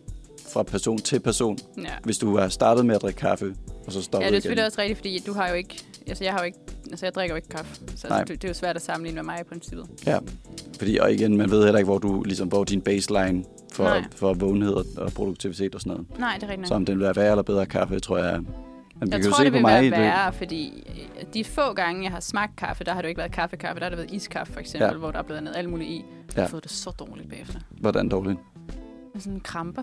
C: fra person til person.
B: Ja.
C: Hvis du har startet med at drikke kaffe, og så
B: Ja,
C: stopper
B: det er
C: igen.
B: selvfølgelig også rigtigt, fordi du har jo ikke... Altså, jeg har jo ikke... Altså, jeg drikker jo ikke kaffe. Så
C: Nej.
B: altså, du- det er jo svært at sammenligne med mig i princippet.
C: Ja, fordi og igen, man ved heller ikke, hvor du ligesom, hvor din baseline for,
B: Nej.
C: for vågenhed og, og produktivitet og sådan noget.
B: Nej, det er rigtigt
C: Så om den vil være værre eller bedre kaffe, tror jeg. Men vi
B: Jeg
C: kan jo
B: tror,
C: se
B: det
C: på
B: vil
C: mig,
B: være
C: i det-
B: værre, fordi øh, de få gange, jeg har smagt kaffe, der har det jo ikke været kaffekaffe, der har det været iskaffe for eksempel,
C: Ja.
B: ja. hvor der er blevet andet alt muligt i. Jeg
C: Ja.
B: har fået det så dårligt bagefter.
C: hvordan dårligt.
B: Jeg er Sådan kramper.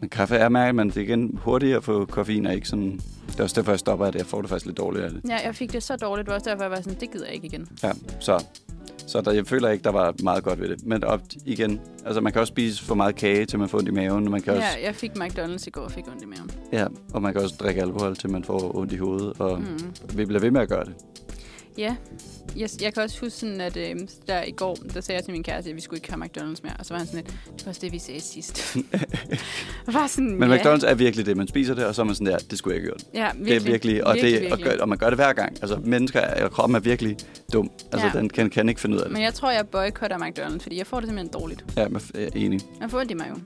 C: Men kaffe er mærket, men det er igen hurtigere at få koffein, og ikke sådan... Det er også derfor, jeg stopper af det. Jeg får det faktisk lidt dårligt af det.
B: Ja, jeg fik det så dårligt, det var også derfor, jeg var sådan, det gider jeg ikke igen.
C: Ja, så, så der, jeg føler ikke, der var meget godt ved det. Men op, igen, altså man kan også spise for meget kage, til man får ondt i maven, og man kan, ja. også,
B: Ja, jeg fik McDonald's i går og fik ondt i maven.
C: ja, og man kan også drikke alkohol, til man får ondt i hovedet, og mm.
B: Mm.
C: vi bliver ved med at gøre det.
B: Ja, jeg, jeg kan også huske sådan, at øh, der i går, der sagde jeg til min kæreste, at vi skulle ikke have McDonald's mere. Og så var han sådan lidt, det var også det, vi sagde sidst. Og var sådan,
C: Men
B: ja.
C: McDonald's er virkelig det, man spiser det, og så er man sådan der, det skulle jeg ikke have gjort.
B: ja,
C: Det er virkelig, og,
B: virkelig,
C: det,
B: virkelig.
C: Og, gør, og man gør det hver gang. Altså mennesker, eller kroppen er virkelig dum. Altså ja.
B: Ja.
C: den kan, kan ikke finde ud af det.
B: Men jeg tror, jeg boykotter McDonald's, fordi jeg får det simpelthen dårligt.
C: Ja, men jeg er enig.
B: Jeg får ondt i maven.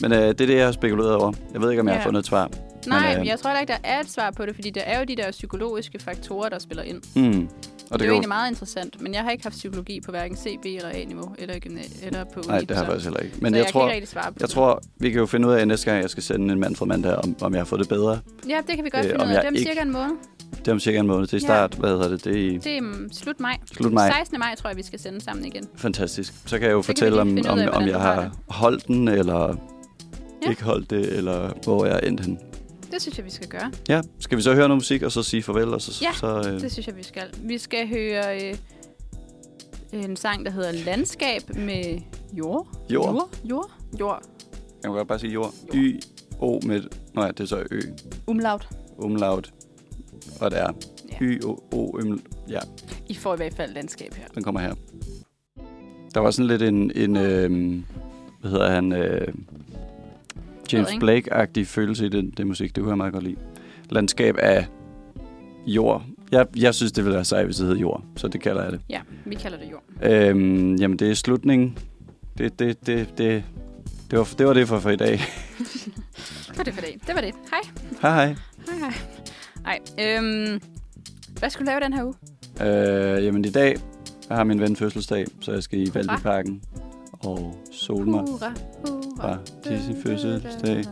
C: Men øh, det er det, jeg har spekuleret over. Jeg ved ikke, om jeg ja. har
B: Ja.
C: fundet et svar. Mm.
B: Nej,
C: Men,
B: men jeg tror heller ikke, der er et svar på det, fordi der er jo de der psykologiske faktorer, der spiller ind. Det,
C: Hmm. Og
B: det er
C: det,
B: jo
C: kan
B: egentlig meget interessant, men jeg har ikke haft psykologi på hverken CB eller A-niveau, eller, i gymna- eller på uni.
C: Nej, det har jeg
B: så-
C: faktisk heller ikke. Men
B: så
C: jeg,
B: jeg
C: tror,
B: kan ikke rigtig svare på
C: jeg
B: det.
C: tror, vi kan jo finde ud af næste gang, jeg skal sende en mand fra mand her, om, om jeg har fået det bedre.
B: Ja, det kan vi godt øh,
C: Øh,
B: finde
C: om
B: ud af.
C: jeg
B: Dem
C: ikke-
B: cirka en måned.
C: Det er om cirka en måned til
B: Ja.
C: start. Hvad hedder det? Det er i...
B: Det er um, slut maj.
C: Slut maj.
B: 16. maj tror jeg, vi skal sende sammen igen.
C: fantastisk. Så kan jeg jo
B: Så kan vi
C: fortælle,
B: lige
C: om,
B: finde ud
C: om,
B: af,
C: om
B: hvordan
C: jeg
B: du har
C: har holdt den, eller
B: Ja.
C: ikke holdt det, eller hvor jeg er endt henne.
B: Det synes jeg, vi skal gøre.
C: Ja, skal vi så høre noget musik, og så sige farvel, og så...
B: Ja,
C: så, øh,
B: Det synes jeg, vi skal. Vi skal høre øh, en sang, der hedder Landskab med jord.
C: Jord.
B: Jord. Jord. jord.
C: Jeg kan godt bare sige jord. Y, O med... Nå ja, det er så Ø.
B: Umlaut.
C: Umlaut. Og det er
B: Ja.
C: Y, O, O, øm, Ja,
B: I får i hvert fald landskab her.
C: den kommer her. Der var sådan lidt en... en øh, hvad hedder han? Øh, James
B: ikke.
C: Blake-agtig følelse i den, det musik. Det kunne jeg meget godt lide. Landskab af jord. Jeg, jeg synes, det ville være sejt, hvis det hed jord. Så det kalder jeg det.
B: Ja, vi kalder det jord.
C: Øhm, jamen, det er slutningen. Det, det, det, det, det, var, det var det for, for i dag.
B: Det var det for dag. Det var det. Hej.
C: hej hej.
B: Hej, hej. Ej, øhm, hvad skulle du lave den her uge?
C: Øh, jamen i dag har min ven fødselsdag, så jeg skal i Valbyparken og sole mig.
B: Hurra, hurra.
C: Fra Disney fødselsdag.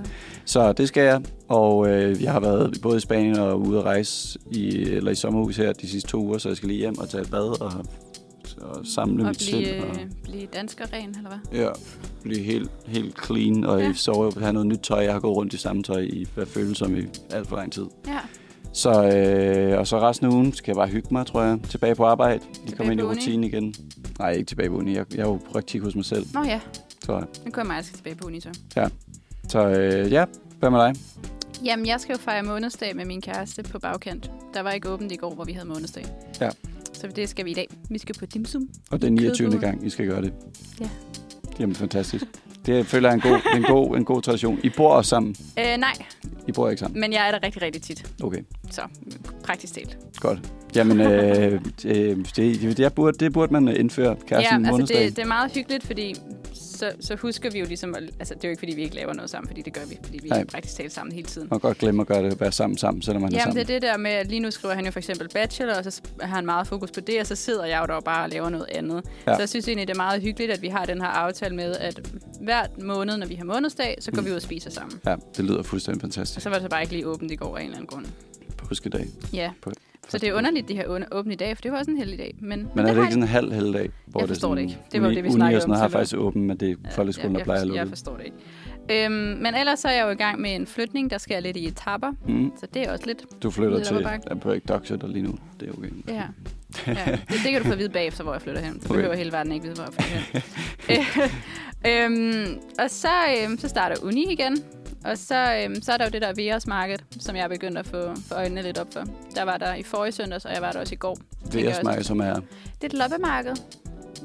C: Så det skal jeg, og øh, jeg har været både i Spanien og ude at rejse i, eller i sommerhus her de sidste to uger, så jeg skal lige hjem og tage et bad og, og samle
B: Og
C: mit
B: blive,
C: sind. Og,
B: øh, blive dansker ren, eller hvad?
C: ja, blive helt, helt clean og ja.
B: Ja.
C: sove og have noget nyt tøj. Jeg har gået rundt i samme tøj i hvad føles som i alt for lang tid.
B: Ja,
C: Så, øh, og så resten af ugen skal jeg bare hygge mig, tror jeg. Tilbage på arbejde. Lige
B: Tilbage
C: komme ind i
B: på uni?
C: rutinen igen. Nej, ikke tilbage på uni. Jeg, jeg er jo i praktik hos mig selv,
B: nå ja.
C: tror jeg.
B: Nu kommer jeg, jeg skal tilbage på uni, så.
C: Så øh, ja, hvad med dig?
B: Jamen, jeg skal jo fejre månedsdag med min kæreste på bagkant. Der var ikke åbent i går, hvor vi havde månedsdag.
C: Ja.
B: Så det skal vi i dag. Vi skal på dimsum.
C: Og det er 29.
B: Kødboder.
C: gang, I skal gøre det.
B: Ja.
C: Jamen, fantastisk. Det føler jeg er en god, en god, en god tradition. I bor også sammen.
B: Øh, nej,
C: I bor ikke sammen.
B: men jeg er der rigtig, rigtig tit.
C: Okay,
B: Så praktisk talt.
C: godt. Jamen, øh, øh, det, det, jeg burde, det burde man indføre, kæresten
B: ja, altså
C: månedsdag.
B: det, det er meget hyggeligt, fordi så, så husker vi jo ligesom, at, altså det er jo ikke fordi, vi ikke laver noget sammen, fordi det gør vi, fordi vi
C: Nej.
B: praktisk talt sammen hele tiden.
C: Man kan godt glemme at gøre det, være sammen sammen, selvom man er
B: Jamen,
C: sammen.
B: det er det der med, at lige nu skriver han jo for eksempel bachelor, og så har han meget fokus på det, og så sidder jeg jo der bare og laver noget andet.
C: Ja.
B: Ja. Så jeg synes egentlig, det er meget hyggeligt, at vi har den her aftale med, at hver måned, når vi har månedsdag, så går mm. vi ud og spiser sammen.
C: Ja, det lyder fuldstændig
B: Og
C: fantastisk
B: så var det så bare ikke lige åbent i går af en eller anden grund.
C: på huskedag.
B: Ja.
C: På-
B: Så det er underligt, de her under- åbne i dag, for det var også en heldig dag. Men,
C: Men er det
B: har
C: ikke sådan en halv helligdag? Hvor
B: Jeg forstår
C: sådan,
B: det ikke. Det var jo
C: uni-
B: det, vi
C: uni og
B: snakkede
C: sådan
B: om
C: noget har
B: tidligere.
C: faktisk åben, men det er folkeskolen,
B: jeg,
C: der plejer at
B: jeg, jeg
C: lukke.
B: forstår det ikke. Øhm, men ellers så er jeg jo i gang med en flytning, der sker lidt i etapper.
C: Mm,
B: Så det er også lidt...
C: du flytter
B: Lidt
C: til
B: op ad bakke.
C: jeg prøver ikke Dockshutter lige nu. Det er okay.
B: Ja. ja. Det, det kan du få at vide bagefter, hvor jeg flytter hen. Så
C: Okay.
B: behøver hele verden ikke vide, hvor jeg flytter hen. øhm, og så, øhm, så starter uni igen. Og så, øhm, så er der jo det der Veras Market, som jeg er begyndt at få, få øjnene lidt op for. Der var der i forrige søndags, og jeg var der også i går.
C: Det er
B: gør
C: jeres marked, som er...
B: Det er et loppemarked.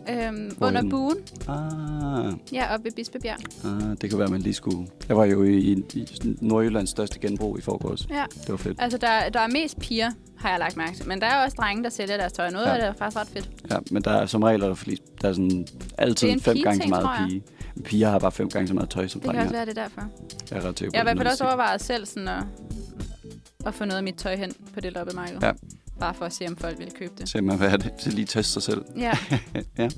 B: Øhm, under
C: Hvorhenne?
B: buen.
C: Ah,
B: Ja, oppe ved Bispebjerg.
C: ah, det kan være, man lige skulle... Jeg var jo i, i, i Nordjyllands største genbrug i forgårs.
B: Ja.
C: Det var fedt.
B: Altså, der, der er mest piger, har jeg lagt mærke til. Men der er også drenge, der sælger deres tøj. Noget
C: Ja.
B: ja. af det er faktisk ret fedt.
C: Ja, men der er som regel, er der, fordi, der er sådan altid
B: Det er en
C: fem gange så
B: pigeting,
C: meget
B: tror jeg.
C: pige. Piger har bare fem gange så meget tøj som
B: Det kan
C: drenge.
B: også
C: har.
B: være, det er derfor.
C: Jeg er ret sikker på
B: Jeg har i hvert fald
C: noget
B: også
C: stil.
B: overvejet selv sådan at, at få noget af mit tøj hen på det loppemarked.
C: Ja.
B: Bare for at se, om folk vil købe det.
C: Se mig, hvad er det? Så lige teste sig selv.
B: Ja,
C: ja.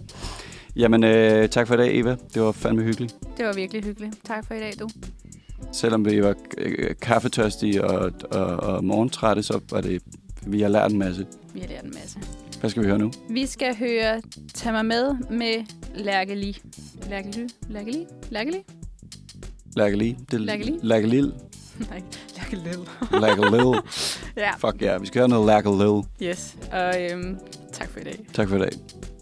C: Jamen, øh, tak for i dag, Eva. Det var fandme hyggeligt.
B: det var virkelig hyggeligt. Tak for i dag, du.
C: Selvom vi var øh, kaffetørstige og, og, og morgentrætte, så var det... Vi har lært en masse.
B: Vi har lært en masse.
C: Hvad skal vi høre nu?
B: Vi skal høre Tag mig med med Lærke Li. Lærke Li? Lærke Li? Lærke Li?
C: Lærke lige.
B: Lærke Li?
C: Lærke Lil.
B: Nej, Lærke Lille.
C: Lærke Lil.
B: Ja,
C: Fuck ja, yeah. vi skal høre noget Lærke Lil.
B: yes. Og øhm, tak for i dag.
C: Tak for i dag.